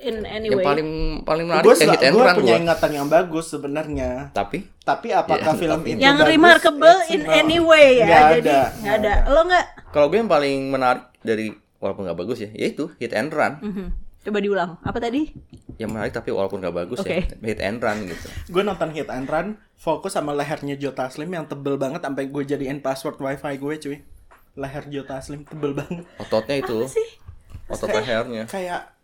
[SPEAKER 1] in
[SPEAKER 2] Yang
[SPEAKER 1] anyway
[SPEAKER 2] paling paling menarik
[SPEAKER 3] gue
[SPEAKER 2] yang hit and run
[SPEAKER 3] punya
[SPEAKER 2] gua.
[SPEAKER 3] ingatan yang bagus sebenarnya
[SPEAKER 2] Tapi
[SPEAKER 3] tapi apakah
[SPEAKER 2] Iya,
[SPEAKER 3] film
[SPEAKER 2] tapi-
[SPEAKER 3] itu
[SPEAKER 1] yang
[SPEAKER 3] bagus,
[SPEAKER 1] remarkable
[SPEAKER 3] it's
[SPEAKER 1] in
[SPEAKER 3] not.
[SPEAKER 1] any way ya
[SPEAKER 3] Nggak
[SPEAKER 1] jadi
[SPEAKER 3] ada,
[SPEAKER 1] nggak ada lo nggak
[SPEAKER 2] kalau gue yang paling menarik dari walaupun nggak bagus ya, yaitu hit and run.
[SPEAKER 1] Mhm. coba diulang apa tadi
[SPEAKER 2] Yang menarik tapi walaupun nggak bagus
[SPEAKER 1] Oke.
[SPEAKER 2] ya, hit and run gitu.
[SPEAKER 3] gue nonton hit and run fokus sama lehernya Joe Taslim yang tebel banget sampai gue jadiin password wifi gue cuy leher Joe Taslim tebel banget
[SPEAKER 2] Ototnya
[SPEAKER 1] apa
[SPEAKER 2] itu,
[SPEAKER 1] sih
[SPEAKER 2] otot lehernya.
[SPEAKER 3] kayak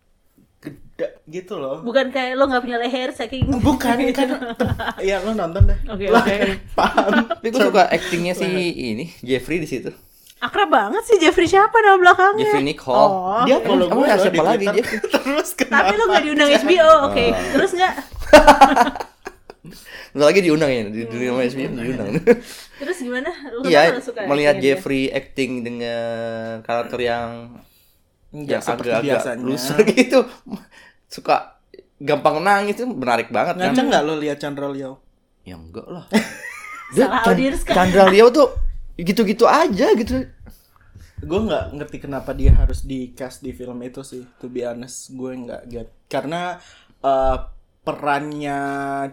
[SPEAKER 3] gede gitu loh
[SPEAKER 1] bukan kayak lo nggak punya leher saking
[SPEAKER 3] bukan kan te- ya lo nonton deh
[SPEAKER 1] Oke,
[SPEAKER 3] Lo
[SPEAKER 1] oke.
[SPEAKER 3] akan paham
[SPEAKER 2] Tapi gue suka actingnya si ini Jeffrey di situ.
[SPEAKER 1] Oh, akrab banget sih Jeffrey siapa nama belakangnya
[SPEAKER 2] Jeffrey Nicole.
[SPEAKER 1] oh
[SPEAKER 3] dia kalau
[SPEAKER 2] Emang
[SPEAKER 3] gue
[SPEAKER 2] ada
[SPEAKER 3] loh di
[SPEAKER 2] siapa lagi,
[SPEAKER 3] Twitter
[SPEAKER 2] Jeff?
[SPEAKER 3] terus
[SPEAKER 1] tapi
[SPEAKER 3] kenapa
[SPEAKER 1] lo nggak diundang HBO oke terus nggak
[SPEAKER 2] Nggak lagi diundang ya, di di rumah SBY diundang.
[SPEAKER 1] terus gimana lu
[SPEAKER 2] Iya,
[SPEAKER 1] kan Hmm. suka
[SPEAKER 2] melihat
[SPEAKER 1] actingnya dia.
[SPEAKER 2] Jeffrey acting dengan karakter yang
[SPEAKER 3] Nggak
[SPEAKER 2] yang
[SPEAKER 3] seperti
[SPEAKER 2] agak-agak
[SPEAKER 3] biasanya.
[SPEAKER 2] loser gitu, suka gampang nangis itu menarik
[SPEAKER 1] Nah,
[SPEAKER 2] banget kan?
[SPEAKER 3] Ngaca nggak lo lihat Chandra Leo?
[SPEAKER 2] Ya enggak lah.
[SPEAKER 1] Salah
[SPEAKER 2] Chan-
[SPEAKER 1] audiens kan?
[SPEAKER 2] Chandra Leo tuh gitu-gitu aja gitu.
[SPEAKER 3] Gue nggak ngerti kenapa dia harus di cast di film itu sih. To be honest, gue nggak get. Karena eh, perannya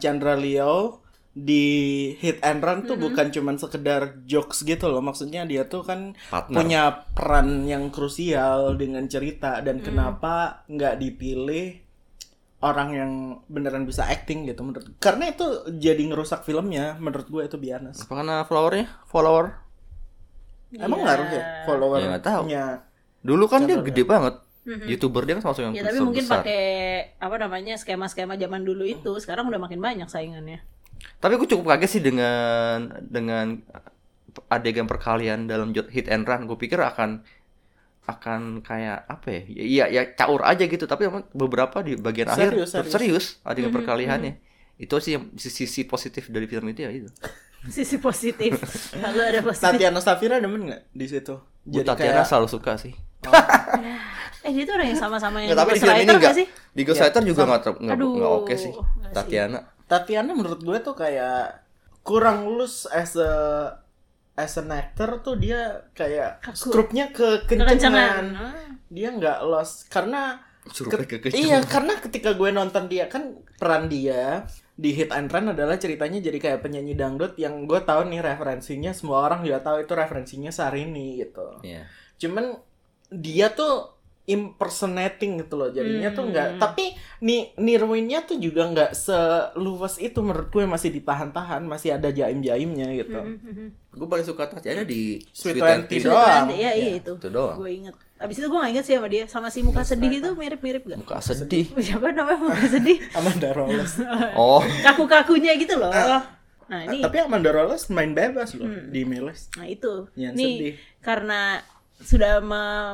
[SPEAKER 3] Chandra Leo di hit and run tuh bukan cuman sekedar jokes gitu loh. Maksudnya dia tuh kan
[SPEAKER 2] Partner.
[SPEAKER 3] punya peran yang krusial dengan cerita dan kenapa nggak dipilih orang yang beneran bisa acting gitu menurut karena itu jadi ngerusak filmnya menurut gue itu biasa
[SPEAKER 2] Apa karena followernya? Follower.
[SPEAKER 3] Emang ngaruh ya follower
[SPEAKER 2] Ya, nggak tahu.
[SPEAKER 3] punya
[SPEAKER 2] Dulu kan dia gede banget.
[SPEAKER 1] Mhm.
[SPEAKER 2] Youtuber dia kan masuk yang
[SPEAKER 1] Ya
[SPEAKER 2] besar
[SPEAKER 1] tapi mungkin
[SPEAKER 2] besar.
[SPEAKER 1] pakai apa namanya skema-skema zaman dulu itu, sekarang udah makin banyak saingannya.
[SPEAKER 2] Tapi aku cukup kaget sih dengan dengan adegan perkalian dalam jo- hit and run. Gue pikir akan akan kayak apa ya? Ya ya, ya caur aja gitu. Tapi emang beberapa di bagian
[SPEAKER 3] Serius,
[SPEAKER 2] akhir
[SPEAKER 3] serius.
[SPEAKER 2] serius adegan
[SPEAKER 1] Mhm,
[SPEAKER 2] perkaliannya. Itu sih yang sisi, sisi positif dari film itu ya itu.
[SPEAKER 1] Sisi positif. Lalu ada positif.
[SPEAKER 3] Tatiana Safira demen nggak di situ?
[SPEAKER 2] Gue
[SPEAKER 3] Jadi
[SPEAKER 2] Tatiana
[SPEAKER 3] kayak
[SPEAKER 2] selalu suka sih.
[SPEAKER 1] Eh dia tuh orang yang sama-sama yang
[SPEAKER 2] Nggak, Ya, tapi di film ini
[SPEAKER 1] ghostwriter nggak
[SPEAKER 2] enggak.
[SPEAKER 1] sih?
[SPEAKER 2] Di Ghost
[SPEAKER 3] Ya,
[SPEAKER 2] Rider juga
[SPEAKER 3] sama.
[SPEAKER 2] nggak ter- nggak
[SPEAKER 1] Aduh,
[SPEAKER 2] nggak oke sih.
[SPEAKER 1] nggak sih.
[SPEAKER 2] Tatiana.
[SPEAKER 3] Tatiana menurut gue tuh kayak kurang lulus as a as an actor tuh dia kayak
[SPEAKER 1] Kaku.
[SPEAKER 3] strupnya
[SPEAKER 1] Kekencangan.
[SPEAKER 3] kekencengan.
[SPEAKER 1] Ah.
[SPEAKER 3] Dia nggak lost karena
[SPEAKER 2] Strupnya
[SPEAKER 3] ket-
[SPEAKER 2] kekencengan.
[SPEAKER 3] Iya, karena ketika gue nonton dia kan peran dia di Hit and Run adalah ceritanya jadi kayak penyanyi dangdut yang gue tahu nih referensinya semua orang juga tahu itu referensinya Sarini gitu.
[SPEAKER 2] Iya.
[SPEAKER 3] cuman dia tuh impersonating gitu loh jadinya tuh
[SPEAKER 1] Hmm.
[SPEAKER 3] nggak tapi ni nirwinnya tuh juga nggak seluas itu menurut gue masih ditahan-tahan masih ada jaim-jaimnya gitu
[SPEAKER 1] Mhm, mhm.
[SPEAKER 2] Gue paling suka Tatiana di
[SPEAKER 3] Sweet Twenty
[SPEAKER 1] Itu
[SPEAKER 2] doang.
[SPEAKER 3] doang.
[SPEAKER 1] nanti- Iya iya
[SPEAKER 3] Ya,
[SPEAKER 1] itu.
[SPEAKER 2] itu doang.
[SPEAKER 1] Gue inget. Abis itu gue gak inget sih sama dia, sama si muka sedih itu mirip-mirip gak?
[SPEAKER 2] Muka sedih.
[SPEAKER 1] Siapa namanya muka sedih?
[SPEAKER 3] Amanda Rolles
[SPEAKER 2] Oh,
[SPEAKER 1] Kaku-kakunya gitu loh. Nah ini,
[SPEAKER 3] tapi Amanda Rolles main bebas loh di Miles
[SPEAKER 1] nah itu.
[SPEAKER 3] Yang
[SPEAKER 1] nih
[SPEAKER 3] sedih.
[SPEAKER 1] karena sudah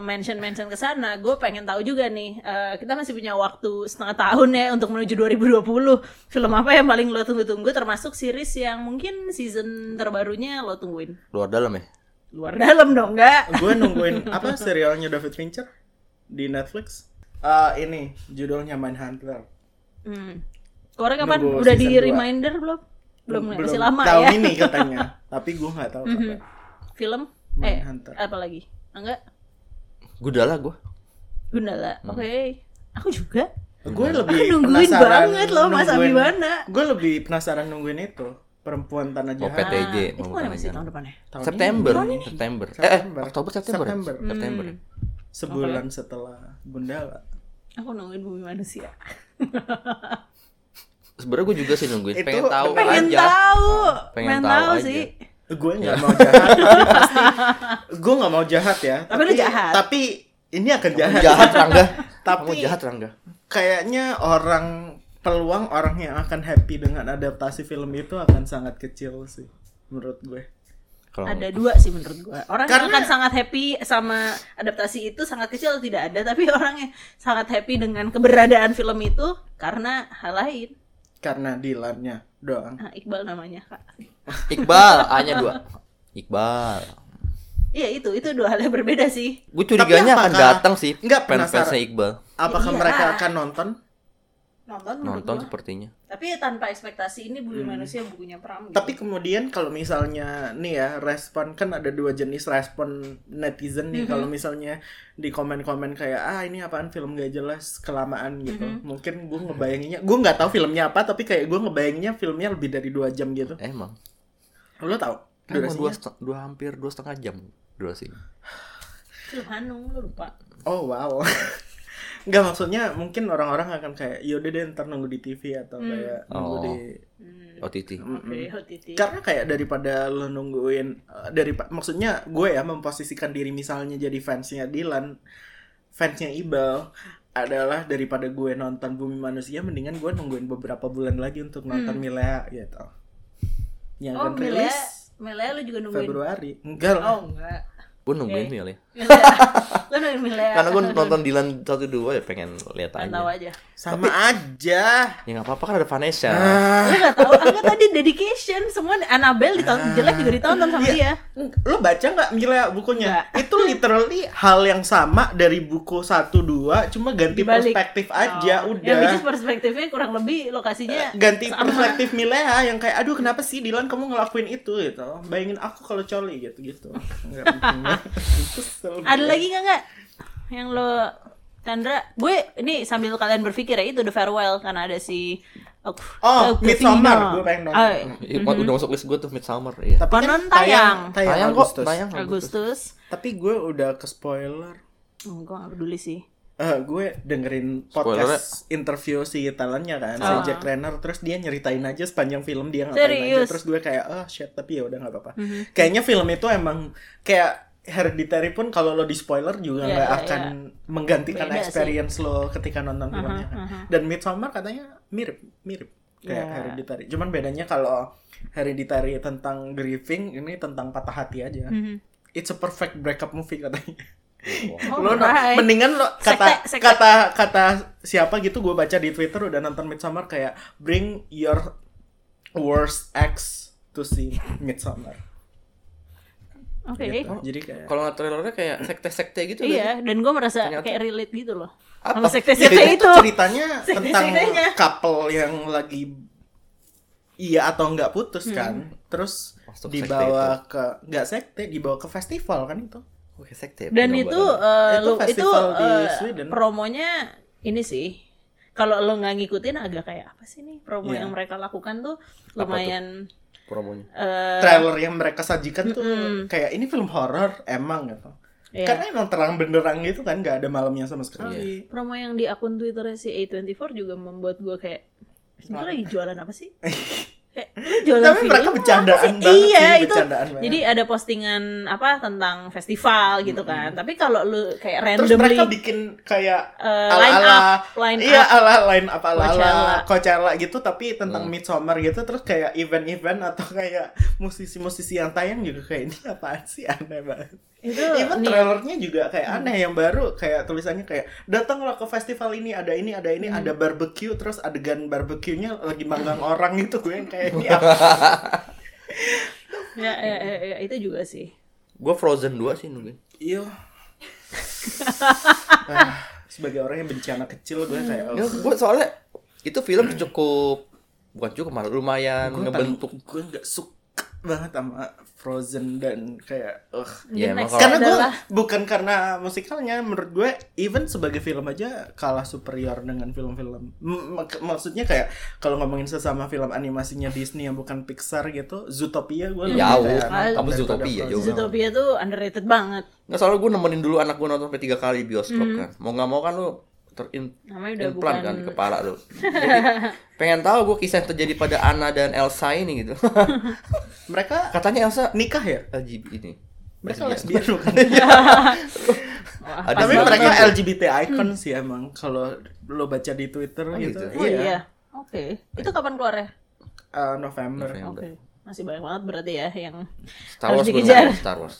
[SPEAKER 1] mention-mention ke sana, gue pengen tahu juga nih. eh, kita masih punya waktu setengah tahun ya untuk menuju 2020. Film apa yang paling lo tunggu-tunggu termasuk series yang mungkin season terbarunya lo tungguin?
[SPEAKER 2] luar dalam ya.
[SPEAKER 1] Luar dalam dong, enggak?
[SPEAKER 3] gue nungguin apa serialnya David Fincher di Netflix Eh, ini judulnya Mindhunter
[SPEAKER 1] Hmm. Korea kapan?
[SPEAKER 3] Nunggu
[SPEAKER 1] Udah di
[SPEAKER 3] season dua.
[SPEAKER 1] reminder belum? Belum, ya? masih lama
[SPEAKER 3] tahun
[SPEAKER 1] ya. Hmm,
[SPEAKER 3] ini katanya tapi gue nggak tahu kapan
[SPEAKER 1] Film? Eh,
[SPEAKER 3] Mindhunter.
[SPEAKER 1] apa lagi? Enggak?
[SPEAKER 2] Gundala gue.
[SPEAKER 1] Gundala.
[SPEAKER 3] Hmm.
[SPEAKER 1] Oke. Aku juga.
[SPEAKER 3] gue lebih
[SPEAKER 1] Aku nungguin
[SPEAKER 3] penasaran
[SPEAKER 1] banget loh Mas
[SPEAKER 3] nungguin-
[SPEAKER 1] Abimana.
[SPEAKER 3] gue lebih penasaran nungguin itu perempuan tanah
[SPEAKER 2] Mau
[SPEAKER 3] jahat
[SPEAKER 2] PTJ.
[SPEAKER 1] Ah, itu mana
[SPEAKER 2] mau bukan
[SPEAKER 1] masih
[SPEAKER 2] aja.
[SPEAKER 1] tahun depannya?
[SPEAKER 3] Tahun
[SPEAKER 2] September,
[SPEAKER 3] ini.
[SPEAKER 2] September. Eh, Eh,
[SPEAKER 3] September.
[SPEAKER 2] Oktober September. ya?
[SPEAKER 3] September.
[SPEAKER 2] September.
[SPEAKER 1] Hmm.
[SPEAKER 2] ya?
[SPEAKER 3] sebulan setelah Gundala
[SPEAKER 1] Aku nungguin Bumi Manusia.
[SPEAKER 2] Sebenarnya gue juga sih nungguin.
[SPEAKER 3] Itu-
[SPEAKER 2] pengen tahu
[SPEAKER 1] Pengen
[SPEAKER 2] aja.
[SPEAKER 1] tahu.
[SPEAKER 2] pengen
[SPEAKER 1] Pengen
[SPEAKER 2] tahu
[SPEAKER 1] tahu
[SPEAKER 2] aja.
[SPEAKER 1] sih.
[SPEAKER 3] gue nggak mau jahat tapi pasti gue nggak mau jahat ya
[SPEAKER 1] Tapi lu jahat.
[SPEAKER 3] tapi ini akan jahat,
[SPEAKER 2] Jahat Rangga.
[SPEAKER 3] Tapi-
[SPEAKER 2] Kamu jahat Rangga.
[SPEAKER 3] kayaknya orang peluang orang yang akan happy dengan adaptasi film itu akan sangat kecil sih menurut gue
[SPEAKER 2] Kalau
[SPEAKER 1] Ada dua sih menurut gua. Orang yang
[SPEAKER 3] Karena-
[SPEAKER 1] akan sangat happy sama adaptasi itu sangat kecil atau tidak ada, tapi orang yang sangat happy dengan keberadaan film itu karena hal lain.
[SPEAKER 3] karena dealernya doang
[SPEAKER 1] Nah, Iqbal namanya, Kak.
[SPEAKER 2] Iqbal, A-nya dua. Iqbal.
[SPEAKER 1] Iya, itu itu dua hal yang berbeda sih.
[SPEAKER 2] Gue curiganya akan
[SPEAKER 3] apakah-
[SPEAKER 2] datang sih.
[SPEAKER 3] Nggak,
[SPEAKER 2] fans-fansnya
[SPEAKER 3] penasaran.
[SPEAKER 2] Iqbal
[SPEAKER 3] apakah
[SPEAKER 1] Iya.
[SPEAKER 3] mereka akan nonton
[SPEAKER 1] Nonton menurut
[SPEAKER 2] nonton
[SPEAKER 1] gua.
[SPEAKER 2] sepertinya.
[SPEAKER 1] Tapi ya tanpa ekspektasi ini Bumi Manusia bukunya Pram. gitu.
[SPEAKER 3] Tapi kemudian kalau misalnya nih ya respon kan ada dua jenis respon netizen nih kalau misalnya di komen-komen kayak ah ini apaan film gak jelas kelamaan gitu mungkin gue ngebayanginnya gue nggak tahu filmnya apa tapi kayak gue ngebayanginnya filmnya lebih dari dua jam gitu
[SPEAKER 2] Emang.
[SPEAKER 3] lo tau
[SPEAKER 2] Kan emang dua,
[SPEAKER 3] durasinya
[SPEAKER 2] seteng- dua hampir dua setengah jam durasinya.
[SPEAKER 1] film Hanung lu lupa.
[SPEAKER 3] oh wow nggak maksudnya mungkin orang-orang akan kayak yaudah deh ntar nunggu di TV atau kayak nunggu
[SPEAKER 2] Oh.
[SPEAKER 3] di
[SPEAKER 1] Hmm.
[SPEAKER 2] OTT.
[SPEAKER 1] Oke, OTT.
[SPEAKER 3] karena kayak daripada lo nungguin eh, dari maksudnya gue ya memposisikan diri misalnya jadi fansnya Dylan fansnya Ibal adalah daripada gue nonton Bumi Manusia mendingan gue nungguin beberapa bulan lagi untuk nonton Milea gitu yang
[SPEAKER 1] Hmm. Oh,
[SPEAKER 3] akan
[SPEAKER 1] Milea,
[SPEAKER 3] rilis
[SPEAKER 1] Milea lu juga nungguin.
[SPEAKER 3] Februari enggak lah
[SPEAKER 1] Oh, enggak.
[SPEAKER 2] Gue nungguin Mil ya.
[SPEAKER 1] Milea. Lo Kan udah milih.
[SPEAKER 2] Karena gue nonton Dylan satu dua ya pengen lihat
[SPEAKER 1] Nggak tahu aja.
[SPEAKER 2] aja.
[SPEAKER 3] Sama aja.
[SPEAKER 2] Ya nggak apa-apa kan ada Vanessa.
[SPEAKER 3] Hmm.
[SPEAKER 1] Lo nggak tahu. Angga tadi dedication semua Annabelle
[SPEAKER 3] Ah.
[SPEAKER 1] ditonton jelek juga ditonton sama
[SPEAKER 3] Iya.
[SPEAKER 1] dia.
[SPEAKER 3] Lo baca nggak Mila bukunya? Itu literally hal yang sama dari buku 1 2 cuma ganti
[SPEAKER 1] Dibalik.
[SPEAKER 3] perspektif aja
[SPEAKER 1] Oh.
[SPEAKER 3] udah.
[SPEAKER 1] Yang which is perspektifnya kurang lebih lokasinya
[SPEAKER 3] ganti
[SPEAKER 1] sama.
[SPEAKER 3] perspektif Milea yang kayak aduh kenapa sih Dilan kamu ngelakuin itu gitu bayangin aku kalau coli gitu gitu Nggak mungkin. Kesel
[SPEAKER 1] Ada
[SPEAKER 3] gue.
[SPEAKER 1] lagi nggak nggak yang lo Chandra? Gue ini sambil kalian berpikir ya itu The Farewell karena ada si Oh,
[SPEAKER 3] Oh, Midsommar. Gue pengen nonton.
[SPEAKER 2] Ih, Udah masuk list gue tuh Midsummer ya.
[SPEAKER 3] tapi kan
[SPEAKER 1] Konon tayang.
[SPEAKER 3] tayang,
[SPEAKER 2] Tayang kok,
[SPEAKER 3] Agustus
[SPEAKER 2] tayang Agustus.
[SPEAKER 1] Agustus.
[SPEAKER 3] tapi gue udah ke spoiler
[SPEAKER 1] Hmm, gue gak peduli sih.
[SPEAKER 3] Eh, gue dengerin podcast interview si Talannya kan,
[SPEAKER 1] Ah.
[SPEAKER 3] si Jack Renner terus dia nyeritain aja sepanjang film dia ngapain
[SPEAKER 1] Serius? Mhm.
[SPEAKER 3] aja terus gue kayak oh shit tapi ya udah nggak apa-apa. Kayaknya film itu emang kayak Hereditary pun kalau lo di spoiler juga
[SPEAKER 1] Iya,
[SPEAKER 3] nggak
[SPEAKER 1] iya,
[SPEAKER 3] akan
[SPEAKER 1] Beda
[SPEAKER 3] menggantikan
[SPEAKER 1] sih. Mhm,
[SPEAKER 3] experience lo ketika nonton filmnya. kan. Dan Midsommar katanya mirip mirip kayak
[SPEAKER 1] Iya.
[SPEAKER 3] Hereditary. Cuman bedanya kalau Hereditary tentang grieving ini tentang patah hati aja.
[SPEAKER 1] Mhm.
[SPEAKER 3] It's a perfect breakup movie katanya lo no-
[SPEAKER 1] Alright.
[SPEAKER 3] mendingan lo kata
[SPEAKER 1] Oh, Sekte- sekte.
[SPEAKER 3] kata kata siapa gitu gue baca di Twitter udah nonton Midsummer kayak bring your worst ex to see Midsummer.
[SPEAKER 1] Oke.
[SPEAKER 3] Gitu. Jadi kayak
[SPEAKER 2] Kalau nggak trailernya kayak sekte-sekte gitu.
[SPEAKER 1] Iya, dan gue merasa
[SPEAKER 2] Ternyata-
[SPEAKER 1] kayak relate gitu loh.
[SPEAKER 2] Apa?
[SPEAKER 1] Sama
[SPEAKER 3] Ya,
[SPEAKER 1] sekte-sekte itu.
[SPEAKER 3] ceritanya tentang
[SPEAKER 1] Ceritanya.
[SPEAKER 3] couple yang lagi iya atau nggak putus
[SPEAKER 1] Hmm.
[SPEAKER 3] kan. Terus
[SPEAKER 2] Masuk sekte
[SPEAKER 3] dibawa ke nggak sekte dibawa ke festival kan itu.
[SPEAKER 2] Kan? Oke, sekte.
[SPEAKER 1] Dan
[SPEAKER 2] Bener
[SPEAKER 1] itu
[SPEAKER 2] banget.
[SPEAKER 1] eh,
[SPEAKER 3] Itu
[SPEAKER 1] lo itu
[SPEAKER 3] festival di
[SPEAKER 1] eh,
[SPEAKER 3] Sweden.
[SPEAKER 1] promonya ini sih. Kalau lo nggak ngikutin agak kayak apa sih nih promo
[SPEAKER 3] Iya.
[SPEAKER 1] yang mereka lakukan tuh lumayan
[SPEAKER 2] promonya.
[SPEAKER 1] eh, Hmm.
[SPEAKER 3] trailer yang mereka sajikan tuh kayak ini film horor emang gitu.
[SPEAKER 1] Iya. Oh,
[SPEAKER 3] Karena emang terang benderang gitu kan nggak ada malamnya sama sekali.
[SPEAKER 1] promo yang di akun Twitternya si A24 juga membuat gue kayak itu lagi jualan apa sih? Kayak, lu jualan
[SPEAKER 3] Tapi
[SPEAKER 1] film
[SPEAKER 3] mereka
[SPEAKER 1] apa
[SPEAKER 3] bercandaan
[SPEAKER 1] sih?
[SPEAKER 3] banget
[SPEAKER 1] iya,
[SPEAKER 3] sih,
[SPEAKER 1] itu.
[SPEAKER 3] bercandaan banget.
[SPEAKER 1] Jadi ada postingan apa tentang festival gitu kan. Tapi kalau lu kayak
[SPEAKER 3] Terus mereka
[SPEAKER 1] randomly
[SPEAKER 3] bikin kayak
[SPEAKER 1] eh,
[SPEAKER 3] ala-ala-
[SPEAKER 1] line up, line
[SPEAKER 3] iya,
[SPEAKER 1] up.
[SPEAKER 3] ala line up ala ala
[SPEAKER 1] Coachella. Hmm.
[SPEAKER 3] Coachella gitu tapi tentang Midsummer gitu terus kayak event-event atau kayak musisi-musisi yang tayang juga kayak ini apaan sih aneh banget.
[SPEAKER 1] itu nih, Hmm.
[SPEAKER 3] Even trailernya juga kayak aneh yang baru kayak tulisannya kayak datanglah ke festival ini ada ini ada ini
[SPEAKER 1] Hmm.
[SPEAKER 3] ada barbecue terus adegan barbeque-nya lagi manggang orang gitu gue yang kayak ini apa
[SPEAKER 1] ya, ya, ya, ya, itu juga sih.
[SPEAKER 2] Gue Frozen 2 sih nungguin.
[SPEAKER 3] Iya. Ah, sebagai orang yang benci anak kecil gue kayak oh,
[SPEAKER 2] Ya, gue soalnya itu film cukup bukan cukup malah lumayan
[SPEAKER 3] gue
[SPEAKER 2] ngebentuk.
[SPEAKER 3] paling- gue nggak suka banget sama Frozen dan kayak uh.
[SPEAKER 2] Ya, emang
[SPEAKER 1] next
[SPEAKER 2] kalau-
[SPEAKER 3] karena gue
[SPEAKER 1] adalah-
[SPEAKER 3] bukan karena musikalnya menurut gue even sebagai film aja kalah superior dengan film-film M- mak- maksudnya kayak kalau ngomongin sesama film animasinya Disney yang bukan Pixar gitu Zootopia gue lebih
[SPEAKER 2] Jauh.
[SPEAKER 3] kayak
[SPEAKER 1] Kamu
[SPEAKER 3] daripada
[SPEAKER 2] Zootopia
[SPEAKER 3] Frozen.
[SPEAKER 2] jauh.
[SPEAKER 1] Zootopia tuh underrated banget.
[SPEAKER 2] Nggak soalnya gue nemenin dulu anak gue nonton sampai tiga kali bioskop kan. Mau nggak mau kan lu terin
[SPEAKER 1] Hmm. Namanya udah
[SPEAKER 2] implant
[SPEAKER 1] bukan-
[SPEAKER 2] kan di kepala lu. Jadi, pengen tahu gue kisah yang terjadi pada Anna dan Elsa ini gitu.
[SPEAKER 3] mereka
[SPEAKER 2] Katanya Elsa
[SPEAKER 3] nikah ya
[SPEAKER 2] LGBT ini.
[SPEAKER 3] mereka
[SPEAKER 2] Lesbian.
[SPEAKER 3] lesbian bukan
[SPEAKER 1] Wah,
[SPEAKER 2] Ada
[SPEAKER 1] pas
[SPEAKER 3] tapi
[SPEAKER 2] Ada
[SPEAKER 1] banget.
[SPEAKER 3] mereka
[SPEAKER 2] gitu.
[SPEAKER 3] LGBT icon sih emang kalau lo baca di Twitter gitu,
[SPEAKER 2] gitu.
[SPEAKER 1] Oh, iya. Oke. Itu kapan keluarnya?
[SPEAKER 3] Eh, November,
[SPEAKER 2] November.
[SPEAKER 1] Oke. Masih banyak banget berarti ya yang
[SPEAKER 2] Star
[SPEAKER 1] harus
[SPEAKER 2] Wars belum
[SPEAKER 1] dikejar.
[SPEAKER 2] ada, Star Wars.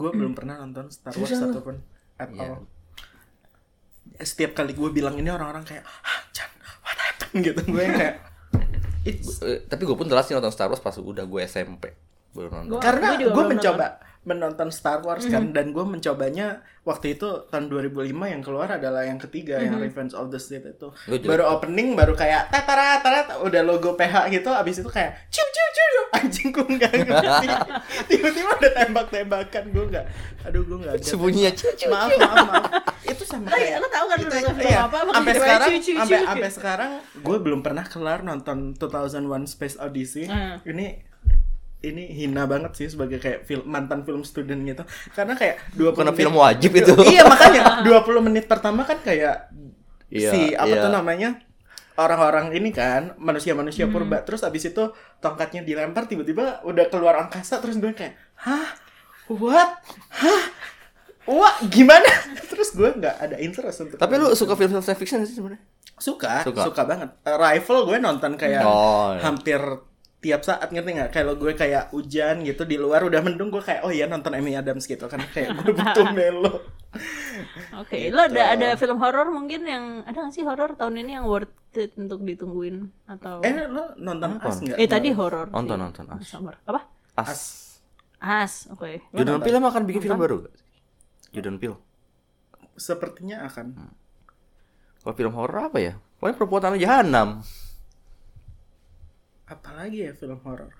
[SPEAKER 3] gue belum pernah nonton Star Wars ataupun at all. setiap kali gue bilang ini orang-orang kayak ah Chan what happened gitu gue yang kayak it's
[SPEAKER 2] Eh, tapi gue pun telat sih nonton Star Wars pas udah gue SMP baru nonton.
[SPEAKER 1] Gua-
[SPEAKER 3] karena
[SPEAKER 1] juga
[SPEAKER 3] gue
[SPEAKER 1] belum Mm-hmm.
[SPEAKER 3] mencoba menonton Star Wars kan dan gue mencobanya waktu itu tahun 2005 yang keluar adalah yang ketiga yang
[SPEAKER 1] Mm-hmm.
[SPEAKER 3] Revenge of the Sith itu
[SPEAKER 2] Lu juga-
[SPEAKER 3] baru opening baru kayak tatara tatara udah logo PH gitu abis itu kayak ciu ciu ciu ciu. anjing gue nggak ngerti tiba-tiba ada tembak-tembakan gue nggak aduh gue nggak ada
[SPEAKER 2] Sembunyinya
[SPEAKER 3] maaf maaf maaf itu sama
[SPEAKER 1] Lo-
[SPEAKER 3] kayak
[SPEAKER 1] lo tau kan
[SPEAKER 3] itu-
[SPEAKER 1] lu nonton film
[SPEAKER 3] ya. iya.
[SPEAKER 1] apa, makanya
[SPEAKER 3] sampai
[SPEAKER 1] tiba-tiba
[SPEAKER 3] sekarang
[SPEAKER 1] ciu-ciu-ciu.
[SPEAKER 3] sampai sampai sekarang gue belum pernah kelar nonton 2001 Space Odyssey
[SPEAKER 1] Hmm.
[SPEAKER 3] ini ini hina banget sih sebagai kayak film, mantan film student gitu karena kayak 20
[SPEAKER 2] Bukan
[SPEAKER 3] menit-
[SPEAKER 2] film wajib itu.
[SPEAKER 3] iya makanya 20 menit pertama kan kayak
[SPEAKER 2] Iya,
[SPEAKER 3] si apa
[SPEAKER 2] iya.
[SPEAKER 3] tuh namanya orang-orang ini kan manusia-manusia purba terus abis itu tongkatnya dilempar tiba-tiba udah keluar angkasa terus gue kayak hah what hah wah gimana terus gue nggak ada interest untuk
[SPEAKER 2] Tapi lu suka film science fiction nggak sih sebenarnya?
[SPEAKER 3] suka
[SPEAKER 2] Suka.
[SPEAKER 3] suka, banget Eh, rifle gue nonton kayak
[SPEAKER 2] Oh, iya.
[SPEAKER 3] hampir tiap saat ngerti nggak kalau gue kayak hujan gitu di luar udah mendung gue kayak oh iya nonton Amy Adams gitu kan kayak gue butuh melo
[SPEAKER 1] Oke, lo ada ada film horor mungkin yang ada nggak sih horor tahun ini yang worth it untuk ditungguin atau
[SPEAKER 3] Eh, lo nonton
[SPEAKER 2] Nonton.
[SPEAKER 3] As nggak?
[SPEAKER 1] Oh. eh tadi horor. sih.
[SPEAKER 2] Nonton, nonton, As.
[SPEAKER 1] Summer. Apa?
[SPEAKER 2] As.
[SPEAKER 1] As. Oke.
[SPEAKER 2] Jordan Peele emang akan bikin film baru gak? Jordan Peele.
[SPEAKER 3] Sepertinya akan.
[SPEAKER 2] Kalau film horor apa ya? Pokoknya perempuan tanah jahanam.
[SPEAKER 3] Apalagi ya film horor?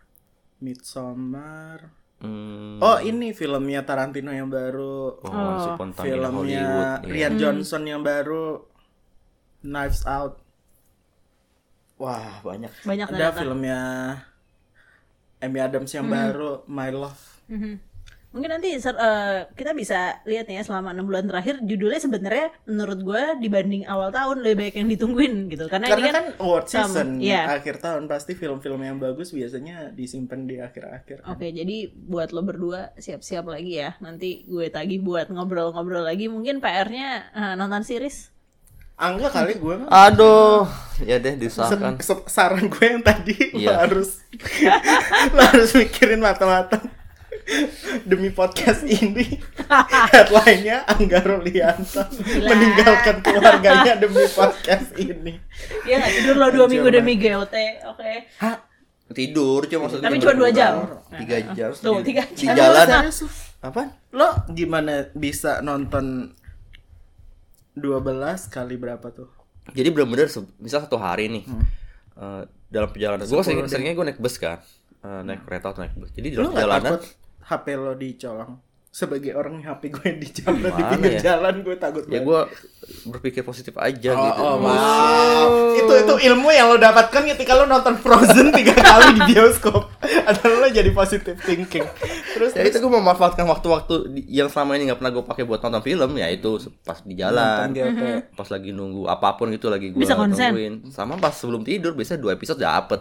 [SPEAKER 3] Midsommar.
[SPEAKER 2] Hmm,
[SPEAKER 3] Oh, ini filmnya Tarantino yang baru.
[SPEAKER 2] oh, Once Upon a Time in Hollywood.
[SPEAKER 3] filmnya
[SPEAKER 2] iya.
[SPEAKER 1] Hmm.
[SPEAKER 3] Rian Johnson yang baru. Knives Out.
[SPEAKER 2] Ah,
[SPEAKER 3] Wah, banyak.
[SPEAKER 1] Banyak
[SPEAKER 3] Ada
[SPEAKER 1] ternyata.
[SPEAKER 3] filmnya Amy Adams
[SPEAKER 1] Hmm.
[SPEAKER 3] yang baru, My Love.
[SPEAKER 1] Mhm. Mungkin nanti ser- eh, kita bisa lihat nih ya selama enam bulan terakhir judulnya sebenarnya menurut gue dibanding awal tahun lebih baik yang ditungguin gitu karena,
[SPEAKER 3] Karena
[SPEAKER 1] ini
[SPEAKER 3] kan award
[SPEAKER 1] sama,
[SPEAKER 3] season
[SPEAKER 1] iya.
[SPEAKER 3] akhir tahun pasti film-film yang bagus biasanya disimpan di akhir-akhir. kan.
[SPEAKER 1] Oke, jadi buat lo berdua siap-siap lagi ya. Nanti gue tagih buat ngobrol-ngobrol lagi. Mungkin PR-nya eh, nonton series.
[SPEAKER 3] Angga kali gue mah.
[SPEAKER 2] Ah, Aduh, ya deh
[SPEAKER 3] Se-
[SPEAKER 2] disahkan.
[SPEAKER 3] se- saran gue yang tadi lo
[SPEAKER 2] Iya.
[SPEAKER 3] harus lo harus mikirin matang-matang demi podcast ini headline-nya Angga Rolianto meninggalkan keluarganya demi podcast ini
[SPEAKER 1] Iya nggak tidur lo dua
[SPEAKER 3] Jam
[SPEAKER 1] minggu
[SPEAKER 3] berapa?
[SPEAKER 1] demi GOT, oke?
[SPEAKER 2] Hah? Tidur cuma maksudnya.
[SPEAKER 1] Tapi cuma dua jam. Nah.
[SPEAKER 2] Tiga jam.
[SPEAKER 1] Tuh,
[SPEAKER 2] di-
[SPEAKER 1] tiga jam.
[SPEAKER 2] Di jalan.
[SPEAKER 3] Serius,
[SPEAKER 2] Apa?
[SPEAKER 3] lo gimana bisa nonton 12 kali berapa tuh
[SPEAKER 2] Jadi benar-benar se- misal satu hari nih. eh, dalam perjalanan. Gue sering, seringnya gue naik bus kan. Eh, naik kereta atau naik bus. Jadi
[SPEAKER 3] lo
[SPEAKER 2] dalam
[SPEAKER 3] nggak
[SPEAKER 2] perjalanan.
[SPEAKER 3] takut HP lo dicolong sebagai orang yang HP gue dicolong di
[SPEAKER 2] Gimana
[SPEAKER 3] pinggir
[SPEAKER 2] ya?
[SPEAKER 3] jalan gue takut
[SPEAKER 2] Ya
[SPEAKER 3] banget.
[SPEAKER 2] gue berpikir positif aja
[SPEAKER 3] Oh,
[SPEAKER 2] gitu.
[SPEAKER 3] oh, wow. Itu itu ilmu yang lo dapatkan ketika lo nonton Frozen tiga kali di bioskop. Adalah lo jadi positive thinking. Terus
[SPEAKER 2] Ya itu gue memanfaatkan waktu-waktu di- yang selama ini nggak pernah gue pakai buat nonton film, ya itu se- pas di jalan, Mm-hmm.
[SPEAKER 3] Nonton GOT.
[SPEAKER 2] pas lagi nunggu apapun gitu lagi gue
[SPEAKER 1] Bisa konsen.
[SPEAKER 2] nungguin. Sama pas sebelum tidur biasanya dua episode dapet,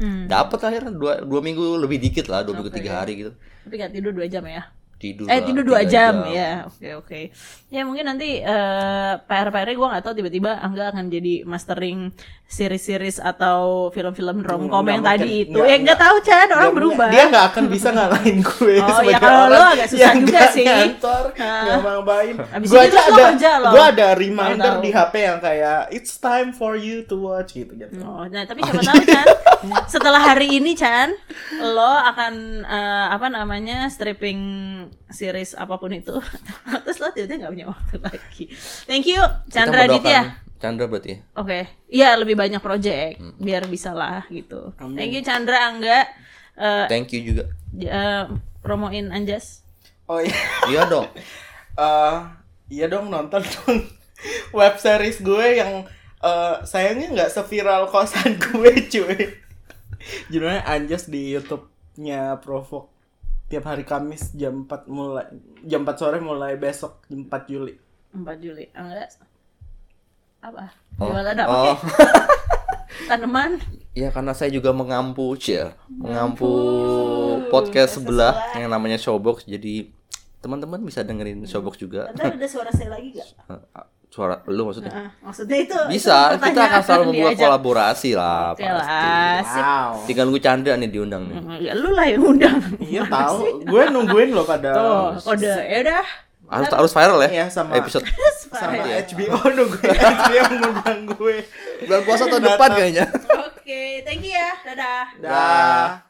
[SPEAKER 1] Hmm.
[SPEAKER 2] dapet akhirnya dua, dua minggu lebih dikit lah, dua minggu tiga hari gitu
[SPEAKER 1] Tapi nggak tidur dua jam ya?
[SPEAKER 2] tidur.
[SPEAKER 1] eh
[SPEAKER 2] lah,
[SPEAKER 1] tidur dua
[SPEAKER 2] tiga
[SPEAKER 1] jam, ya oke oke ya mungkin nanti eh PR PR gue nggak tahu tiba-tiba Angga akan jadi mastering series-series atau film-film romcom
[SPEAKER 3] Nggak
[SPEAKER 1] yang
[SPEAKER 3] mungkin.
[SPEAKER 1] tadi itu
[SPEAKER 3] Nggak,
[SPEAKER 1] ya nggak tahu Chan orang
[SPEAKER 3] Nggak-
[SPEAKER 1] berubah
[SPEAKER 3] Dia nggak akan bisa ngalahin gue
[SPEAKER 1] Oh,
[SPEAKER 3] sebagai
[SPEAKER 1] ya kalau
[SPEAKER 3] orang
[SPEAKER 1] lo agak susah
[SPEAKER 3] yang
[SPEAKER 1] juga
[SPEAKER 3] nggak
[SPEAKER 1] sih.
[SPEAKER 3] Ngantor,
[SPEAKER 1] Ah.
[SPEAKER 3] nggak main.
[SPEAKER 1] Abis
[SPEAKER 3] Gue
[SPEAKER 1] itu
[SPEAKER 3] aja
[SPEAKER 1] terus lo
[SPEAKER 3] ada,
[SPEAKER 1] kerja lo.
[SPEAKER 3] gue ada reminder
[SPEAKER 1] Nggak tahu.
[SPEAKER 3] di HP yang kayak it's time for you to watch gitu gitu.
[SPEAKER 1] Oh, nah tapi siapa tahu Chan setelah hari ini Chan lo akan eh, apa namanya stripping series apapun itu terus lo tiba-tiba nggak punya waktu lagi thank you
[SPEAKER 2] Kita
[SPEAKER 1] Chandra
[SPEAKER 2] mendoakan
[SPEAKER 1] Ditya
[SPEAKER 2] Chandra berarti. ya.
[SPEAKER 1] Oke, iya lebih banyak project biar bisa lah gitu.
[SPEAKER 3] Amin.
[SPEAKER 1] Thank you Chandra Angga Eh,
[SPEAKER 2] Thank you juga.
[SPEAKER 1] j- eh, promoin Anjas.
[SPEAKER 3] Oh iya.
[SPEAKER 2] Iya dong.
[SPEAKER 3] Eh, iya dong nonton dong web series gue yang eh, sayangnya nggak seviral kosan gue cuy. Judulnya Anjas di YouTube-nya Provok. Tiap hari Kamis jam 4 mulai jam 4 sore mulai besok jam 4 Juli.
[SPEAKER 1] 4 Juli. Angga apa?
[SPEAKER 2] Oh.
[SPEAKER 1] Gimana ada
[SPEAKER 2] Oh.
[SPEAKER 1] pakai tanaman?
[SPEAKER 2] Ya karena saya juga mengampu, Cil. Mengampu podcast sebelah yang namanya Showbox. Jadi teman-teman bisa dengerin Showbox juga.
[SPEAKER 1] Ntar ada suara saya lagi gak?
[SPEAKER 2] Ah, Suara lu maksudnya.
[SPEAKER 1] Ah, maksudnya itu itu
[SPEAKER 2] Bisa, kita
[SPEAKER 1] pertanyaan
[SPEAKER 2] akan selalu membuat
[SPEAKER 1] diajak.
[SPEAKER 2] kolaborasi lah.
[SPEAKER 1] Oke
[SPEAKER 2] pasti. Ah.
[SPEAKER 1] lah, sip.
[SPEAKER 3] Wow.
[SPEAKER 2] Tinggal nunggu Chandra nih diundang nih.
[SPEAKER 1] Ya, lu lah yang undang.
[SPEAKER 3] Iya tahu, gue nungguin loh pada
[SPEAKER 1] Oh, kode. Ya udah.
[SPEAKER 2] Harus harus viral ya.
[SPEAKER 3] Iya, sama.
[SPEAKER 2] Episode
[SPEAKER 3] sama
[SPEAKER 2] Iya.
[SPEAKER 3] HBO nungguin HBO ngundang gue.
[SPEAKER 2] bulan puasa tahun depan kayaknya.
[SPEAKER 1] Oke, thank you ya. Dadah.
[SPEAKER 3] Dah.